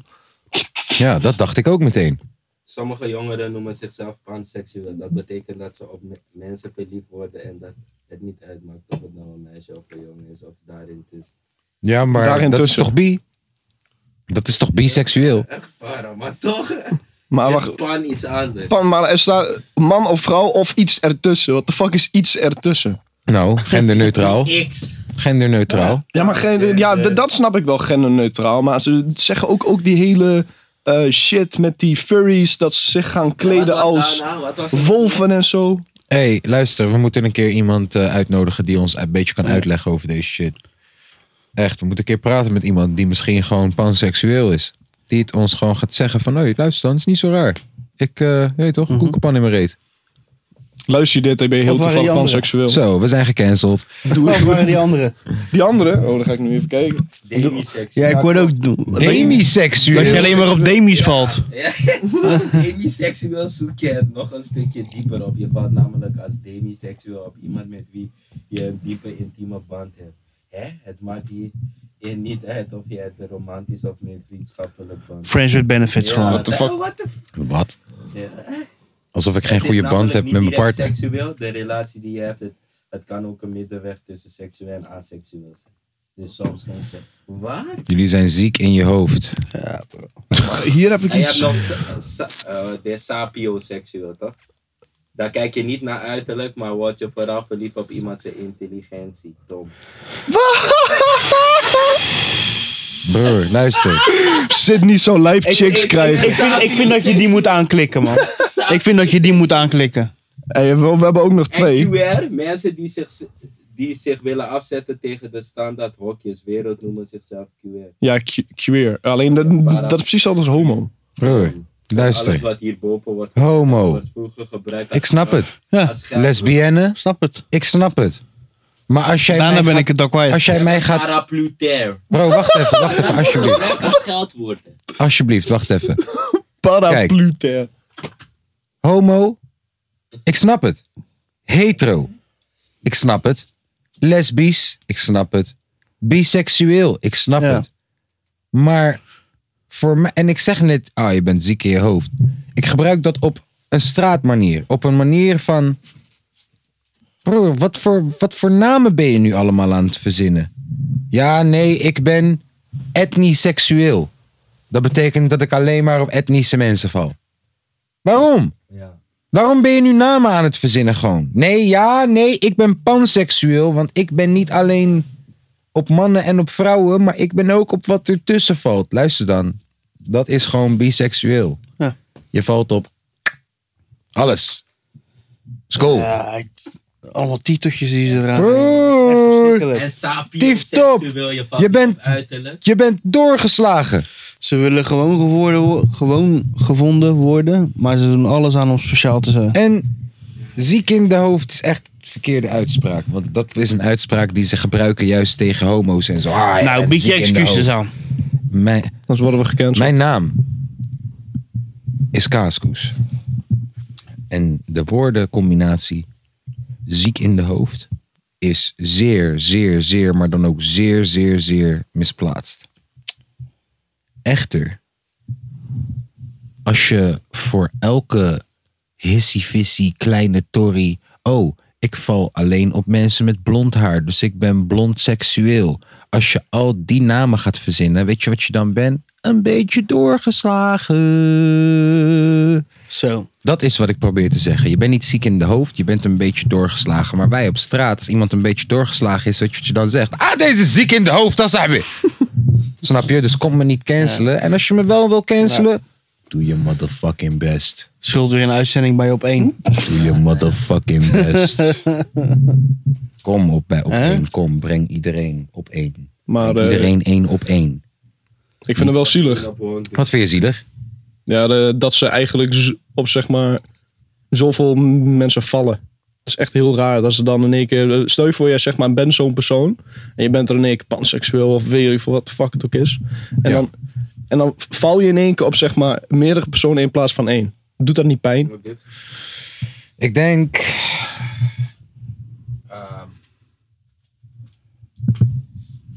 Speaker 1: Ja, dat dacht ik ook meteen.
Speaker 8: Sommige jongeren noemen zichzelf panseksueel. Dat betekent dat ze op me- mensen verliefd worden en dat het niet uitmaakt of het nou een meisje of een jongen is of daarin het is.
Speaker 1: Ja, maar
Speaker 3: Daarin
Speaker 1: dat
Speaker 3: tussen.
Speaker 1: is toch bi? Dat is toch biseksueel?
Speaker 8: Echt para, maar toch
Speaker 3: Maar
Speaker 8: is
Speaker 3: wacht.
Speaker 8: pan iets anders.
Speaker 3: Pan, maar er staat man of vrouw of iets ertussen. Wat de fuck is iets ertussen?
Speaker 1: Nou, genderneutraal.
Speaker 8: X.
Speaker 1: Genderneutraal.
Speaker 3: Ja, maar geen, ja, d- dat snap ik wel, genderneutraal. Maar ze zeggen ook, ook die hele eh, shit met die furries. Dat ze zich gaan kleden
Speaker 8: Wat was
Speaker 3: als
Speaker 8: daarna? Wat was het?
Speaker 3: wolven en zo.
Speaker 1: hey, luister, we moeten een keer iemand eh, uitnodigen die ons een beetje kan uitleggen over deze shit. Echt, we moeten een keer praten met iemand die misschien gewoon panseksueel is. Die het ons gewoon gaat zeggen van, hé, luister dan, is niet zo raar. Ik, eh weet toch, koekenpan in mijn reet.
Speaker 3: Luister je dit, dan ben je heel
Speaker 1: Of waren
Speaker 3: toevallig
Speaker 1: die anderen?
Speaker 3: panseksueel.
Speaker 1: Zo, we zijn gecanceld.
Speaker 3: Doe
Speaker 2: Of waren Oh, die andere?
Speaker 3: Die andere? Oh, dan ga ik nu even kijken.
Speaker 2: Ja, ik word ook...
Speaker 1: Demiseksueel.
Speaker 2: Dat je alleen maar op demis valt.
Speaker 8: Ja, als demiseksueel zoek je het nog een stukje dieper op. Je valt namelijk als demiseksueel op iemand met wie je een diepe intieme band hebt. Hè? Het maakt hier hier niet uit of je het een romantisch of meer vriendschappelijk band
Speaker 2: Friends with benefits
Speaker 8: Ja,
Speaker 2: gewoon.
Speaker 8: What the fuck? what the
Speaker 1: Wat?
Speaker 8: Ja.
Speaker 1: Alsof ik geen
Speaker 8: Het is
Speaker 1: goede band
Speaker 8: namelijk
Speaker 1: heb
Speaker 8: niet
Speaker 1: met mijn
Speaker 8: direct
Speaker 1: partner.
Speaker 8: seksueel, de relatie die je hebt, het, het kan ook een middenweg tussen seksueel en aseksueel zijn. Dus soms geen seks. Wat?
Speaker 1: Jullie zijn ziek in je hoofd. Ja, Hier heb ik
Speaker 8: En je
Speaker 1: iets-
Speaker 8: hebt nog sa- sa- eh, de sapioseksueel, toch? Daar kijk je niet naar uiterlijk, maar word je vooral verliefd op iemand zijn intelligentie, Tom.
Speaker 1: Broer, luister.
Speaker 3: Zit niet zo lijp chicks krijgen.
Speaker 2: Ik vind, ik vind dat je die moet aanklikken, man. Ik vind dat je die moet aanklikken.
Speaker 3: we, we hebben ook nog
Speaker 8: En QR, mensen die zich, die zich willen afzetten tegen de standaard hokjes wereld noemen zichzelf QR.
Speaker 3: Ja, que- queer. Alleen dat, dat is precies anders als homo.
Speaker 1: Broer,
Speaker 8: Alles
Speaker 1: luister.
Speaker 8: wat hierboven wordt
Speaker 1: Homo.
Speaker 8: vroeger gebruikt. als-
Speaker 1: Ik snap het.
Speaker 8: als geld.
Speaker 1: Lesbienne. Snap het. Ik snap het. Maar als jij
Speaker 2: Daarna
Speaker 1: mij
Speaker 2: ben
Speaker 1: gaat-
Speaker 2: ik het ook kwijt.
Speaker 1: Als jij mij gaat...
Speaker 8: Paraplutair.
Speaker 1: Bro, wacht even, wacht even, alsjeblieft.
Speaker 8: Gebruik als geldwoord.
Speaker 1: Alsjeblieft, wacht even. Paraplutair. Homo. Ik snap het. Hetero. Ik snap het. Lesbisch. Ik snap het. Biseksueel. Ik snap het. Maar voor mij... En ik zeg net, ah, je bent ziek in je hoofd. Ik gebruik dat op een straatmanier. Op een manier van... Broer, wat voor, wat voor namen ben je nu allemaal aan het verzinnen? Ja, nee, ik ben etniseksueel. Dat betekent dat ik alleen maar op etnische mensen val. Waarom? Waarom ben je nu namen aan het verzinnen gewoon? Nee, ja, nee, ik ben panseksueel, want ik ben niet alleen op mannen en op vrouwen, maar ik ben ook op wat ertussen valt. Luister dan, dat is gewoon biseksueel.
Speaker 2: Ja.
Speaker 1: Je valt op alles. School.
Speaker 2: Ja, ik- allemaal titeltjes die ze eraan
Speaker 8: En
Speaker 1: Tieftop.
Speaker 8: sapioseksueel, je valt
Speaker 1: Je
Speaker 8: niet op
Speaker 1: bent-
Speaker 8: uiterlijk.
Speaker 1: Je bent doorgeslagen.
Speaker 2: Ze willen gewoon, geworden, wo- gewoon gevonden worden, maar ze doen alles aan om speciaal te zijn.
Speaker 1: En ziek in de hoofd is echt de verkeerde uitspraak. Want dat is een uitspraak die ze gebruiken juist tegen homo's en zo. Ah, je
Speaker 2: Nou,
Speaker 1: bent
Speaker 2: bied je
Speaker 1: ziek in de
Speaker 2: excuses
Speaker 1: hoofd.
Speaker 2: aan.
Speaker 1: Mijn,
Speaker 3: Anders worden we gecanceld.
Speaker 1: Mijn naam is Kaaskoes. En de woordencombinatie ziek in de hoofd is zeer, zeer, zeer, maar dan ook zeer, zeer, zeer misplaatst. Echter, als je voor elke hissy-vissy kleine tory... Oh, ik val alleen op mensen met blond haar, dus ik ben blond seksueel. Als je al die namen gaat verzinnen, weet je wat je dan bent? Een beetje doorgeslagen.
Speaker 2: Zo.
Speaker 1: Dat is wat ik probeer te zeggen. Je bent niet ziek in de hoofd, je bent een beetje doorgeslagen. Maar wij op straat, als iemand een beetje doorgeslagen is, weet je wat je dan zegt? Ah, deze is ziek in de hoofd, dat zijn we. Snap je? Dus kom me niet cancelen. En als je me wel wil cancelen, doe je motherfucking best.
Speaker 2: Schuld weer een uitzending bij op één.
Speaker 1: Doe je motherfucking best. Kom op bij op één. Kom, breng iedereen op één.
Speaker 3: Maar,
Speaker 1: Breng
Speaker 3: eh,
Speaker 1: iedereen één op één.
Speaker 3: Ik vind het wel zielig.
Speaker 1: Wat vind je zielig?
Speaker 3: Ja, de- dat ze eigenlijk z- op zeg maar zoveel m- mensen vallen. Dat is echt heel raar dat ze dan in één keer... eh, Stel je voor, jij zeg maar bent zo'n persoon. En je bent er in één keer panseksueel of weet je voor wat de fuck het ook is. En, dan, en dan val je in één keer op zeg maar meerdere personen in plaats van één. Doet dat niet pijn?
Speaker 1: Ik denk... ehm,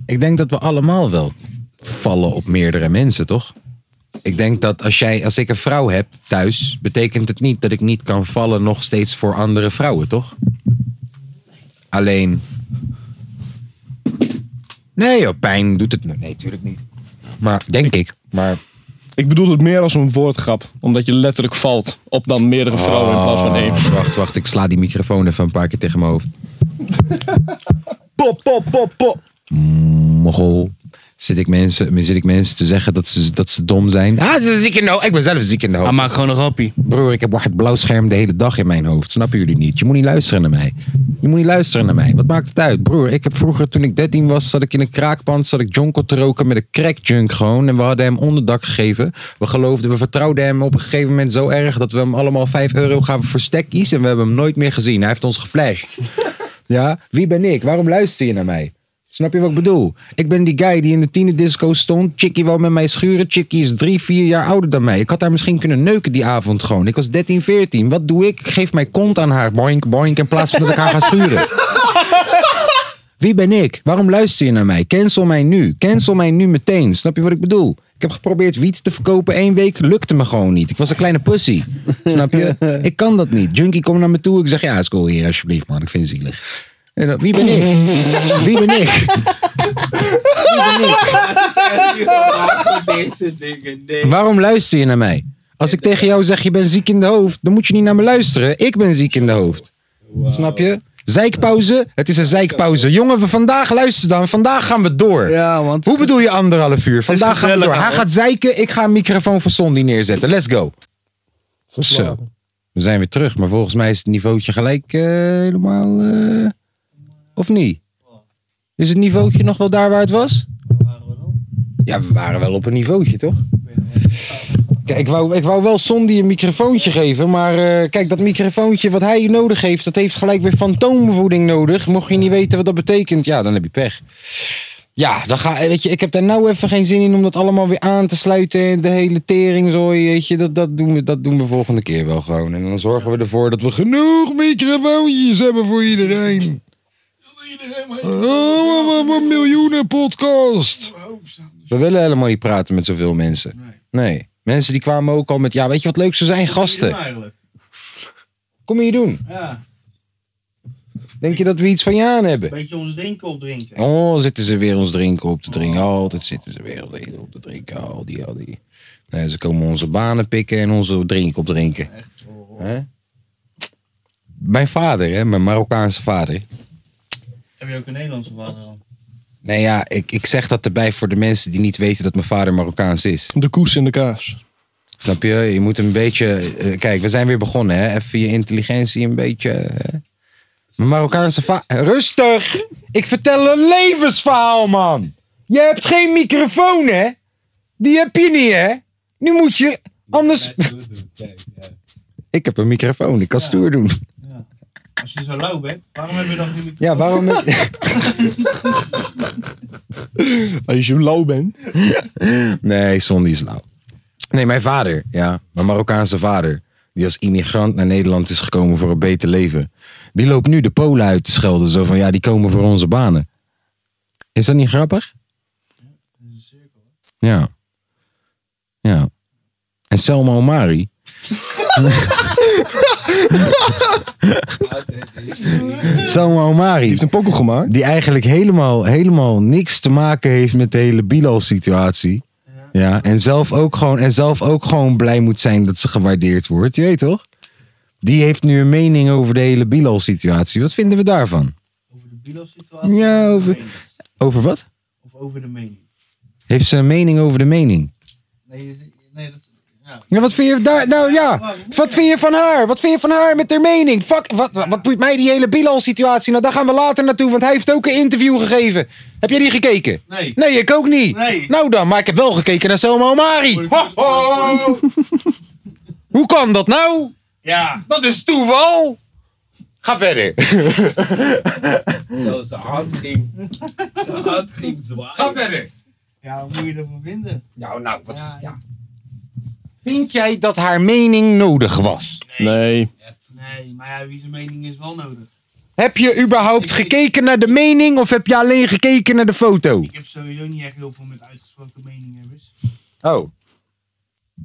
Speaker 1: Ik denk dat we allemaal wel vallen op meerdere mensen, toch? Ik denk dat als, jij, als ik een vrouw heb thuis, betekent het niet dat ik niet kan vallen nog steeds voor andere vrouwen, toch? Alleen. Nee, joh, pijn doet het. Nee, natuurlijk niet. Maar denk ik. Maar
Speaker 3: Ik bedoel het meer als een woordgrap. Omdat je letterlijk valt op dan meerdere vrouwen in plaats van één.
Speaker 1: Oh, Wacht, wacht, ik sla die microfoon even een paar keer tegen mijn hoofd.
Speaker 3: Pop, pop, pop, pop.
Speaker 1: Mogol. Zit ik mensen, zit ik mensen te zeggen dat ze, dat ze dom zijn? Ah, ze zijn ziek in de hoofd. Ik ben zelf ziek in de hoofd.
Speaker 2: Hij maakt gewoon een grappie.
Speaker 1: Broer, ik heb het blauw scherm de hele dag in mijn hoofd. Snappen jullie niet? Je moet niet luisteren naar mij. Je moet niet luisteren naar mij. Wat maakt het uit? Broer, ik heb vroeger, toen ik 13 was, zat ik in een kraakpand. Zat ik jonko te roken met een crackjunk gewoon. En we hadden hem onderdak gegeven. We geloofden, we vertrouwden hem op een gegeven moment zo erg... dat we hem allemaal 5 euro gaven voor stekkies. En we hebben hem nooit meer gezien. Hij heeft ons geflasht. Ja, wie ben ik? Waarom luister je naar mij? Snap je wat ik bedoel? Ik ben die guy die in de tienerdisco stond. Chickie wou met mij schuren. Chickie is drie, vier jaar ouder dan mij. Ik had haar misschien kunnen neuken die avond gewoon. Ik was 13, 14. Wat doe ik? Ik geef mijn kont aan haar. Boink, boink. In plaats van dat ik haar ga schuren. Wie ben ik? Waarom luister je naar mij? Cancel mij nu. Cancel mij nu meteen. Snap je wat ik bedoel? Ik heb geprobeerd wiet te verkopen één week. Lukte me gewoon niet. Ik was een kleine pussy. Snap je? Ik kan dat niet. Junkie komt naar me toe. Ik zeg ja, is cool hier alsjeblieft man. Ik vind het zielig. En dan, wie ben ik? Wie ben ik?
Speaker 8: Deze dingen, nee.
Speaker 1: Waarom luister je naar mij? Als ik tegen jou zeg je bent ziek in de hoofd, dan moet je niet naar me luisteren. Ik ben ziek in de hoofd. Snap je? Zeikpauze, het is een zeikpauze. Jongen, we vandaag luister dan. Vandaag gaan we door. Hoe bedoel je anderhalf uur? Vandaag gaan we door.
Speaker 2: gezellig,
Speaker 1: Hij
Speaker 2: man.
Speaker 1: gaat zeiken, ik ga een microfoon van Sondi neerzetten. Let's go. Zo. We zijn weer terug, maar volgens mij is het niveautje gelijk eh, helemaal. eh, of niet? Is het niveautje nog wel daar waar het was? Ja, we waren wel op een niveautje, toch? Kijk, ik wou, ik wou wel Sondi een microfoontje geven, maar eh, kijk, dat microfoontje wat hij nodig heeft, dat heeft gelijk weer fantoomvoeding nodig. Mocht je niet weten wat dat betekent, ja, dan heb je pech. Ja, dan ga, eh, weet je, ik heb daar nou even geen zin in om dat allemaal weer aan te sluiten. en De hele teringzooi, weet je, dat, dat, doen we, dat doen we volgende keer wel gewoon. En dan zorgen we ervoor dat we genoeg microfoontjes hebben voor iedereen. Oh, wat- wat een miljoenen podcast. We willen helemaal niet praten met zoveel mensen. Nee. Mensen die kwamen ook al met, ja, weet je wat leuk zou zijn? Gasten. Kom hier doen.
Speaker 2: Ja,
Speaker 1: Denk je dat we iets van je aan hebben?
Speaker 2: beetje ons denken opdrinken.
Speaker 1: Oh, zitten ze weer ons drinken op te drinken. Altijd zitten ze weer ons drinken op te drinken. Al die, al die. Nee, ze komen onze banen pikken en onze drink op drinken. Hè? Mijn vader, hè, mijn Marokkaanse vader.
Speaker 2: Heb je ook een Nederlandse eh, vader dan?
Speaker 1: Nee, ja, ik, ik zeg dat erbij voor de mensen die niet weten dat mijn vader Marokkaans is.
Speaker 3: De koes in de kaas.
Speaker 1: Snap je? Je moet een beetje. eh, kijk, we zijn weer begonnen, hè? Even je intelligentie een beetje. Hè? Mijn Marokkaanse va. Rustig! Ik vertel een levensverhaal, man! Je hebt geen microfoon, hè? Die heb je niet, hè? Nu moet je. Anders. Ik heb een microfoon, ik kan stoer doen.
Speaker 2: Als je zo lauw bent, waarom heb je dan niet...
Speaker 1: Ja, waarom.
Speaker 3: Als je lauw bent.
Speaker 1: Nee, Sondi is lauw. Nee, mijn vader, ja, mijn Marokkaanse vader, die als immigrant naar Nederland is gekomen voor een beter leven, die loopt nu de Polen uit te schelden. Zo van ja, die komen voor onze banen. Is dat niet grappig? Ja. Ja. En Selma Omari. Selma Omari.
Speaker 3: Heeft een pokkel gemaakt.
Speaker 1: Die eigenlijk helemaal, helemaal niks te maken heeft met de hele Bilal-situatie. Ja, en zelf, ook gewoon, en zelf ook gewoon blij moet zijn dat ze gewaardeerd wordt. Je weet toch? Die heeft nu een mening over de hele Bilal-situatie. Wat vinden we daarvan?
Speaker 2: Over de Bilo-situatie?
Speaker 1: Ja, over... Over wat?
Speaker 2: Of over de mening?
Speaker 1: Heeft ze een mening over de mening?
Speaker 2: Nee, je- nee dat is... Ja.
Speaker 1: Ja, wat vind je daar? Nou ja, wat vind je van haar? Wat vind je van haar met haar mening? Fuck, wat, wat, wat boeit mij die hele Bilal-situatie? Nou, daar gaan we later naartoe, want hij heeft ook een interview gegeven. Heb jij die gekeken?
Speaker 2: Nee.
Speaker 1: Nee, ik ook niet.
Speaker 2: Nee.
Speaker 1: Nou dan, maar ik heb wel gekeken naar Selma Omari. Ho, ho. Hoe kan dat nou?
Speaker 2: Ja.
Speaker 1: Dat is toeval. Ga verder.
Speaker 8: Zelfs zijn hand ging, zijn hand ging
Speaker 1: Ga
Speaker 8: zwaaien.
Speaker 1: verder.
Speaker 2: Ja, wat moet je ervan vinden?
Speaker 1: Nou, nou, wat,
Speaker 2: Ja,
Speaker 1: ja. Vind jij dat haar mening nodig was?
Speaker 3: Nee.
Speaker 2: Nee, maar ja, wie zijn mening is wel nodig.
Speaker 1: Heb je überhaupt gekeken naar de mening of heb je alleen gekeken naar de foto?
Speaker 2: Ik heb sowieso niet echt heel veel met uitgesproken meningshebbers.
Speaker 1: Oh.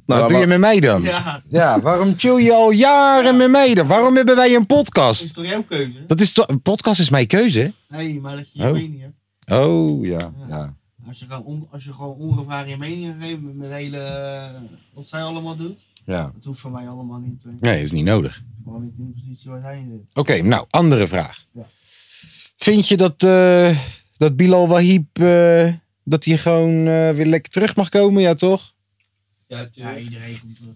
Speaker 3: Nou,
Speaker 1: Wat doe je met mij dan? Ja.
Speaker 2: Ja,
Speaker 1: waarom chill je al jaren met mij dan? Waarom hebben wij een
Speaker 2: dat is
Speaker 1: podcast?
Speaker 2: toch jouw keuze?
Speaker 1: Dat is toch- een podcast is mijn keuze.
Speaker 2: Nee, maar dat je je
Speaker 1: Oh.
Speaker 2: mening hebt.
Speaker 1: Oh, ja. ja.
Speaker 2: Als je gewoon, on- als je gewoon ongevraagd je mening geeft met, met hele... eh, wat zij allemaal doet,
Speaker 1: ja.
Speaker 2: dat hoeft van mij allemaal niet. hè.
Speaker 1: Nee, is niet nodig.
Speaker 2: Gewoon niet in de positie waar zij in zit.
Speaker 1: Oké, nou, andere vraag.
Speaker 2: Ja.
Speaker 1: Vind je dat, eh, dat Bilal Wahib eh, Dat hij gewoon eh, weer lekker terug mag komen, ja toch?
Speaker 8: Ja,
Speaker 2: iedereen komt terug.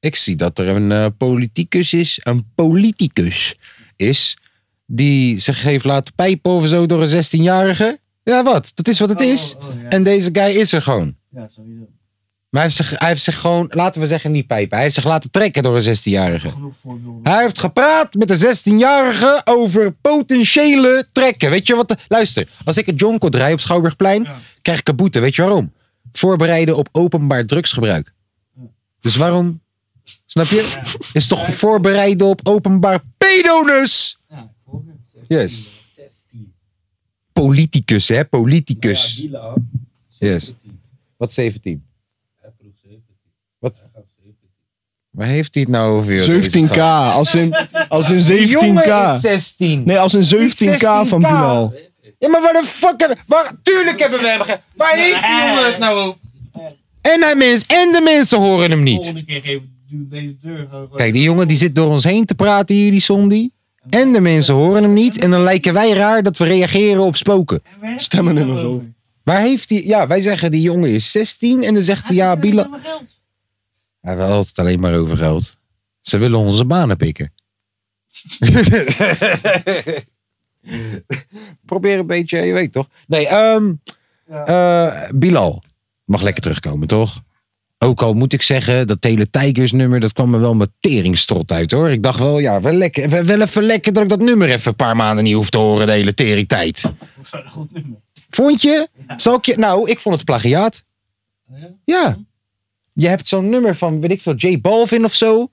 Speaker 1: Ik zie dat er een eh, politicus is, een politicus is, die zich heeft laten pijpen of zo door een 16-jarige. Ja, wat? Dat is wat het
Speaker 2: Oh,
Speaker 1: is. En deze guy is er gewoon.
Speaker 2: Ja, sowieso.
Speaker 1: Maar hij heeft, zich, hij heeft zich gewoon, laten we zeggen, niet pijpen. Hij heeft zich laten trekken door een 16-jarige. Hij heeft gepraat met een 16-jarige over potentiële trekken. Weet je wat? de- luister, als ik een jonko draai op Schouwburgplein, krijg ik een boete. Weet je waarom? Voorbereiden op openbaar drugsgebruik. Dus waarom? Snap je? Is toch voorbereiden op openbaar pedonus? Yes. Politicus, hè? Politicus. Yes. Wat 17? Wat? Waar heeft hij het nou over? joh, deze
Speaker 3: 17k.
Speaker 1: gast?
Speaker 3: Als in, als in
Speaker 1: Die
Speaker 3: 17k.
Speaker 1: jongen is 16.
Speaker 3: Nee, als in 17k van
Speaker 1: 16K.
Speaker 3: Bilal.
Speaker 1: Ja, maar waar de fuck hebben... Waar, tuurlijk hebben we hem ge... Waar heeft die jongen het nou op? En hij mens, en de mensen horen hem niet.
Speaker 2: Volgende keer geven we deze deur gewoon.
Speaker 1: Kijk, die jongen die zit door ons heen te praten hier, die Sondi. En de mensen horen hem niet. En dan lijken wij raar dat we reageren op spoken. Stemmen in ons over. Waar heeft hij... Ja, wij zeggen die jongen is 16. En dan zegt hij, ja, Bila... Hij wil altijd alleen maar over geld. Ze willen onze banen pikken. Probeer een beetje, je weet toch? Nee, ehm eh, Bilal mag lekker terugkomen, toch? Ook al moet ik zeggen, dat hele Tigers nummer, dat kwam me wel mijn teringstrot uit hoor. Ik dacht wel, ja, wel, lekker, wel- wel even lekker dat ik dat nummer even een paar maanden niet hoef te horen de hele teringtijd. Vond je? Zal ik je? Nou, ik vond het plagiaat. Ja. Je hebt zo'n nummer van, weet ik veel, J Balvin of zo.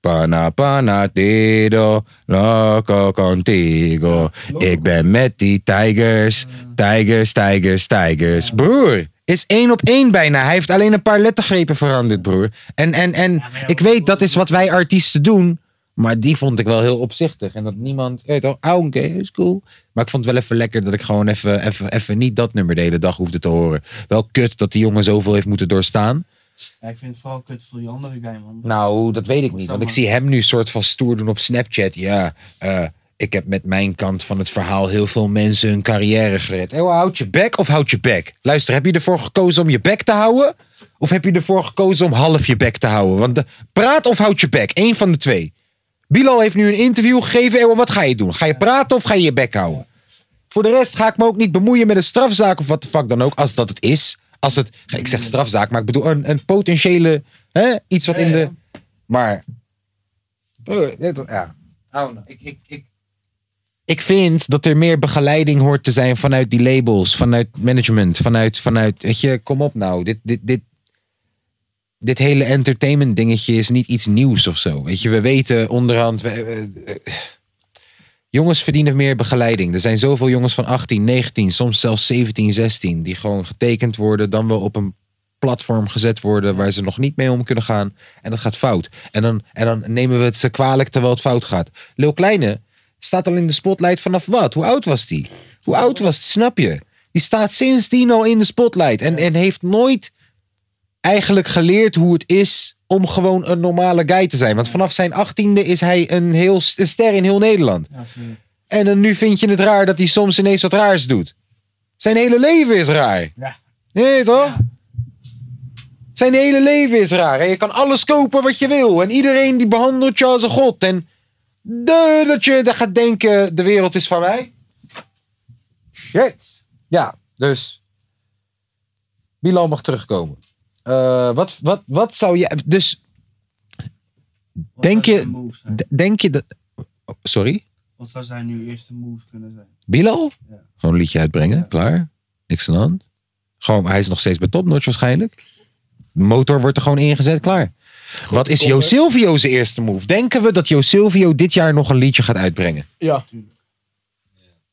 Speaker 1: Pana pana tido, loco contigo. Ik ben met die tigers, tigers, tigers, tigers. Broer, is één op één bijna. Hij heeft alleen een paar lettergrepen veranderd, broer. En, en, en ik weet, dat is wat wij artiesten doen. Maar die vond ik wel heel opzichtig. En dat niemand, weet toch, ah, oké, is cool. Maar ik vond het wel even lekker dat ik gewoon even, even, even niet dat nummer de hele dag hoefde te horen. Wel kut dat die jongen zoveel heeft moeten doorstaan.
Speaker 2: Ja, ik vind het vooral kut voor die andere guy, man.
Speaker 1: Nou, dat weet ik niet. Want ik zie hem nu soort van stoer doen op Snapchat. Ja, eh, ik heb met mijn kant van het verhaal heel veel mensen hun carrière gered. Eeuw, houd je bek of houd je bek? Luister, heb je ervoor gekozen om je bek te houden? Of heb je ervoor gekozen om half je bek te houden? Want de, praat of houd je bek? Eén van de twee. Bilal heeft nu een interview gegeven. Eeuw, wat ga je doen? Ga je praten of ga je je bek houden? Voor de rest ga ik me ook niet bemoeien met een strafzaak of wat de fuck dan ook, als dat het is. Als het, ik zeg strafzaak, maar ik bedoel een, een potentiële, hè, iets wat in de... Maar, broer, dit- ja. ik, ik, ik, ik vind dat er meer begeleiding hoort te zijn vanuit die labels, vanuit management, vanuit, vanuit weet je, kom op nou, dit, dit, dit, dit hele entertainment dingetje is niet iets nieuws of zo. Weet je, we weten onderhand, we- we- eh, jongens verdienen meer begeleiding. Er zijn zoveel jongens van 18, 19, soms zelfs 17, 16, die gewoon getekend worden, dan wel op een platform gezet worden waar ze nog niet mee om kunnen gaan. En dat gaat fout. En dan, en dan nemen we het ze kwalijk terwijl het fout gaat. Lil Kleine staat al in de spotlight vanaf wat? Hoe oud was die? Hoe oud was het? Snap je? Die staat sindsdien al in de spotlight en, en heeft nooit eigenlijk geleerd hoe het is om gewoon een normale guy te zijn. Want vanaf zijn achttiende is hij een, heel, s- een ster in heel Nederland. En dan nu vind je het raar dat hij soms ineens wat raars doet. Zijn hele leven is raar.
Speaker 2: Ja.
Speaker 1: Nee, toch? Zijn hele leven is raar. En je kan alles kopen wat je wil. En iedereen die behandelt je als een god. En de, dat je dan gaat denken, de wereld is van mij. Shit. Ja, dus. Bilal mag terugkomen. Eh, wat, wat, wat zou je... Dus... Denk je, d- denk je dat... oh, sorry?
Speaker 2: Wat zou zijn nu eerste move kunnen zijn?
Speaker 1: Bilal? Gewoon een liedje uitbrengen, klaar. Niks aan de hand. Gewoon, hij is nog steeds bij topnotch waarschijnlijk. De motor wordt er gewoon ingezet, klaar. Wat is
Speaker 3: eh,
Speaker 1: Jo Silvio's eerste move? Denken we dat Jo Silvio dit jaar nog een liedje gaat uitbrengen?
Speaker 3: Ja.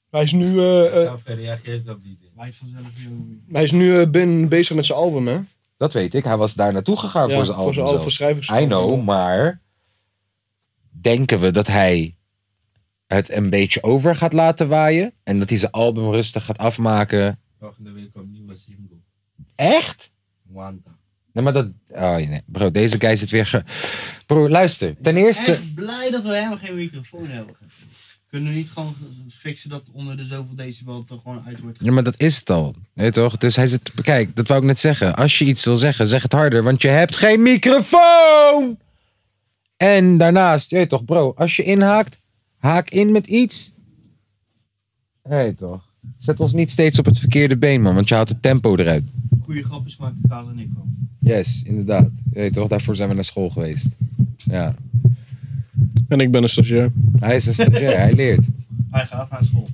Speaker 3: Hij is nu, eh, eh,
Speaker 8: reageert dat niet.
Speaker 2: Lijkt vanzelf heel
Speaker 3: hij is nu eh, ben- bezig met zijn album, hè?
Speaker 1: Dat weet ik. Hij was daar naartoe gegaan
Speaker 3: Ja,
Speaker 1: voor zijn album.
Speaker 3: voor zijn album, voor
Speaker 1: I
Speaker 3: schrijversalbum.
Speaker 1: know, maar... Denken we dat hij het een beetje over gaat laten waaien? En dat hij zijn album rustig gaat afmaken?
Speaker 8: Volgende week komt nieuwe single.
Speaker 1: Echt?
Speaker 8: Wanda.
Speaker 1: Nee, maar dat... Oh, nee. Bro, deze guy zit weer... Ge... Bro, luister. Ten eerste...
Speaker 2: Echt blij dat we helemaal geen microfoon hebben. Kunnen we niet gewoon fixen dat onder de zoveel decibel er gewoon uit wordt
Speaker 1: Ja, maar dat is het al. Weet je toch? Dus hij zit. Kijk, dat wou ik net zeggen. Als je iets wil zeggen, zeg het harder, want je hebt geen microfoon! En daarnaast, je weet toch, bro, als je inhaakt, haak in met iets. Hé toch? Zet ons niet steeds op het verkeerde been, man, want je haalt het tempo eruit.
Speaker 2: goede grapjes maken, Kaas en ik gewoon.
Speaker 1: Yes, inderdaad. Je weet toch, daarvoor zijn we naar school geweest. Ja.
Speaker 3: En ik ben een stagiair.
Speaker 1: Hij is een stagiair, hij leert.
Speaker 2: Hij gaat naar school.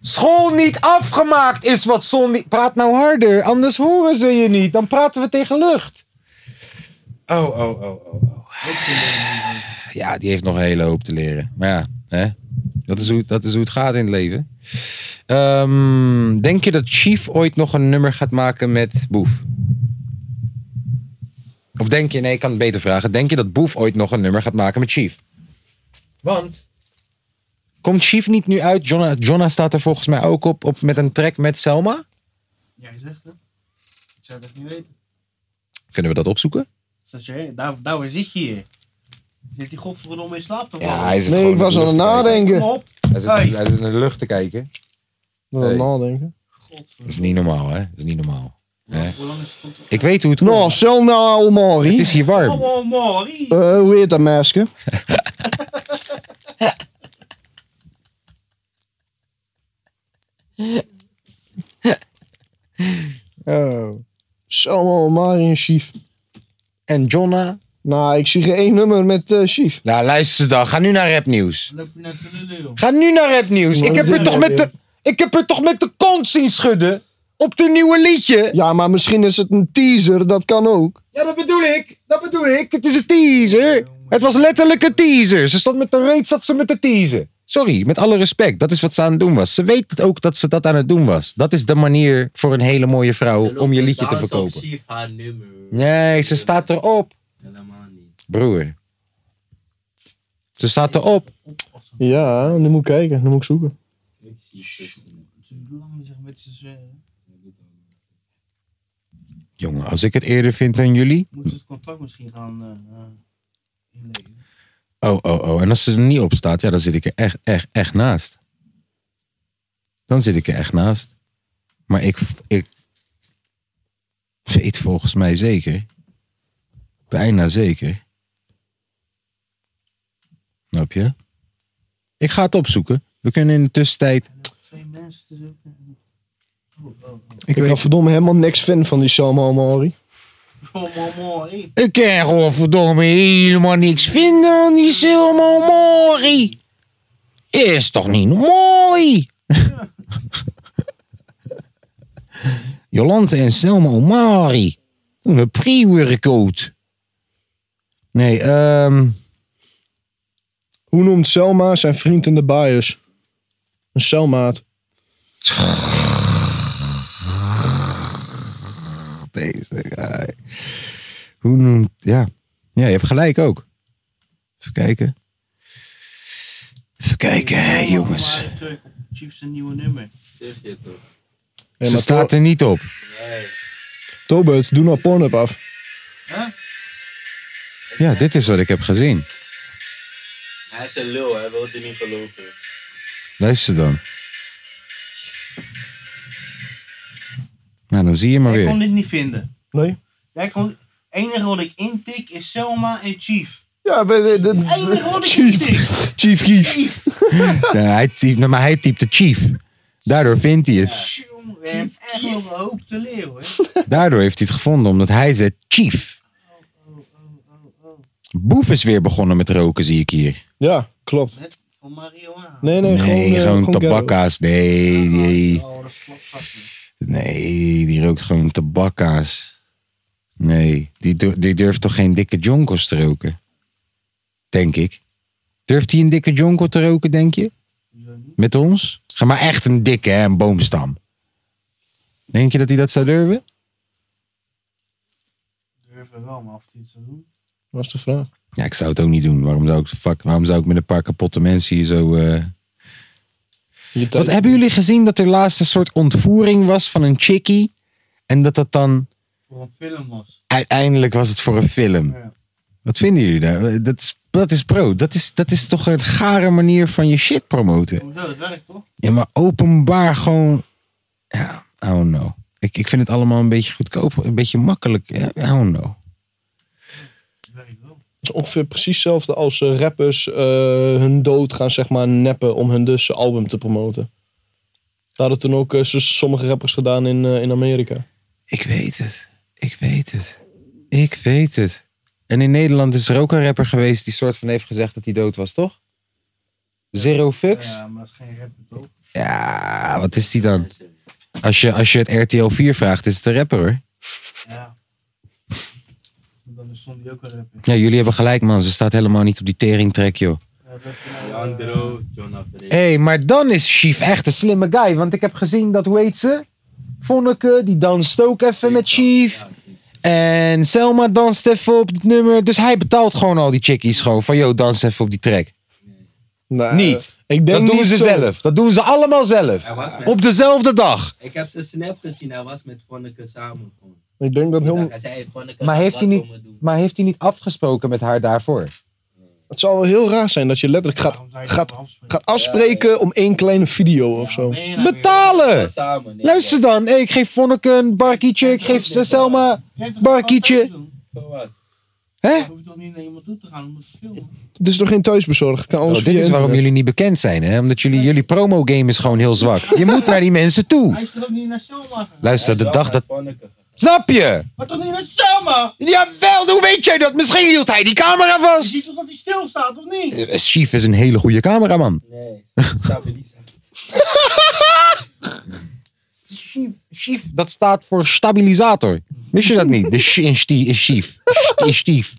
Speaker 1: School niet afgemaakt is wat zon niet... Praat nou harder, anders horen ze je niet. Dan praten we tegen lucht. Oh, oh, oh, oh, oh. Ja, die heeft nog een hele hoop te leren. Maar ja, hè? Dat, is hoe, dat is hoe het gaat in het leven. Ehm, denk je dat Chief ooit nog een nummer gaat maken met Boef? Of denk je, nee, ik kan het beter vragen. Denk je dat Boef ooit nog een nummer gaat maken met Chief? Want? Komt Chief niet nu uit? Jonna, Jonna staat er volgens mij ook op, op met een track met Selma.
Speaker 2: Jij zegt het. Ik zou dat niet weten.
Speaker 1: Kunnen we dat opzoeken?
Speaker 2: Stagiair, daar, daarvoor zit je hier. Zit die godverdomme in slaap toch?
Speaker 1: Ja, hij zit
Speaker 3: Nee,
Speaker 1: gewoon
Speaker 3: ik was
Speaker 1: in de
Speaker 3: aan het
Speaker 1: lucht te kijken.
Speaker 3: nadenken.
Speaker 2: Kom op.
Speaker 1: Hij zit,
Speaker 2: Hey.
Speaker 1: hij zit naar de lucht te kijken.
Speaker 3: Aan het
Speaker 1: Hey.
Speaker 3: nadenken.
Speaker 1: Dat is niet normaal, hè? Dat is niet normaal. Hè?
Speaker 2: Hoe lang is het goed?
Speaker 1: Ik weet hoe het komt.
Speaker 3: Nou, stel nou, Mari.
Speaker 1: het is hier warm.
Speaker 2: Oh, Mori.
Speaker 3: Eh, hoe heet dat meisje? oh. Samuel, Mari en Chief.
Speaker 1: En Jonna?
Speaker 3: Nou, ik zie geen één nummer met eh Chief.
Speaker 1: Nou, luister dan. Ga nu naar rapnieuws.
Speaker 2: Dan loop je net te lullen, joh.
Speaker 1: Ga nu naar rapnieuws. Ik heb
Speaker 3: dit
Speaker 1: er toch
Speaker 3: nou
Speaker 1: met de, ik heb er toch met de kont zien schudden. Op de nieuwe liedje.
Speaker 3: Ja, maar misschien is het een teaser, dat kan ook.
Speaker 1: Ja, dat bedoel ik. Dat bedoel ik. Het is een teaser. Het was letterlijk een teaser. Ze stond met de reet, zat ze met de teaser. Sorry, met alle respect. Dat is wat ze aan het doen was. Ze weet het ook dat ze dat aan het doen was. Dat is de manier voor een hele mooie vrouw om je liedje te verkopen.
Speaker 8: Chief haar nummer.
Speaker 1: Nee, ze staat erop.
Speaker 8: Helemaal niet.
Speaker 1: Broer. Ze staat erop.
Speaker 3: Ja, nu moet ik kijken, nu moet ik zoeken.
Speaker 8: Ik zie het
Speaker 2: Hoe lang zeg met z'n zweren?
Speaker 1: Jongen, als ik het eerder vind dan jullie.
Speaker 2: Moeten we het contact misschien gaan eh, eh, inleveren?
Speaker 1: Oh, oh, oh. En als ze er niet op staat, ja, dan zit ik er echt, echt, echt naast. Dan zit ik er echt naast. Maar ik, ik weet volgens mij zeker. Bijna zeker. Snap je? Ik ga het opzoeken. We kunnen in de tussentijd.
Speaker 2: Twee mensen te zoeken. Oh, oh, oh.
Speaker 1: Ik
Speaker 3: Ik ben
Speaker 1: weet
Speaker 3: verdomme helemaal niks fan van die Samuel, Mari.
Speaker 2: Oh, mooi, mooi.
Speaker 1: Ik kan gewoon verdomme helemaal niks vinden aan die Silmo Mori. Is toch niet mooi? Jolante en Selma Omari. Een pre-workout. Nee, ehm...
Speaker 3: Hoe noemt Selma zijn vriend in de bias? Een celmaat.
Speaker 1: Deze guy. Hoe noemt... Ja. ja, je hebt gelijk ook. Even kijken. Even kijken, hè, jongens.
Speaker 2: Maar druk op Chiefs een nieuwe nummer.
Speaker 8: Zeg je toch?
Speaker 3: Ja,
Speaker 1: Ze
Speaker 3: maar
Speaker 1: staat
Speaker 3: To-
Speaker 1: er niet op.
Speaker 8: Nee.
Speaker 3: Tobert, doe nou Pornhub af.
Speaker 1: Ja, dit is wat ik heb gezien.
Speaker 8: Hij is een lul, hij wil het niet geloven.
Speaker 1: Luister dan. Nou, dan zie je maar
Speaker 2: Jij kon
Speaker 1: weer.
Speaker 2: dit niet vinden.
Speaker 3: Nee?
Speaker 2: Jij kon... enige wat ik intik is Selma en Chief.
Speaker 3: Ja, we- we- de-
Speaker 2: Het enige wat ik
Speaker 3: Chief.
Speaker 2: intik.
Speaker 3: Chief Kief.
Speaker 1: Ja, hij typt, nou, maar hij typt de chief. Daardoor vindt hij het.
Speaker 2: Tjonge, Je hebt echt nog een hoop te leren hoor.
Speaker 1: Daardoor heeft hij het gevonden, omdat hij zei chief. Boef is weer begonnen met roken, zie ik hier.
Speaker 3: Ja, klopt.
Speaker 2: Net Van marihuana.
Speaker 3: Nee, nee, gewoon,
Speaker 1: Nee,
Speaker 3: eh,
Speaker 1: gewoon
Speaker 3: ghetto.
Speaker 1: tabakka's. Nee, nee.
Speaker 2: Oh, dat slaat vast niet.
Speaker 1: Nee, die rookt gewoon tabakka's. Nee, die, dur- die durft toch geen dikke jonkels te roken? Denk ik. Durft hij een dikke jonkel te roken, denk je? Met ons? Ga maar echt een dikke, hè, een boomstam. Denk je dat hij dat zou durven?
Speaker 2: Durven wel, maar of die het zou doen.
Speaker 3: Was de vraag.
Speaker 1: Ja, ik zou het ook niet doen. Waarom zou ik, fuck, waarom zou ik met een paar kapotte mensen hier zo... eh,
Speaker 3: Je tijd-
Speaker 1: Wat hebben jullie gezien dat er laatst een soort ontvoering was van een chickie? En dat dat dan...
Speaker 2: Voor een film was.
Speaker 1: uiteindelijk was het voor een film.
Speaker 2: Ja.
Speaker 1: Wat vinden jullie daar? Dat is, dat is bro. Dat is, dat is toch een gare manier van je shit promoten.
Speaker 8: Hoezo, dat werkt toch?
Speaker 1: Ja, maar openbaar gewoon. Ja, I don't know. Ik, ik vind het allemaal een beetje goedkoop, een beetje makkelijk. Ja, I don't know.
Speaker 3: Het is ongeveer precies hetzelfde als eh, rappers eh, hun dood gaan zeg maar, neppen om hun dus album te promoten. Dat hadden toen ook eh, s- sommige rappers gedaan in, eh, in Amerika.
Speaker 1: Ik weet het. Ik weet het. Ik weet het. En in Nederland is er ook een rapper geweest die soort van heeft gezegd dat hij dood was, toch? Zero fucks?
Speaker 2: Ja, maar dat is geen rapper toch?
Speaker 1: Ja, wat is die dan? Als je, als je het RTL 4 vraagt, is het een rapper hoor.
Speaker 2: Dan is Sonny ook een rapper.
Speaker 1: Ja, jullie hebben gelijk man, ze staat helemaal niet op die teringtrek joh.
Speaker 8: Leandro, Jonathan.
Speaker 1: Hé, hey, maar dan is Chief echt een slimme guy. Want ik heb gezien dat, hoe heet ze? Vonneke, die danst ook even met Chief. En Selma danst even op het nummer. Dus hij betaalt gewoon al die chickies gewoon. Van, yo, dans even op die track. niet.
Speaker 3: Ik
Speaker 1: dat doen
Speaker 8: niet
Speaker 1: ze
Speaker 8: zo.
Speaker 1: zelf. Dat doen ze allemaal zelf.
Speaker 8: Hij was met-
Speaker 1: Op dezelfde dag.
Speaker 8: Ik heb zijn snap gezien, hij was met Vonneke samen. gewoon.
Speaker 3: Ik denk dat heel...
Speaker 8: Hij zei, hey, Vonneke,
Speaker 1: Maar
Speaker 8: laat
Speaker 1: heeft, hij
Speaker 8: wat
Speaker 1: niet,
Speaker 8: voor me doen.
Speaker 1: maar heeft hij niet afgesproken met haar daarvoor?
Speaker 3: Het zou wel heel raar zijn dat je letterlijk gaat, gaat, gaat afspreken om één kleine video of zo.
Speaker 1: Betalen! Luister dan. Hey, ik geef Vonneke een barkietje. Ik geef Selma een barkietje. Hè?
Speaker 2: Je hoeft toch niet naar iemand toe te gaan om het te filmen?
Speaker 3: Het is toch geen thuisbezorgd? Het Kan alles
Speaker 1: Oh, dit
Speaker 3: via
Speaker 1: is waarom
Speaker 3: internet.
Speaker 1: jullie niet bekend zijn, hè? Omdat jullie, jullie promo-game is gewoon heel zwak. Je moet naar die mensen toe.
Speaker 2: Hij is toch ook niet naar Selma gegaan?
Speaker 1: Luister, de dag dat... Snap je?
Speaker 2: Maar toch niet naar Selma?
Speaker 1: Jawel, hoe weet jij dat? Misschien hield hij die camera
Speaker 2: Je ziet
Speaker 1: vast.
Speaker 2: toch dat hij stilstaat, of niet?
Speaker 1: Eh, Chief is een hele goede cameraman. Chief, chief, dat staat voor stabilisator. Wist je dat niet? De shi- is die- is chief. Sh- is chief.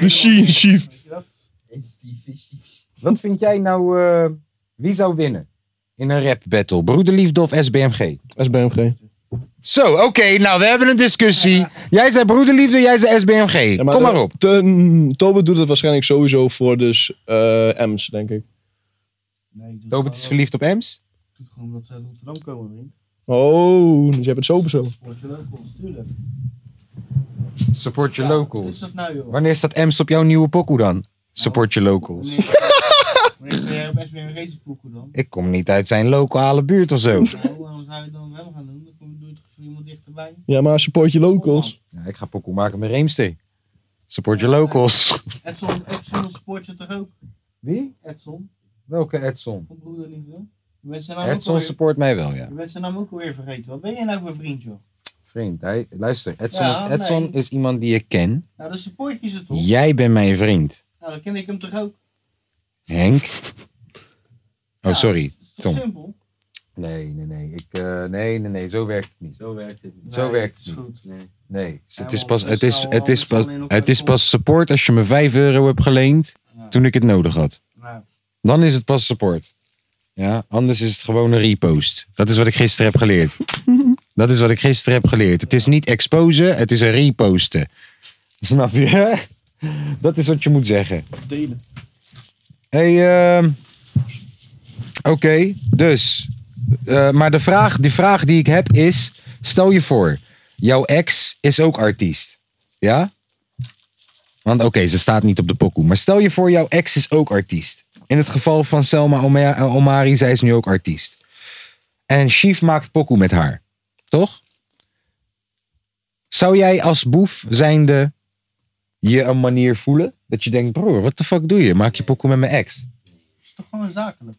Speaker 1: De shi- is chief. Wat vind jij nou... eh, wie zou winnen? In een rap battle. Broederliefde of SBMG?
Speaker 3: SBMG.
Speaker 1: Zo, oké, nou we hebben een discussie. Jij zei broederliefde, jij zei SBMG.
Speaker 3: Ja,
Speaker 1: Kom
Speaker 3: de-
Speaker 1: maar op.
Speaker 3: Ten, Tobe doet het waarschijnlijk sowieso voor dus eh, M's, denk ik.
Speaker 1: Robert is verliefd op Ems?
Speaker 2: Doet gewoon dat ze uit Rotterdam komen, vriend.
Speaker 3: Oh, dus je hebt het sowieso.
Speaker 2: Word je local, tuurlijk.
Speaker 1: Support your
Speaker 2: Wat is
Speaker 1: locals.
Speaker 2: dat nou, joh?
Speaker 1: Wanneer staat Ems op jouw nieuwe pokoe dan? Support your locals.
Speaker 2: Maar is er best weer een racepoekoe dan?
Speaker 1: Ik kom niet uit zijn lokale buurt of zo.
Speaker 2: Nou, waarom zou je het dan wel gaan doen? Dan kom je doe je toch voor iemand dichterbij?
Speaker 3: Ja, maar support je locals.
Speaker 1: Ja, ik ga pokoe maken met Reemstee. Support your locals.
Speaker 2: Edson, Edson support je toch ook?
Speaker 1: Wie?
Speaker 2: Edson,
Speaker 1: Welke Edson?
Speaker 2: van broederliefde. Je bent zijn naam ook
Speaker 1: Edson
Speaker 2: alweer,
Speaker 1: support mij wel, ja.
Speaker 2: je bent zijn naam ook alweer vergeten. Wat ben jij nou voor vriend, joh?
Speaker 1: Vriend, hij, luister. Edson,
Speaker 2: Ja,
Speaker 1: is, Edson
Speaker 2: nee.
Speaker 1: is iemand die ik ken.
Speaker 2: Nou, dan support je ze toch?
Speaker 1: Jij bent mijn vriend.
Speaker 2: Nou, dan ken ik hem toch ook?
Speaker 1: Oh, Henk? Oh, sorry.
Speaker 2: Dat Nou, is toch
Speaker 1: Tom.
Speaker 2: simpel?
Speaker 1: Nee, nee, nee. Ik, eh, nee, nee, nee. Zo werkt het niet.
Speaker 8: Zo werkt het niet.
Speaker 1: Zo
Speaker 2: Nee,
Speaker 1: werkt
Speaker 2: het
Speaker 1: het niet.
Speaker 2: is goed.
Speaker 8: Nee.
Speaker 1: Nee, dus het
Speaker 2: Ja,
Speaker 1: is
Speaker 2: want
Speaker 1: pas,
Speaker 2: het
Speaker 1: het
Speaker 2: is
Speaker 1: is,
Speaker 2: nou
Speaker 1: het is
Speaker 2: wel
Speaker 1: pas,
Speaker 2: alleen op
Speaker 1: het is
Speaker 2: kantoor.
Speaker 1: pas support als je me 5 euro hebt geleend toen ik het nodig had.
Speaker 2: Nou,
Speaker 1: Dan is het pas support. Ja, anders is het gewoon een repost. Dat is wat ik gisteren heb geleerd. Dat is wat ik gisteren heb geleerd. Het is niet exposen, het is een reposten. Snap je? hè? Dat is wat je moet zeggen.
Speaker 2: delen.
Speaker 1: Hey, ehm, oké, dus. eh, maar de vraag, die vraag die ik heb is: stel je voor, jouw ex is ook artiest. Ja? Want oké, ze staat niet op de pokoe. Maar stel je voor, jouw ex is ook artiest. In het geval van Selma Oma- eh, Omari, zij is nu ook artiest. En Chief maakt pokoe met haar. Toch? Zou jij als boef zijnde je een manier voelen? Dat je denkt, broer, wat de fuck doe je? Maak je pokoe met mijn ex?
Speaker 2: Het is toch gewoon zakelijk?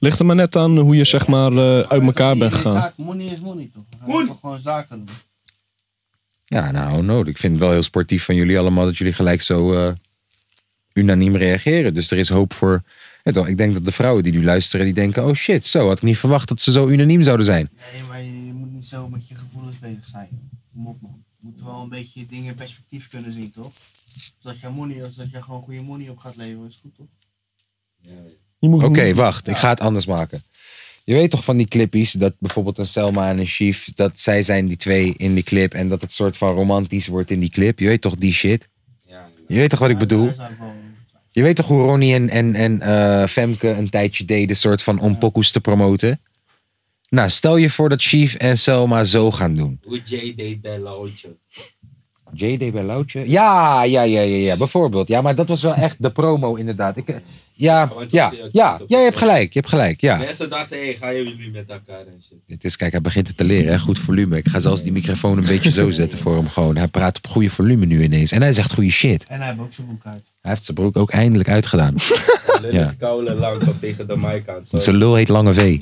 Speaker 3: Ligt er maar net aan hoe je zeg maar eh, uit elkaar bent
Speaker 2: Nee,
Speaker 3: gegaan.
Speaker 2: zaak- Money is money, toch? We gaan toch gewoon zakelijk. doen.
Speaker 1: Ja, nou, no. Ik vind het wel heel sportief van jullie allemaal dat jullie gelijk zo eh, unaniem reageren. Dus er is hoop voor. Ja, toch, ik denk dat de vrouwen die nu luisteren, die denken: oh shit, zo had ik niet verwacht dat ze zo unaniem zouden zijn.
Speaker 2: Nee, maar je moet niet zo met je gevoelens bezig zijn. Kom op, man. Je moet wel een beetje dingen in perspectief kunnen zien, toch? Zodat je money, of dat je gewoon goede money op gaat leveren, is goed, toch?
Speaker 1: Oké, wacht, ik ga het anders maken. Je weet toch van die clippies dat bijvoorbeeld een Selma en een Chief, dat zij zijn die twee in die clip en dat het soort van romantisch wordt in die clip. Je weet toch die shit? Je weet toch wat ik bedoel?
Speaker 2: Daar zou ik wel...
Speaker 1: Je weet toch hoe Ronnie en, en, en eh, Femke een tijdje deden, soort van om pokoes te promoten? Nou, stel je voor dat Chief en Selma zo gaan doen.
Speaker 8: Hoe Jay deed bij Lautje.
Speaker 1: JD bij Loutje? Ja, ja, ja, ja, ja, bijvoorbeeld. Ja, maar dat was wel echt de promo inderdaad. Ik, eh, ja, ja, ja, ja, je hebt gelijk, je hebt gelijk, ja.
Speaker 8: Mensen dachten, hé, hey, gaan jullie met elkaar en shit.
Speaker 1: Het is, kijk, hij begint het te leren, hè? goed volume. Ik ga zelfs die microfoon een beetje zo zetten voor hem gewoon. Hij praat op goede volume nu ineens. En hij zegt goede shit.
Speaker 2: En hij heeft ook zijn boek uit.
Speaker 1: Hij heeft zijn broek ook eindelijk uitgedaan.
Speaker 8: Lul
Speaker 1: Ja.
Speaker 8: is koude lang tot tegen de mic aan. sorry.
Speaker 1: Zijn lul heet Lange V.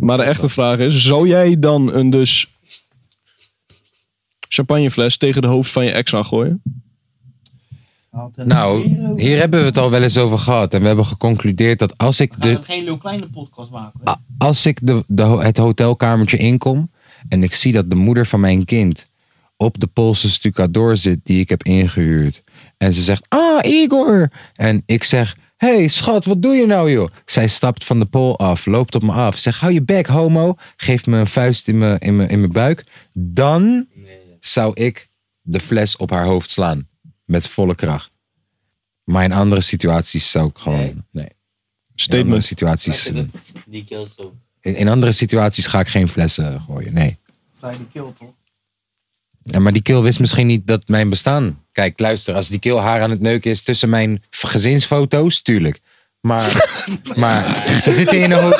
Speaker 3: Maar de echte vraag is, zou jij dan een dus champagnefles tegen de hoofd van je ex aan gooien?
Speaker 1: Nou, hier hebben we het al wel eens over gehad. En we hebben geconcludeerd dat als ik de,
Speaker 2: Gaat geen Leeuw Kleine podcast maken?
Speaker 1: a- als ik de, de, ho- het hotelkamertje inkom en ik zie dat de moeder van mijn kind op de Poolse stucador zit die ik heb ingehuurd. En ze zegt, ah Igor. En ik zeg, hey schat, wat doe je nou joh? Zij stapt van de pool af, loopt op me af. Zegt, hou je bek homo. Geeft me een vuist in mijn in mijn- in mijn buik. Dan zou ik de fles op haar hoofd slaan. Met volle kracht. Maar in andere situaties zou ik gewoon... Nee. In andere situaties...
Speaker 8: Die kill zo.
Speaker 1: In, in andere situaties ga ik geen flessen gooien, nee.
Speaker 2: Sta je die kill toch?
Speaker 1: Ja, maar die kill wist misschien niet dat mijn bestaan. Kijk, luister, als die kill haar aan het neuken is tussen mijn v- gezinsfoto's, tuurlijk. Maar, maar ze zitten in een. ho-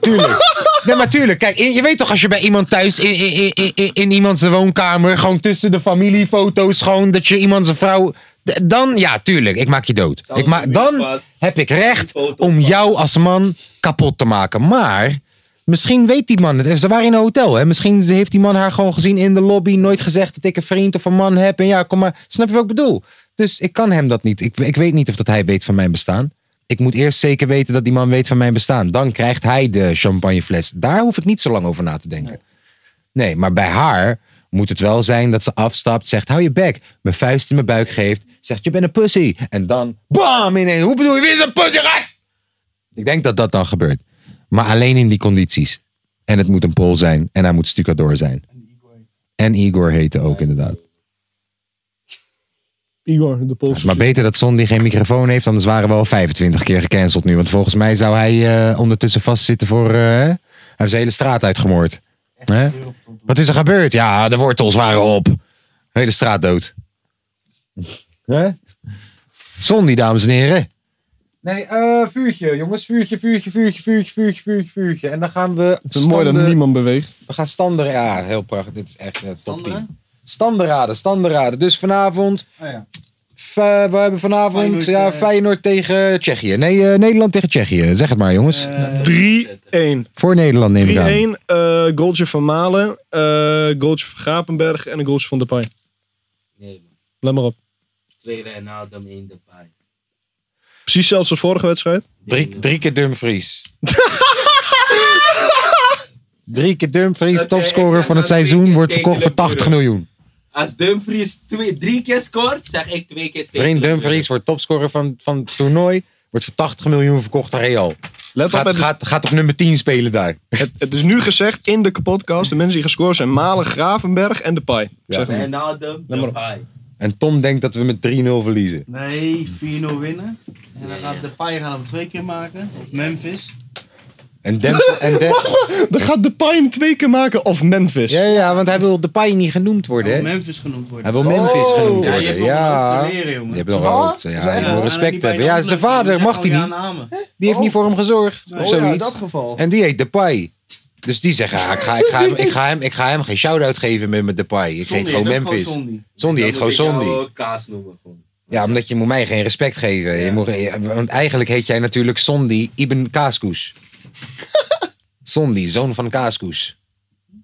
Speaker 1: Tuurlijk. Nee, maar tuurlijk. Kijk, je je weet toch als je bij iemand thuis in, in, in- in, in, in iemands woonkamer, gewoon tussen de familiefoto's, gewoon dat je iemand zijn vrouw. D- Dan, ja, tuurlijk, ik maak je dood. Ik ma dan heb ik recht om jou als man kapot te maken. Maar misschien weet die man het. Ze waren in een hotel, hè? Misschien heeft die man haar gewoon gezien in de lobby, nooit gezegd dat ik een vriend of een man heb. En ja, kom maar. Snap je wat ik bedoel? Dus ik kan hem dat niet. Ik, ik weet niet of dat hij weet van mijn bestaan. Ik moet eerst zeker weten dat die man weet van mijn bestaan. Dan krijgt hij de champagnefles. Daar hoef ik niet zo lang over na te denken. Nee, maar bij haar moet het wel zijn dat ze afstapt, zegt hou je bek, mijn vuist in mijn buik geeft, zegt je bent een pussy. En dan bam ineens, hoe bedoel je, wie is een pussy? Gek! Ik denk dat dat dan gebeurt. Maar alleen in die condities. En het moet een Pool zijn en hij moet stucador zijn. En Igor heette ook inderdaad.
Speaker 3: Igor, de Poolse.
Speaker 1: Maar beter dat Sondi geen microfoon heeft, anders waren we al 25 keer gecanceld nu. Want volgens mij zou hij eh, ondertussen vastzitten voor. eh, hij heeft de hele straat uitgemoord. Hè? Wat is er gebeurd? Ja, de wortels waren op. Hele straat dood. Hè? Sondi, dames en heren. Nee, eh, vuurtje, jongens. Vuurtje, vuurtje, vuurtje, vuurtje, vuurtje, vuurtje, vuurtje. En dan gaan we.
Speaker 3: Het is mooi dat niemand beweegt.
Speaker 1: We gaan standaard. Ja, heel prachtig. Dit is echt eh, top 10. Standaarden, standaarden. Dus vanavond. v- we hebben vanavond
Speaker 3: Oh, Feyenoord,
Speaker 1: ja,
Speaker 3: eh,
Speaker 1: Feyenoord tegen Tsjechië. Nee, eh, Nederland tegen Tsjechië. Zeg het maar, jongens.
Speaker 3: Eh, 3-1.
Speaker 1: Voor Nederland
Speaker 3: 3-1,
Speaker 1: neem ik aan.
Speaker 3: eh, goaltje van Malen, eh goaltje van Gapenberg en een goaltje van Depay.
Speaker 8: Nee, man.
Speaker 3: Let maar op.
Speaker 8: Tweede en haal hem in de paai.
Speaker 3: Precies zelfs als vorige wedstrijd.
Speaker 1: Drie, drie keer Dumfries. drie keer Dumfries, topscorer van het seizoen, wordt verkocht voor 80 miljoen.
Speaker 8: Als Dumfries twee, drie keer scoort, zeg ik twee keer steken.
Speaker 1: Vriend Dumfries wordt topscorer van, van het toernooi, wordt voor 80 miljoen verkocht aan Real.
Speaker 3: Let op
Speaker 1: Gaat,
Speaker 3: met de-
Speaker 1: gaat, gaat op nummer 10 spelen daar.
Speaker 3: Het, het is nu gezegd in de podcast, de mensen die gescoord zijn, Malen, Gravenberg en Depay. Ik
Speaker 1: Ja.
Speaker 3: Zeg maar.
Speaker 8: Wijnaldum,
Speaker 3: Let maar op.
Speaker 8: de paai.
Speaker 1: En Tom denkt dat we met 3-0 verliezen.
Speaker 2: Nee, 4-0 winnen. En dan gaat de paai gaan hem twee keer maken. Of Memphis.
Speaker 1: En Dem- en Dem-
Speaker 3: Dan gaat Depay hem twee keer maken of Memphis.
Speaker 1: ja, ja, want hij wil de Pai niet genoemd worden. hè?
Speaker 2: Memphis genoemd worden.
Speaker 1: Hij wil Memphis
Speaker 3: Oh.
Speaker 1: genoemd
Speaker 2: Oh, Ja,
Speaker 1: worden.
Speaker 2: je hebt nog
Speaker 1: Ja,
Speaker 2: wel te leren, jongen.
Speaker 1: Je hebt nog wel
Speaker 3: Wat?
Speaker 1: ook- ja, je
Speaker 3: Ja,
Speaker 1: moet
Speaker 3: en
Speaker 1: respect hebben. Ja, zijn vader mag die niet. Die heeft niet voor hem gezorgd. Of
Speaker 3: Oh ja, in
Speaker 1: zoiets.
Speaker 3: dat geval.
Speaker 1: En die heet Depay. Dus die zeggen, ah, ik, ga, ik, ga hem, ik, ga hem, ik ga hem geen shout-out geven met mijn Depay. Ik heet gewoon Memphis. Zondi heet
Speaker 8: Dan
Speaker 1: gewoon
Speaker 8: moet ik jou
Speaker 1: Zondi.
Speaker 8: ook Kaas noemen gewoon.
Speaker 1: Ja, omdat je moet mij geen respect geven. Je moet, want eigenlijk heet jij natuurlijk Sondi Ibn Kaaskoes. Sondi, zoon van Kaaskoes.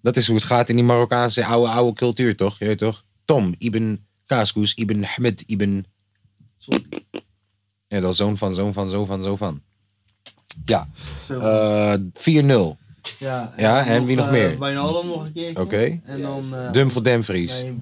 Speaker 1: Dat is hoe het gaat in die Marokkaanse oude, oude cultuur, toch? Je weet toch? Tom Ibn Kaaskoes, Ibn Ahmed, Ibn... Ja, dat is zoon van, zoon van, zoon van, zoon van. Ja. Eh, 4-0.
Speaker 2: Ja,
Speaker 1: Ja, en wie nog meer?
Speaker 2: Wijnaldum nog eh, een keertje.
Speaker 1: Oké. Dus.
Speaker 2: En dan... eh,
Speaker 1: Dumfel Demfries.
Speaker 2: Nee,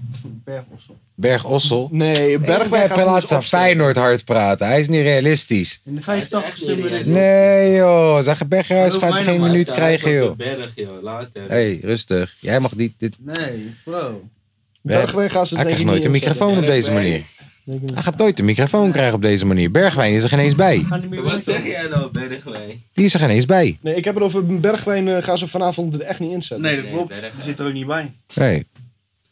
Speaker 2: Bergossel.
Speaker 1: Berg Ossel.
Speaker 3: Nee,
Speaker 1: Bergwijn
Speaker 3: Bergwijn gaat
Speaker 1: laat
Speaker 3: ze
Speaker 1: zijn Feyenoord hard praten. Hij is niet realistisch.
Speaker 2: In de 85ste minuut.
Speaker 1: Nee joh, zeg Berghuis
Speaker 2: Heel
Speaker 1: gaat
Speaker 2: fijn
Speaker 1: geen
Speaker 2: om uit
Speaker 1: minuut
Speaker 8: Ja,
Speaker 1: krijgen
Speaker 8: hij is op
Speaker 1: joh.
Speaker 8: de berg, joh. Laat hem.
Speaker 1: Hé, hey, rustig. Jij mag niet. Dit...
Speaker 2: Nee, bro.
Speaker 1: Hij
Speaker 3: Bergwijn gaat ze
Speaker 1: krijgt nooit een microfoon op deze manier. Hij gaat nooit de microfoon krijgen op deze manier. Bergwijn is er geen eens bij.
Speaker 8: Wat zeg jij nou, Bergwijn?
Speaker 1: Die is er geen eens bij.
Speaker 3: Nee, ik heb het over Bergwijn eh, gaan ze vanavond er echt niet inzetten.
Speaker 2: Nee, dat klopt. Die zit er ook niet bij.
Speaker 1: Nee.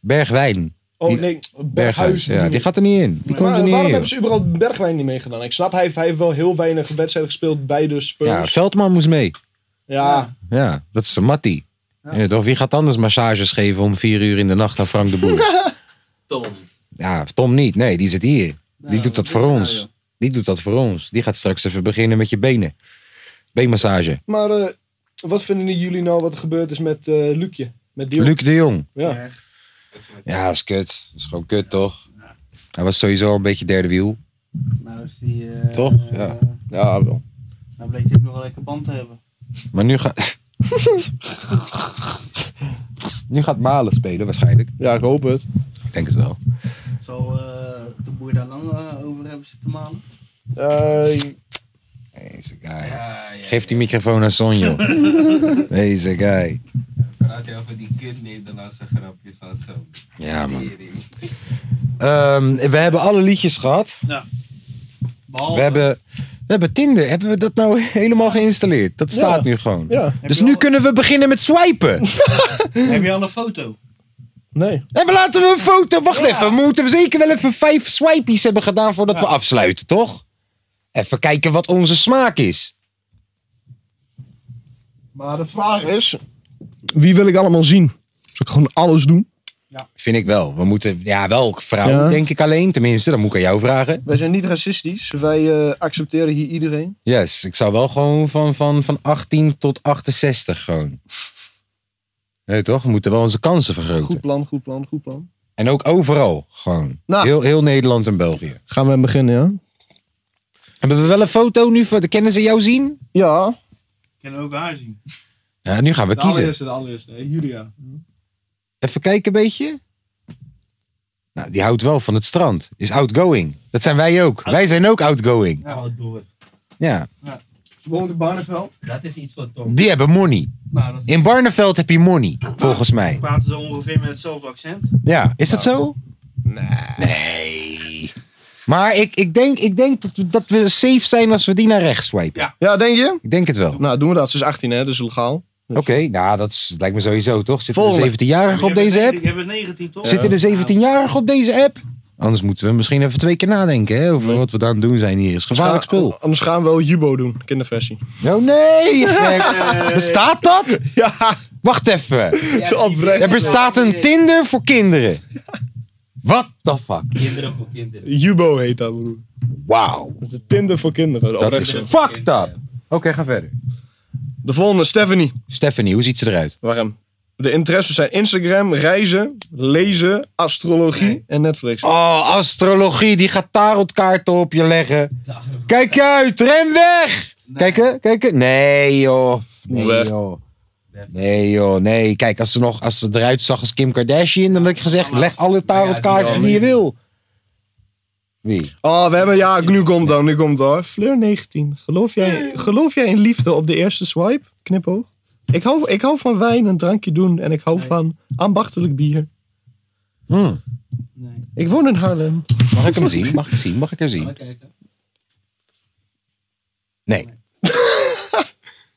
Speaker 1: Bergwijn.
Speaker 3: Oh
Speaker 1: Die-
Speaker 3: nee, Berghuis.
Speaker 1: Ja, die gaat er niet in. Die komt er
Speaker 3: maar waarom
Speaker 1: niet in.
Speaker 3: hebben ze überhaupt Bergwijn niet meegedaan? Ik snap, hij heeft, hij heeft wel heel weinig wedstrijden gespeeld bij de
Speaker 1: Ja,
Speaker 3: Spurs.
Speaker 1: Veldman moest mee.
Speaker 3: Ja,
Speaker 1: Ja, dat is de Mattie. Ja, toch, wie gaat anders massages geven om vier uur in de nacht aan Frank de Boer?
Speaker 8: Tom.
Speaker 1: Ja, Tom niet. Nee, die zit hier. Die doet dat voor ons. Die doet dat voor ons. Die gaat straks even beginnen met je benen. Beenmassage.
Speaker 3: maar eh, wat vinden jullie nou wat er gebeurd is met eh Luukje? Met Dion?
Speaker 1: Luc de Jong.
Speaker 3: Ja.
Speaker 1: Ja, is kut. is gewoon kut, toch? Hij was sowieso al een beetje derde wiel.
Speaker 2: Nou is die... eh,
Speaker 1: Toch? Ja. Ja, wel.
Speaker 2: Nou bleek hij ook nog wel lekker band te hebben.
Speaker 1: Maar nu gaat... nu gaat Malen spelen waarschijnlijk.
Speaker 3: Ja, ik hoop het.
Speaker 1: Ik denk het wel.
Speaker 2: Zal eh, de boer daar lang eh, over hebben zitten malen?
Speaker 3: Eh,
Speaker 1: Deze guy. Geef die microfoon aan Sonjo. Deze guy.
Speaker 8: Praat je over die kut Nederlandse grapjes van Tom?
Speaker 1: Ja, man. Ehm, we hebben alle liedjes gehad.
Speaker 2: Ja.
Speaker 1: We hebben, we hebben Tinder. Hebben we dat nou helemaal geïnstalleerd? Dat staat nu gewoon.
Speaker 3: Ja.
Speaker 1: Dus nu kunnen we beginnen met swipen.
Speaker 2: Heb je al een foto?
Speaker 3: Nee.
Speaker 1: En we laten we een foto. Wacht even. We moeten zeker wel even vijf swipies hebben gedaan voordat we afsluiten, toch? Even kijken wat onze smaak is.
Speaker 3: Maar de vraag is, wie wil ik allemaal zien? Zal ik gewoon alles doen?
Speaker 1: Vind ik wel. We moeten, ja, wel vrouw,
Speaker 3: Ja.
Speaker 1: denk ik alleen. Tenminste, dat moet ik aan jou vragen.
Speaker 3: Wij zijn niet racistisch. Wij eh, accepteren hier iedereen.
Speaker 1: Yes, ik zou wel gewoon van, van, van 18 tot 68 gewoon. Nee, toch? We moeten wel onze kansen vergroten.
Speaker 3: Goed plan, goed plan, goed plan.
Speaker 1: En ook overal, gewoon.
Speaker 3: Nou.
Speaker 1: Heel, heel Nederland en België.
Speaker 3: Gaan we aan beginnen, ja?
Speaker 1: Hebben we wel een foto nu? Voor, kunnen ze jou zien?
Speaker 3: Ja.
Speaker 2: Kunnen we ook haar zien?
Speaker 1: Ja, nu gaan we
Speaker 2: Nou,
Speaker 1: kiezen.
Speaker 8: de allereerste, Julia.
Speaker 1: Even kijken een beetje. Nou, die houdt wel van het strand. Is outgoing. Dat zijn wij ook. Wij zijn ook outgoing.
Speaker 8: Nou, door.
Speaker 1: Ja.
Speaker 2: Woont in Barneveld?
Speaker 8: Dat is iets voor Tom.
Speaker 1: Die hebben money.
Speaker 2: Nou, dat
Speaker 1: In Barneveld heb je money, volgens mij.
Speaker 2: praten ze ongeveer met hetzelfde accent.
Speaker 1: Ja, is dat zo? Nee. Nee. Maar ik, ik denk, ik denk dat, we, dat we safe zijn als we die naar rechts swipen.
Speaker 2: Ja.
Speaker 3: Ja, denk je?
Speaker 1: Ik denk het wel.
Speaker 3: Nou, doen we dat. Ze is 18, hè? Dus legaal.
Speaker 1: Oké, nou dat is- lijkt me sowieso toch? Zit
Speaker 3: Volgende.
Speaker 1: een 17-jarige op
Speaker 2: Je hebt
Speaker 1: deze app?
Speaker 2: 19 Je hebt 19 toch?
Speaker 1: Zit er een 17-jarige op deze app? Anders moeten we misschien even twee keer nadenken hè, over wat we daar aan het doen zijn hier. Is gevaarlijk spul.
Speaker 3: Anders gaan we wel Jubo doen, kinderversie.
Speaker 1: Oh nee! je gek. Bestaat dat?
Speaker 3: Ja,
Speaker 1: Wacht even.
Speaker 3: zo oprecht.
Speaker 1: Er bestaat een Tinder voor kinderen. What the fuck?
Speaker 8: Kinderen voor kinderen.
Speaker 3: Jubo heet dat, broer.
Speaker 1: Wauw.
Speaker 3: Dat is de Tinder voor kinderen.
Speaker 1: Oh, Dat
Speaker 3: Oprecht
Speaker 1: is
Speaker 3: zo.
Speaker 1: fucked up. Oké, ga verder.
Speaker 3: De volgende, Stephanie.
Speaker 1: Stephanie, hoe ziet ze eruit?
Speaker 3: Waarom? De interesses zijn Instagram, reizen, lezen, astrologie en Netflix.
Speaker 1: Oh, astrologie. Die gaat tarotkaarten op je leggen. Kijk je uit. Ren weg. Kijken, kijken. Nee joh. Nee
Speaker 3: Weg.
Speaker 1: joh. Nee joh, nee. Kijk, als ze, nog, als ze eruit zag als Kim Kardashian, dan had ik gezegd, leg alle tarotkaarten die je wil. Wie?
Speaker 3: Oh, we hebben... Ja, nu komt dan, nu komt dan. Fleur 19. Geloof jij, geloof jij in liefde op de eerste swipe? Knipoog. Ik hou, ik hou van wijn, een drankje doen en ik hou van ambachtelijk bier.
Speaker 1: Hmm.
Speaker 3: Ik woon in Haarlem.
Speaker 1: Mag ik hem zien? Mag ik zien? Mag ik haar zien?
Speaker 8: kijken.
Speaker 1: Nee.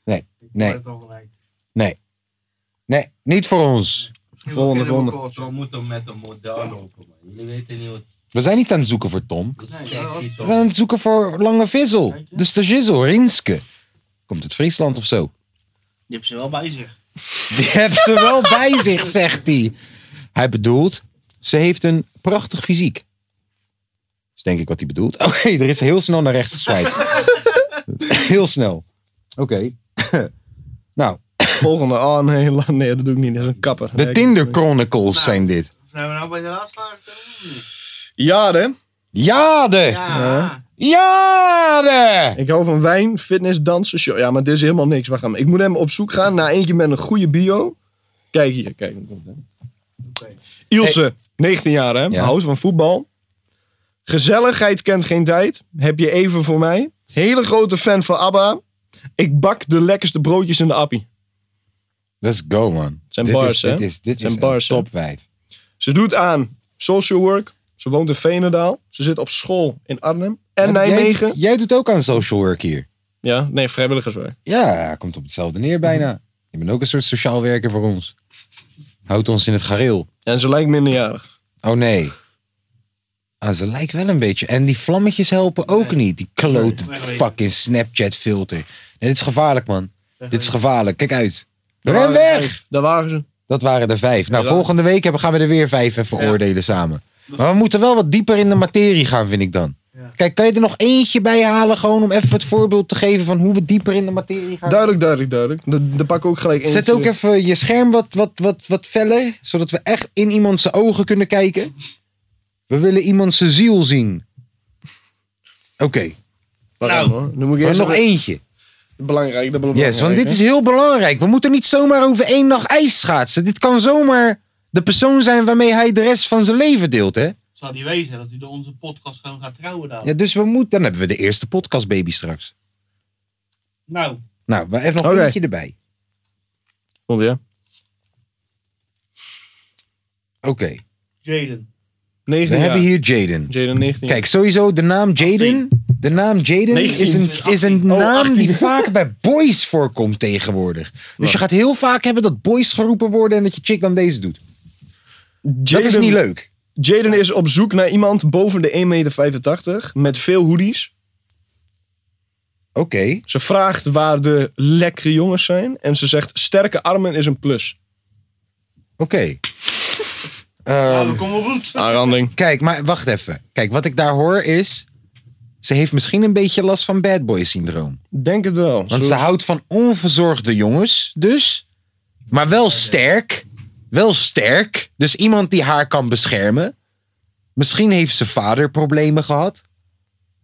Speaker 1: Nee, nee,
Speaker 2: het al gelijk.
Speaker 1: nee. Nee, niet voor ons.
Speaker 3: Volgende, volgende.
Speaker 8: Tom moet hem met een model lopen, man. Jullie weten niet hoe
Speaker 1: We zijn niet aan het zoeken voor Tom.
Speaker 8: hoe sexy
Speaker 1: We
Speaker 8: Tom
Speaker 1: zijn aan het zoeken voor Lange Vissel. De stagizel, Rinske. Komt uit Friesland of zo.
Speaker 2: Je hebt ze wel bij zich.
Speaker 1: Die heeft ze wel bij zich, zegt hij. Hij bedoelt, ze heeft een prachtig fysiek. is denk ik wat hij bedoelt. Oké, er is heel snel naar rechts geswijd. heel snel. Oké. nou,
Speaker 3: Volgende. Oh nee, la- nee, dat doe ik niet. Dat is een kapper.
Speaker 1: de
Speaker 3: Nee,
Speaker 1: Tinder Chronicles zijn dit.
Speaker 2: Zijn we nou bij de laatste aangekomen?
Speaker 3: Ja, hè?
Speaker 1: Jade!
Speaker 2: Ja.
Speaker 1: Jade!
Speaker 3: Ik hou van wijn, fitness, dansen, show. Ja, maar dit is helemaal niks. Wacht even. Ik moet hem op zoek gaan naar eentje met een goede bio. Kijk hier, kijk. Ilse, 19 jaar hè,
Speaker 1: Ja.
Speaker 3: houdt van voetbal. Gezelligheid kent geen tijd. Heb je even voor mij. Hele grote fan van ABBA. Ik bak de lekkerste broodjes in de appie.
Speaker 1: Let's go, man.
Speaker 3: zijn
Speaker 1: dit
Speaker 3: bars,
Speaker 1: is,
Speaker 3: hè?
Speaker 1: Dit is, dit
Speaker 3: Zijn
Speaker 1: is
Speaker 3: bars, hè?
Speaker 1: een top 5.
Speaker 3: Ze doet aan social work, Ze woont in Veenendaal. Ze zit op school in Arnhem en
Speaker 1: Maar
Speaker 3: Nijmegen.
Speaker 1: Jij, jij doet ook aan social work hier.
Speaker 3: Ja, nee, vrijwilligerswerk.
Speaker 1: Ja, komt op hetzelfde neer
Speaker 3: Mhm.
Speaker 1: bijna. Je bent ook een soort sociaal werker voor ons. Houdt ons in het gareel.
Speaker 3: En ze lijkt minderjarig.
Speaker 1: Oh nee. Ah, ze lijkt wel een beetje. En die vlammetjes helpen ook niet. Die klote fucking Snapchat filter. Nee, dit is gevaarlijk man. Dit is gevaarlijk. Kijk uit. Ren weg!
Speaker 3: Daar waren ze.
Speaker 1: Dat waren er vijf. Nou,
Speaker 3: Ja.
Speaker 1: volgende week hebben- gaan we er weer vijf even oordelen samen. Maar we moeten wel wat dieper in de materie gaan, vind ik dan. Kijk, kan je er nog eentje bij halen? Gewoon om even het voorbeeld te geven van hoe we dieper in de materie gaan.
Speaker 3: Duidelijk, duidelijk, duidelijk. Dan dan pak ik ook gelijk één.
Speaker 1: Zet ook even je scherm wat, wat, wat, wat feller, zodat we echt in iemand zijn ogen kunnen kijken. We willen iemand zijn ziel zien. Oké,
Speaker 3: Nou, hoor. Dan moet
Speaker 1: maar
Speaker 3: ik eerst
Speaker 1: nog
Speaker 3: even-
Speaker 1: eentje.
Speaker 3: Belangrijk, dat belangrijk.
Speaker 1: Yes, want dit
Speaker 3: hè?
Speaker 1: is heel belangrijk. We moeten niet zomaar over één nacht ijs schaatsen. Dit kan zomaar de persoon zijn waarmee hij de rest van zijn leven deelt, hè?
Speaker 2: Zou die wezen dat u door onze podcast gewoon gaat trouwen daar?
Speaker 1: Ja, dus we moeten. Dan hebben we de eerste podcastbaby straks.
Speaker 2: Nou,
Speaker 1: Nou, maar even nog
Speaker 3: Oké.
Speaker 1: eentje erbij.
Speaker 3: Komt ja.
Speaker 1: Oké,
Speaker 2: Jaden.
Speaker 3: 19
Speaker 1: we
Speaker 3: jaar.
Speaker 1: hebben hier Jaden.
Speaker 3: Jaden 19.
Speaker 1: Kijk, sowieso de naam Jaden. De naam Jaden is
Speaker 3: 19.
Speaker 1: een, is een
Speaker 3: Oh,
Speaker 1: naam
Speaker 3: 18.
Speaker 1: die vaak bij boys voorkomt tegenwoordig. Dus je gaat heel vaak hebben dat boys geroepen worden en dat je chick dan deze doet. Dat is
Speaker 3: Jaden-
Speaker 1: niet leuk.
Speaker 3: Jaden is op zoek naar iemand boven de 1,85 meter met veel hoodies.
Speaker 1: Oké,
Speaker 3: Ze vraagt waar de lekkere jongens zijn. En ze zegt sterke armen is een plus.
Speaker 1: oké. Ehm,
Speaker 2: Kom maar goed.
Speaker 3: Aanranding.
Speaker 1: kijk, maar wacht even. Kijk, wat ik daar hoor is... Ze heeft misschien een beetje last van bad boy syndroom.
Speaker 3: Denk het wel.
Speaker 1: Want
Speaker 3: Zo-
Speaker 1: ze houdt van onverzorgde jongens, dus. Maar wel sterk. Wel sterk. Dus iemand die haar kan beschermen. Misschien heeft ze vader problemen gehad.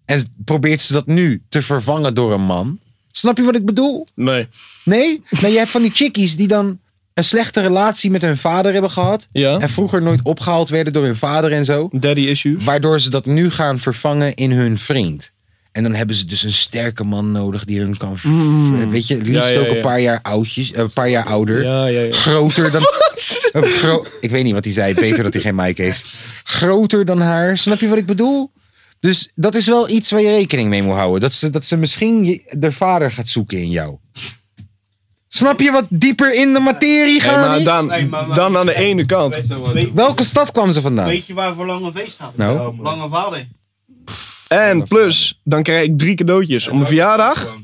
Speaker 1: En probeert ze dat nu te vervangen door een man. Snap je wat ik bedoel?
Speaker 3: Nee.
Speaker 1: Nee? Nee, je hebt van die chickies die dan een slechte relatie met hun vader hebben gehad.
Speaker 3: Ja.
Speaker 1: En vroeger nooit opgehaald werden door hun vader en zo.
Speaker 3: Daddy issues.
Speaker 1: Waardoor ze dat nu gaan vervangen in hun vriend. En dan hebben ze dus een sterke man nodig die hun kan. v- Weet je, het liefst
Speaker 3: Mm. Ja, ja,
Speaker 1: ook een
Speaker 3: ja.
Speaker 1: paar jaar, oudjes, eh, een paar jaar ouder.
Speaker 3: Ja, ja, ja.
Speaker 1: Groter dan. Een gro- ik weet niet wat hij zei. Beter dat hij geen mic heeft. Groter dan haar. Snap je wat ik bedoel? Dus dat is wel iets waar je rekening mee moet houden. Dat ze, dat ze misschien je, de vader gaat zoeken in jou. Snap je wat dieper in de materie
Speaker 3: Nee,
Speaker 1: gaan
Speaker 3: maar
Speaker 1: is?
Speaker 3: dan,
Speaker 2: Nee, maar- maar-
Speaker 3: dan aan de ene kant.
Speaker 2: Weet,
Speaker 1: Welke stad kwam ze vandaan?
Speaker 2: weet je waar voor Lange V staat?
Speaker 1: Nou?
Speaker 2: Lange Vader.
Speaker 3: En plus, dan krijg ik drie cadeautjes. Op mijn verjaardag,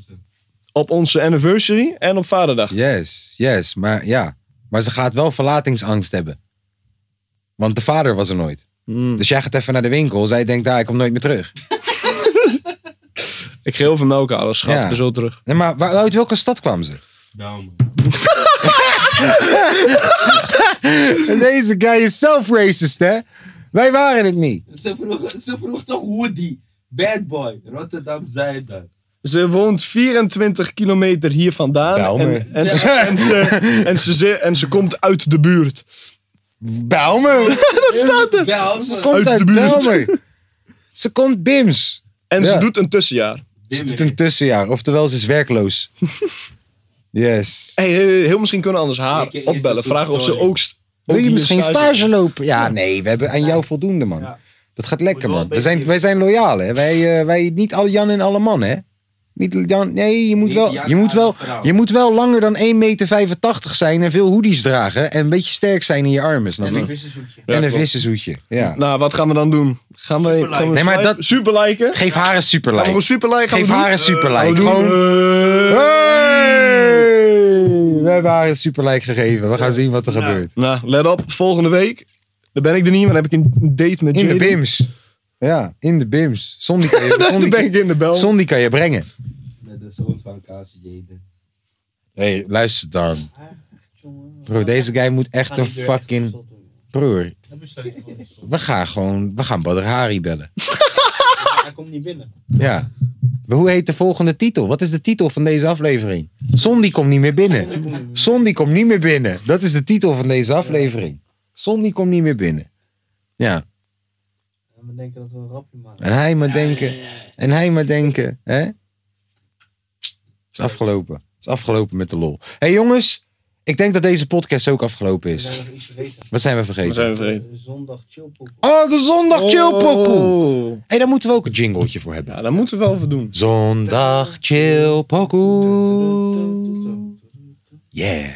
Speaker 3: op onze anniversary en op vaderdag.
Speaker 1: Yes, yes, maar ja. Maar ze gaat wel verlatingsangst hebben. Want de vader was er nooit. Dus jij gaat even naar de winkel. Zij denkt, ah, ik kom nooit meer terug.
Speaker 3: Ik geef heel veel melk halen, schat.
Speaker 1: Ja.
Speaker 3: Ik ben zo terug.
Speaker 1: Nee, maar waar- uit welke stad kwam ze? En Deze guy is zelf racist, hè? Wij waren het niet.
Speaker 8: Ze vroeg, ze vroeg toch Woody, bad boy, Rotterdam zei dat.
Speaker 3: Ze woont 24 kilometer hier vandaan.
Speaker 1: Bel me.
Speaker 3: En, en, ze, en, ze, en, ze, ze- en ze komt uit de buurt.
Speaker 1: Belmer.
Speaker 3: Dat staat er.
Speaker 8: Bel
Speaker 1: Ze
Speaker 8: me.
Speaker 1: komt
Speaker 3: Uit
Speaker 1: uit,
Speaker 3: de buurt.
Speaker 1: Belmer. Ze komt Bims.
Speaker 3: En ze
Speaker 1: Ja.
Speaker 3: doet een tussenjaar.
Speaker 1: Ze doet een tussenjaar. Oftewel, ze is werkloos. Yes.
Speaker 3: Hey, hey, heel misschien kunnen we anders haar
Speaker 8: Ik- ik-
Speaker 3: opbellen.
Speaker 8: is het
Speaker 3: Vragen of ze
Speaker 8: zo'n
Speaker 3: ook... st-
Speaker 1: Wil
Speaker 3: ook
Speaker 1: je
Speaker 3: hier
Speaker 1: misschien stage lopen? Ja, nee, we hebben aan jou voldoende, man. Dat gaat lekker,
Speaker 2: Moet wel
Speaker 1: man.
Speaker 2: een
Speaker 1: We zijn,
Speaker 2: beetje-
Speaker 1: wij zijn loyaal, hè. Wij, eh, wij niet alle Jan en alle man, hè. Niet Jan, nee, je moet,
Speaker 8: Niet
Speaker 1: wel,
Speaker 8: Jan
Speaker 1: je, moet
Speaker 8: aan
Speaker 1: wel,
Speaker 8: de vrouw.
Speaker 1: je moet wel langer dan 1,85 meter zijn en veel hoodies dragen. En een beetje sterk zijn in je armen, snap
Speaker 2: En
Speaker 1: je?
Speaker 2: een
Speaker 1: En,
Speaker 2: vissershoekje.
Speaker 3: Ja,
Speaker 1: een
Speaker 3: klopt.
Speaker 1: vissershoedje, ja.
Speaker 3: Nou, wat gaan we dan doen? Gaan we,
Speaker 2: Superliken.
Speaker 3: gaan we
Speaker 1: Nee, maar dat-
Speaker 3: super liken?
Speaker 1: Geef haar een
Speaker 3: Gaan we
Speaker 1: superlike.
Speaker 3: gewoon super liken?
Speaker 1: Geef haar een superlike.
Speaker 3: Gewoon...
Speaker 1: Gewoon...
Speaker 3: Eh.
Speaker 1: Hey! We hebben haar een superlike gegeven. We gaan zien wat er gebeurt.
Speaker 3: Nou, let op. Volgende week. Dan ben ik er niet, maar dan heb ik een date met
Speaker 1: In de
Speaker 3: Jaden.
Speaker 1: bims. Ja, in de bims. Sondi kan je,
Speaker 3: Dan
Speaker 1: Sondi-
Speaker 3: ben ik in de bel.
Speaker 1: Sondi kan je brengen.
Speaker 8: Met de zoon van Kaas Jaden.
Speaker 1: Hé, hey, luister dan. Bro, deze guy moet echt een fucking... Broer, we gaan gewoon... We gaan Badr Hari bellen.
Speaker 2: Hij komt niet binnen.
Speaker 1: Ja. Maar hoe heet de volgende titel? Wat is de titel van deze aflevering? Sondi komt niet meer binnen. Sondi komt niet meer binnen. Dat is de titel van deze aflevering. Sondi komt niet meer binnen. Ja.
Speaker 2: En we denken dat we een rapje maken.
Speaker 1: En hij maar denken. En hij maar denken. Hè? Is afgelopen. Is afgelopen met de lol. Hé hey jongens. Ik denk dat deze podcast ook afgelopen is. Wat zijn we vergeten?
Speaker 8: Zondag chillpoek.
Speaker 1: Oh, de zondag
Speaker 8: Oh.
Speaker 1: chillpokoe. Hé, hey, daar moeten we ook een jingletje voor hebben. Ja,
Speaker 3: daar moeten we wel voor doen.
Speaker 1: Zondag chillpokoe. Yeah.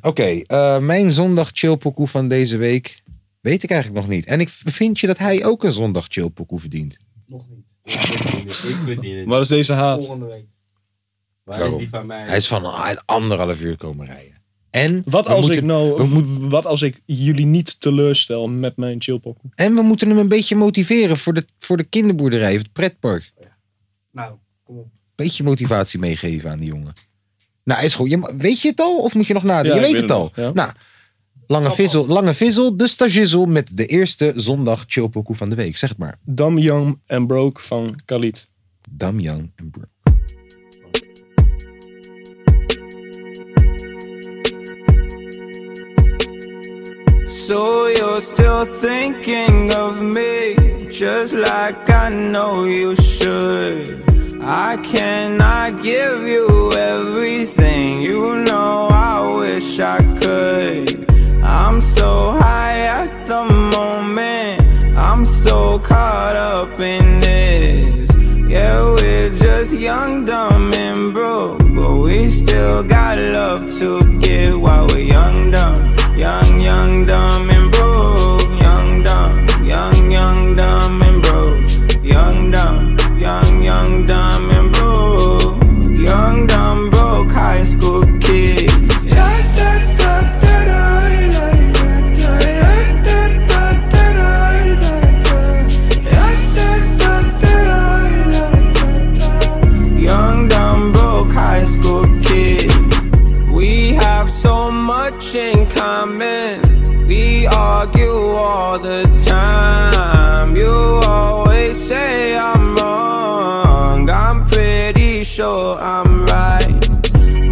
Speaker 1: Oké, eh, mijn zondag chillpokoe van deze week weet ik eigenlijk nog niet. En ik vind je dat hij ook een zondag chillpokoe verdient.
Speaker 8: Ik verdien het.
Speaker 3: Waar is deze haat?
Speaker 8: Volgende week. Waar
Speaker 1: Waarom?
Speaker 8: is die van mij?
Speaker 1: Hij is van een anderhalf uur komen rijden. En
Speaker 3: Wat
Speaker 1: we
Speaker 3: als,
Speaker 1: moeten-
Speaker 3: ik nou,
Speaker 1: we moeten-
Speaker 3: wat als ik jullie niet teleurstel met mijn chillpok?
Speaker 1: en we moeten hem een beetje motiveren voor de, voor de kinderboerderij, het pretpark.
Speaker 2: Nou, kom op.
Speaker 1: Beetje motivatie meegeven aan die jongen. Nou, is goed. Je, ma- weet je het al? Of moet je nog nadenken?
Speaker 3: Ja,
Speaker 1: je weet
Speaker 3: ik weet
Speaker 1: het
Speaker 3: het
Speaker 1: al.
Speaker 3: nog, ja.
Speaker 1: Nou, Lange Vizzel, Lange Vizzel, de stagizzel met de eerste zondag chillpokoe van de week. Zeg het maar.
Speaker 3: Dam Young en Broke van Khalid.
Speaker 1: Dam Young en Broke.
Speaker 14: So you're still thinking of me, just like I know you should. I cannot give you everything, you know I wish I could. I'm so high at the moment, I'm so caught up in this. Yeah, we're just young, dumb, and broke, but we still got love to give while we're young, dumb, young, young, dumb, and broke. Young, dumb, young, young, dumb, and broke. Young, dumb, young, young, dumb, and broke. Young, dumb, broke high school kid. Yeah, da, da, da, da, da, da, da, da, da, da, da, da, da. Yeah, da, da, da, da, da, Young, dumb, broke high school kid. We have so much in common. We argue all the time. You always say I'm wrong. I'm pretty sure I'm right.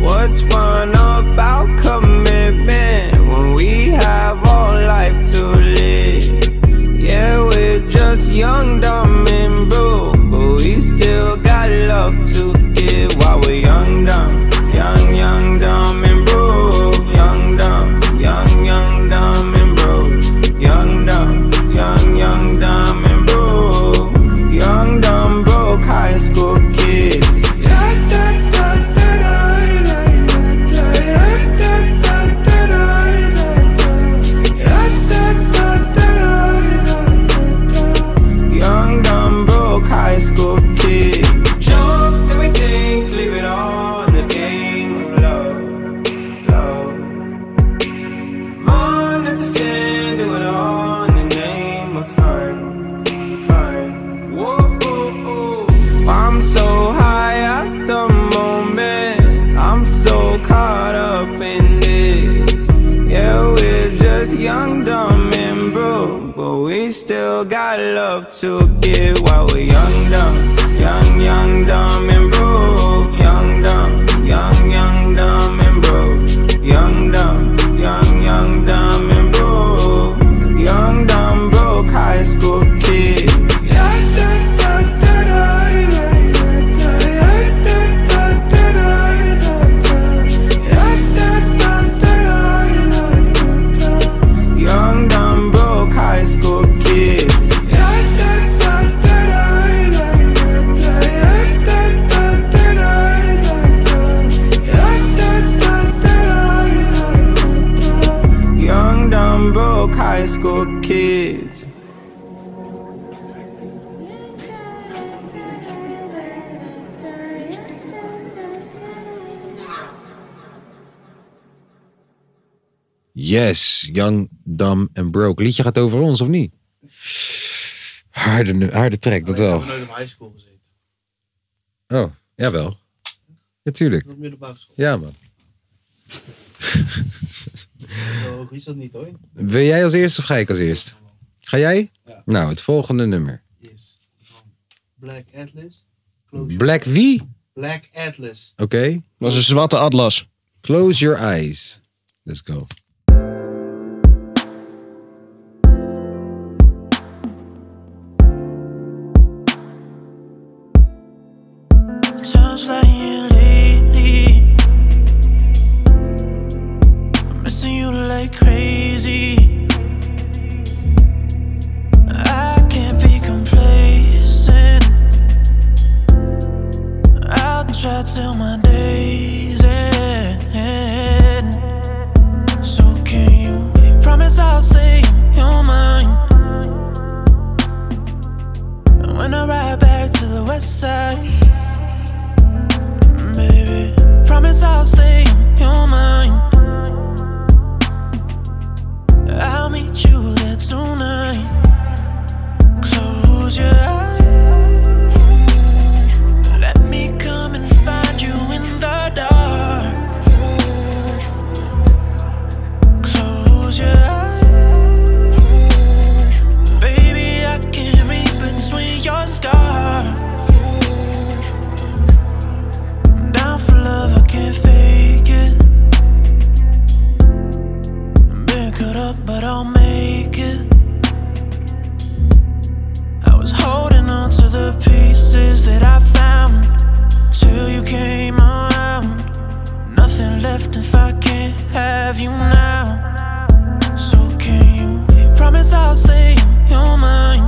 Speaker 14: What's fun about commitment when we have all life to live? Yeah, we're just young, dumb, and broke, but we still got love to give while we're young, dumb, young, young, dumb, and broke. Young, dumb, young, young, dumb, and broke. Young, dumb, young, young, dumb, and broke. Young, dumb, broke high school kid. Yeah, da, da, da, da, da, da, da, da, da, da, da, da. Young, dumb, broke high school kid. Show that we think, leave it all in the game of love. Love. Run into sin, do it all in the name of fun. Fun. Whoa, whoa, whoa. I'm so high at the moment. I'm so caught up in this. Yeah, we're just young, dumb, and broke. But we still got love to give while we're young, dumb. Young, young, dumb, and broke. Young, dumb, young, young, dumb, and broke. Young, dumb, young, young, dumb, and broke. Young, dumb, broke high school kid. Young, dumb, broke high school kid. Young, dumb, broke high school kids.
Speaker 1: Yes, Young, Dumb en Broke. Liedje gaat over ons, of niet? Harde, nu- harde track, dat wel.
Speaker 2: Ik heb nooit op high school gezeten.
Speaker 1: Oh, jawel. Natuurlijk.
Speaker 2: Op middelbare school.
Speaker 1: Ja, man.
Speaker 2: Zo is dat niet hoor.
Speaker 1: Wil jij als eerst of ga ik als eerst? Ga jij? Nou, het volgende nummer.
Speaker 2: Black Atlas.
Speaker 1: Black wie?
Speaker 2: Black Atlas.
Speaker 1: Oké. Dat is een zwarte atlas. Close your eyes. Let's go.
Speaker 15: Sounds like you lately.
Speaker 7: like crazy. I can't be complacent. I'll try till my days end. So can you promise I'll stay human? And when I ride back to the west side, baby, promise I'll stay human. I'll meet you there tonight. Close your eyes. Let me come and find you in the dark. Close your eyes. Baby, I can read between your scars. Down for love, I can't fake it. Been cut up, but I'll make it. I was holding on to the pieces that I found till you came around. Nothing left if I can't have you now. So can you promise I'll stay human?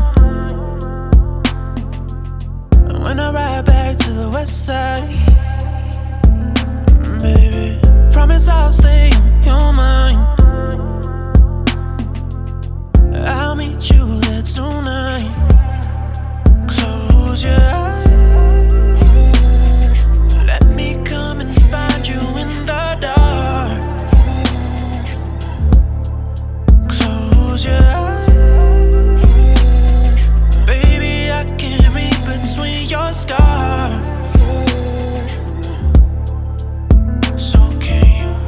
Speaker 7: And when I ride back to the west side, baby, promise I'll stay human. I'll meet you there tonight. Close your eyes. Let me come and find you in the dark. Close your eyes. Baby, I can read between your scars. So can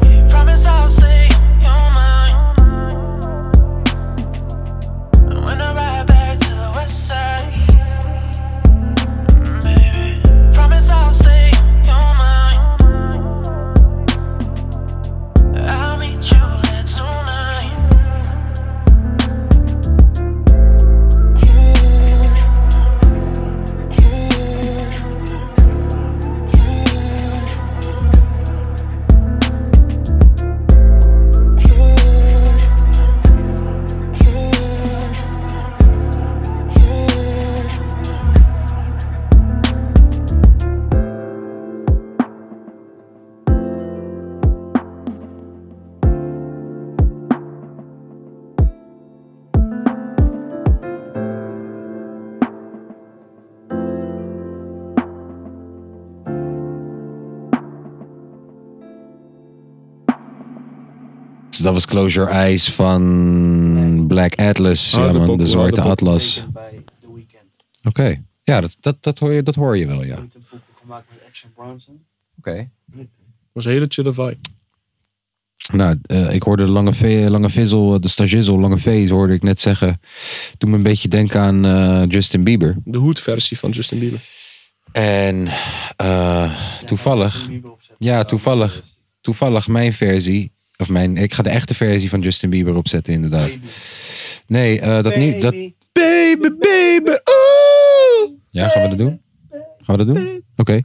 Speaker 7: you promise I'll stay human? And when I ride back to the west side, baby, promise I'll stay human. I'll meet you there tonight.
Speaker 1: Dus Dat was Close Your Eyes van Black Atlas.
Speaker 3: Ah,
Speaker 1: ja,
Speaker 3: de
Speaker 1: man, de,
Speaker 3: Bob-
Speaker 1: Zwarte
Speaker 3: de Bob-
Speaker 1: Atlas. Oké. Ja, dat, dat, dat, hoor je, dat hoor je wel, ja. Oké.
Speaker 2: Gemaakt met Action Bronson.
Speaker 3: was een hele chille vibe.
Speaker 1: Nou, eh, ik hoorde Lange, v, Lange Vizzel, eh, de stagizel Lange V's, hoorde ik net zeggen. Doet me een beetje denken aan eh, Justin Bieber.
Speaker 3: De hoedversie van Justin Bieber.
Speaker 1: En eh, toevallig, ja, toevallig, toevallig mijn versie, of mijn, ik ga de echte versie van Justin Bieber opzetten, inderdaad. Nee, eh, dat niet. Dat,
Speaker 3: Baby, baby,
Speaker 1: ja, gaan we dat doen? Gaan we dat doen? Oké.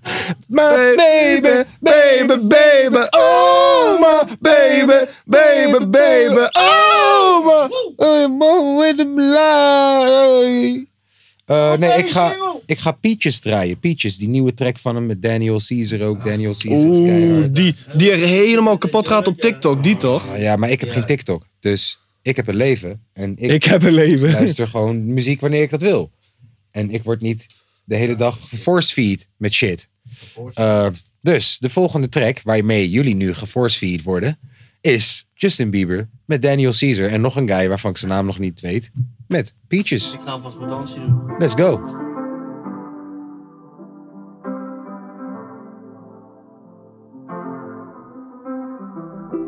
Speaker 3: My baby, baby, baby, oh my baby, baby, baby, oh my.
Speaker 1: with the blood. Eh, nee, ik ga, ik ga Peaches draaien. Peaches, die nieuwe track van hem met Daniel Caesar ook. Daniel Caesar is
Speaker 3: Oeh,
Speaker 1: keihard.
Speaker 3: die, die er helemaal kapot gaat op TikTok, die toch?
Speaker 1: Ah, ja, maar ik heb geen TikTok. Dus ik heb een leven. En ik,
Speaker 3: Ik heb een leven.
Speaker 1: luister gewoon muziek wanneer ik dat wil. En ik word niet de hele dag geforcefeed met shit. Eh, dus de volgende track waarmee jullie nu geforcefeed worden... is Justin Bieber met Daniel Caesar... en nog een guy waarvan ik zijn naam nog niet weet... met Peaches.
Speaker 2: Ik ga alvast mijn dansje doen.
Speaker 1: Let's go.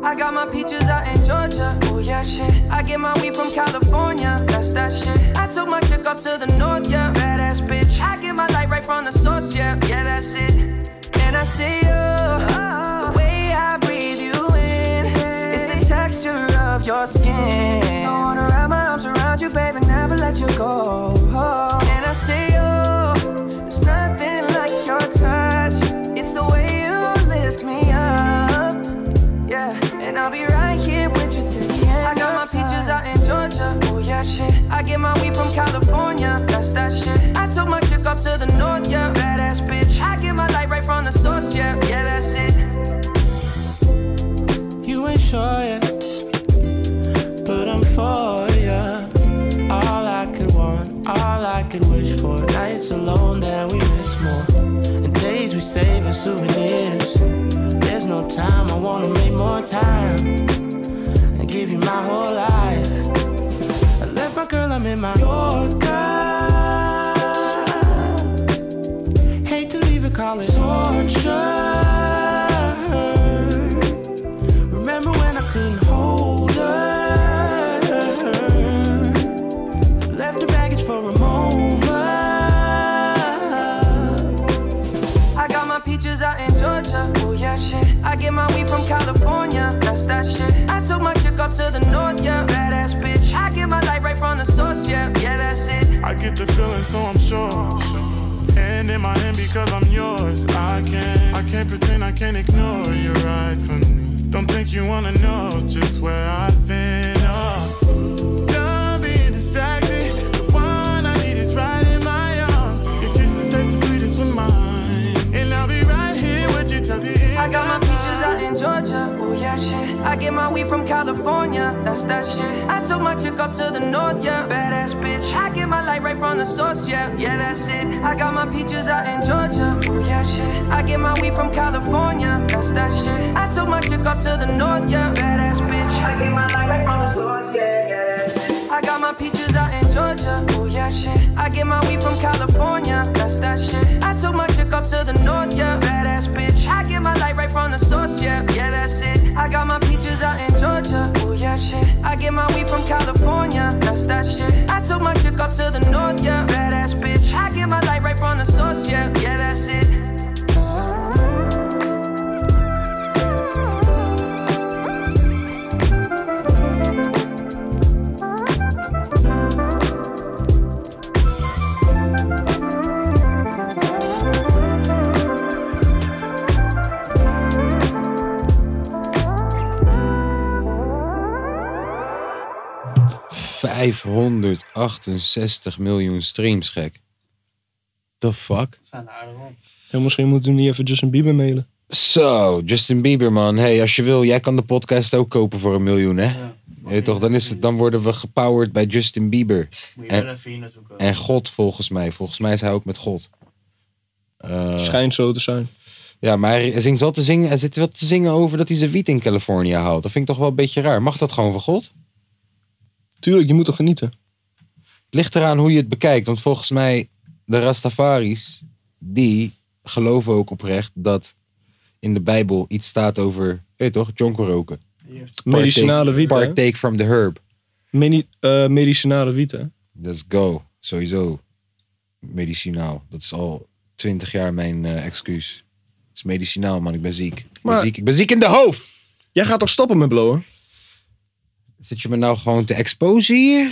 Speaker 16: I got my peaches out in Georgia. Oh yeah, shit. I get my weed from California. That's that shit. I took my chick up to the north, yeah. Badass bitch. I get my light right from the source, yeah. Yeah, that's it. Uh-huh. And I see you. The way I breathe you in is the texture of your skin. I wanna wrap my arms around you, baby, never let you go. And I see you. There's nothing like your touch. It's the way you lift me up. Yeah, and I'll be right here with you till the end.
Speaker 7: I got my peaches out in Georgia. Oh yeah, shit. I get my weed from California. That's that shit. I took my chick up to the north, yeah. Badass bitch. I get my light right from the source, yeah. Yeah, that's it.
Speaker 17: You ain't sure yet, but I'm for ya. All I could want, all I could wish for. Nights alone that we miss more, and days we save as souvenirs. There's no time, I wanna make more time and give you my whole life. I left my girl, I'm in my Yorker. Hate to leave it, call it torture. Remember when I couldn't hold her? Left her baggage for a mover.
Speaker 7: I got my peaches out in Georgia. Oh yeah, shit. I get my weed from California. That's that shit. I took my chick up to the north, yeah. Badass bitch. I get my light right from the source, yeah. Yeah, that's it.
Speaker 18: I get the feeling, so I'm sure. And in my hand because I'm yours. I can't, I can't pretend, I can't ignore you right from me. Don't think you wanna know just where I've been. Oh, done being distracted. The one I need is right in my arms. Your kisses taste the sweetest with mine, and I'll be right here with you till the end.
Speaker 7: I got my peaches out in Georgia. Oh yeah, shit. I get my weed from California. That's that shit. I took my chick up to the north, yeah. Badass bitch. I get my light right from the source, yeah. Yeah, that's it. I got my peaches out in Georgia. Oh yeah, shit. I get my weed from California. That's that shit. I took my chick up to the north, yeah. Badass bitch. I get my light right from the source, yeah. yeah that's it. I got my peaches out in Georgia. Oh yeah, shit. I get my weed from California. That's that shit. I took my chick up to the north, yeah. Badass bitch. I get my light right from the source, yeah. Yeah, that's it. I got my peaches out in Georgia. Oh yeah, shit. I get my weed from California. That's that shit. I took my chick up to the north, yeah. Badass bitch. I get my light right from the source, yeah. Yeah, that's it.
Speaker 1: Vijf. 568 miljoen streams, gek. The fuck?
Speaker 3: Ja, misschien moeten we hem niet even Justin Bieber mailen.
Speaker 1: Zo, Justin Bieber, man. Hey, als je wil, jij kan de podcast ook kopen voor een miljoen, hè? Weet je toch, dan, is het, dan worden we gepowered bij Justin Bieber.
Speaker 2: Moet je wel
Speaker 1: En,
Speaker 2: even hier naartoe komen.
Speaker 1: en God, volgens mij. Volgens mij is hij ook met God. Eh,
Speaker 3: Schijnt zo te zijn.
Speaker 1: Ja, maar hij, zingt wel te zingen, hij zit wel te zingen over dat hij zijn wiet in Californië houdt. Dat vind ik toch wel een beetje raar. Mag dat gewoon van God?
Speaker 3: Tuurlijk, je moet toch genieten?
Speaker 1: Het ligt eraan hoe je het bekijkt. Want volgens mij, de Rastafaris, die geloven ook oprecht dat in de Bijbel iets staat over, weet je toch, jonko roken.
Speaker 3: Medicinale
Speaker 1: Partake-
Speaker 3: wiet, hè?
Speaker 1: Partake from the herb.
Speaker 3: Medi- eh, medicinale wiet, hè?
Speaker 1: Let's go. Sowieso. Medicinaal. Dat is al twintig jaar mijn eh, excuus. Het is medicinaal, man. Ik ben ziek. Ik ben
Speaker 3: Maar-
Speaker 1: ziek. Ik ben ziek in de hoofd.
Speaker 3: Jij gaat toch stoppen met blowen?
Speaker 1: Zit je me nou gewoon te exposen hier?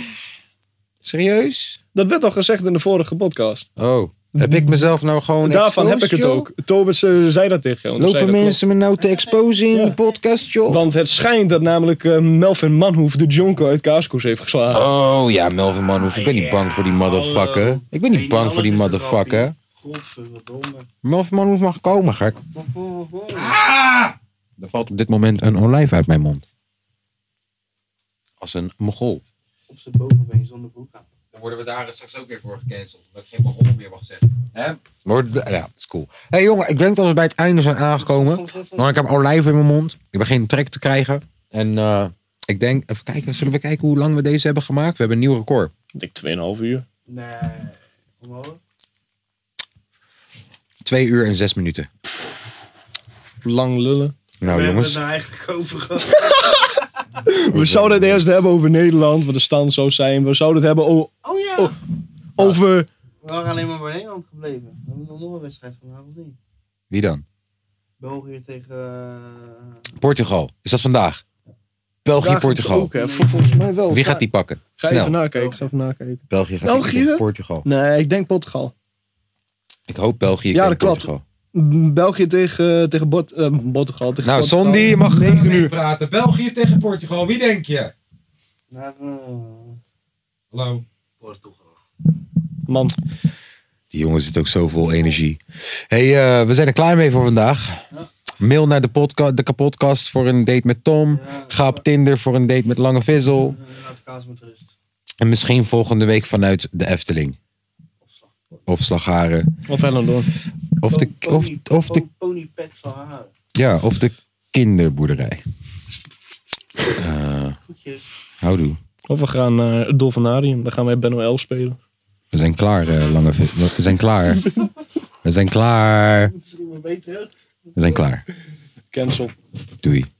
Speaker 1: Serieus?
Speaker 3: Dat werd al gezegd in de vorige podcast.
Speaker 1: Oh. Heb ik mezelf nou gewoon
Speaker 3: Daarvan heb ik
Speaker 1: exposed,
Speaker 3: het
Speaker 1: joh?
Speaker 3: ook. Thomas eh, zei dat tegen jou.
Speaker 1: Lopen mensen me nou te exposen in de podcast, joh?
Speaker 3: Want het schijnt dat namelijk eh, Melvin Manhoef de Jonko uit Kaaskoes heeft geslagen.
Speaker 1: Oh ja, Melvin Manhoef. Ik ben niet bang voor die motherfucker. Ik ben niet bang voor die motherfucker. Melvin Manhoef mag komen, gek.
Speaker 2: Ah!
Speaker 1: Er valt op dit moment een olijf uit mijn mond. Als een mogol.
Speaker 2: Op zijn bovenbeen zonder broek aan.
Speaker 1: Dan worden we daar straks ook weer voor gecanceld. Dat ik geen begon meer mag zeggen. Hè? Wordt- Ja, dat is cool. Hé hey, jongen, ik denk dat we bij het einde zijn aangekomen. Maar ik heb olijven in mijn mond. Ik ben geen trek te krijgen. En eh, ik denk, even kijken, zullen we kijken hoe lang we deze hebben gemaakt? We hebben een nieuw record.
Speaker 3: Ik denk 2,5 uur.
Speaker 2: Nee. Omhoog.
Speaker 1: 2 uur en 6 minuten.
Speaker 3: Lang lullen.
Speaker 1: Nou jongens.
Speaker 2: We hebben het nou eigenlijk over gehad.
Speaker 3: We zouden het eerst hebben over Nederland, wat de stand zou zijn. We zouden het hebben o-
Speaker 2: Oh ja.
Speaker 3: o- over...
Speaker 2: We waren alleen maar bij Nederland gebleven. We hebben nog een wedstrijd vanavond niet.
Speaker 1: Wie dan?
Speaker 2: België tegen... eh,
Speaker 1: Portugal. Is dat vandaag? België,
Speaker 3: Daar ging het
Speaker 1: Portugal.
Speaker 3: Ook, hè. Vol- Volgens mij wel.
Speaker 1: Wie gaat die pakken?
Speaker 3: Ga even
Speaker 1: Snel.
Speaker 3: nakijken. Ik ga even nakijken.
Speaker 1: België gaat
Speaker 3: België?
Speaker 1: tegen Portugal.
Speaker 3: Nee, ik denk Portugal.
Speaker 1: Ik hoop België
Speaker 3: Ja,
Speaker 1: tegen
Speaker 3: dat klopt.
Speaker 1: Portugal.
Speaker 3: Mm, België tegen, tegen Bot, eh, Portugal. Tegen
Speaker 1: Nou,
Speaker 3: Portugal.
Speaker 1: Sondi, je mag
Speaker 3: 9 uur.
Speaker 1: praten. België tegen Portugal. Wie denk je?
Speaker 3: Nou.
Speaker 8: Hallo. Portugal.
Speaker 1: Man. Die jongen zit ook zo vol energie. hey, eh, we zijn er klaar mee voor vandaag. Mail naar de, podca de kapotkast voor een date met Tom. Ga op Tinder voor een date met Lange Vissel.
Speaker 19: Kaas met rust.
Speaker 1: En misschien volgende week vanuit de Efteling. Of Slagharen.
Speaker 2: Of Hellendoorn.
Speaker 1: Of de, of, of de,
Speaker 19: Ponypack van haar.
Speaker 1: ja, of de kinderboerderij. Eh houdoe.
Speaker 3: Of we gaan naar het Dolfinarium. Dan gaan wij Benno L spelen.
Speaker 1: We zijn klaar, eh, Lange Vissel. We zijn klaar. We zijn klaar.
Speaker 19: Misschien maar beter ook.
Speaker 1: We zijn klaar.
Speaker 3: Cancel.
Speaker 1: Doei.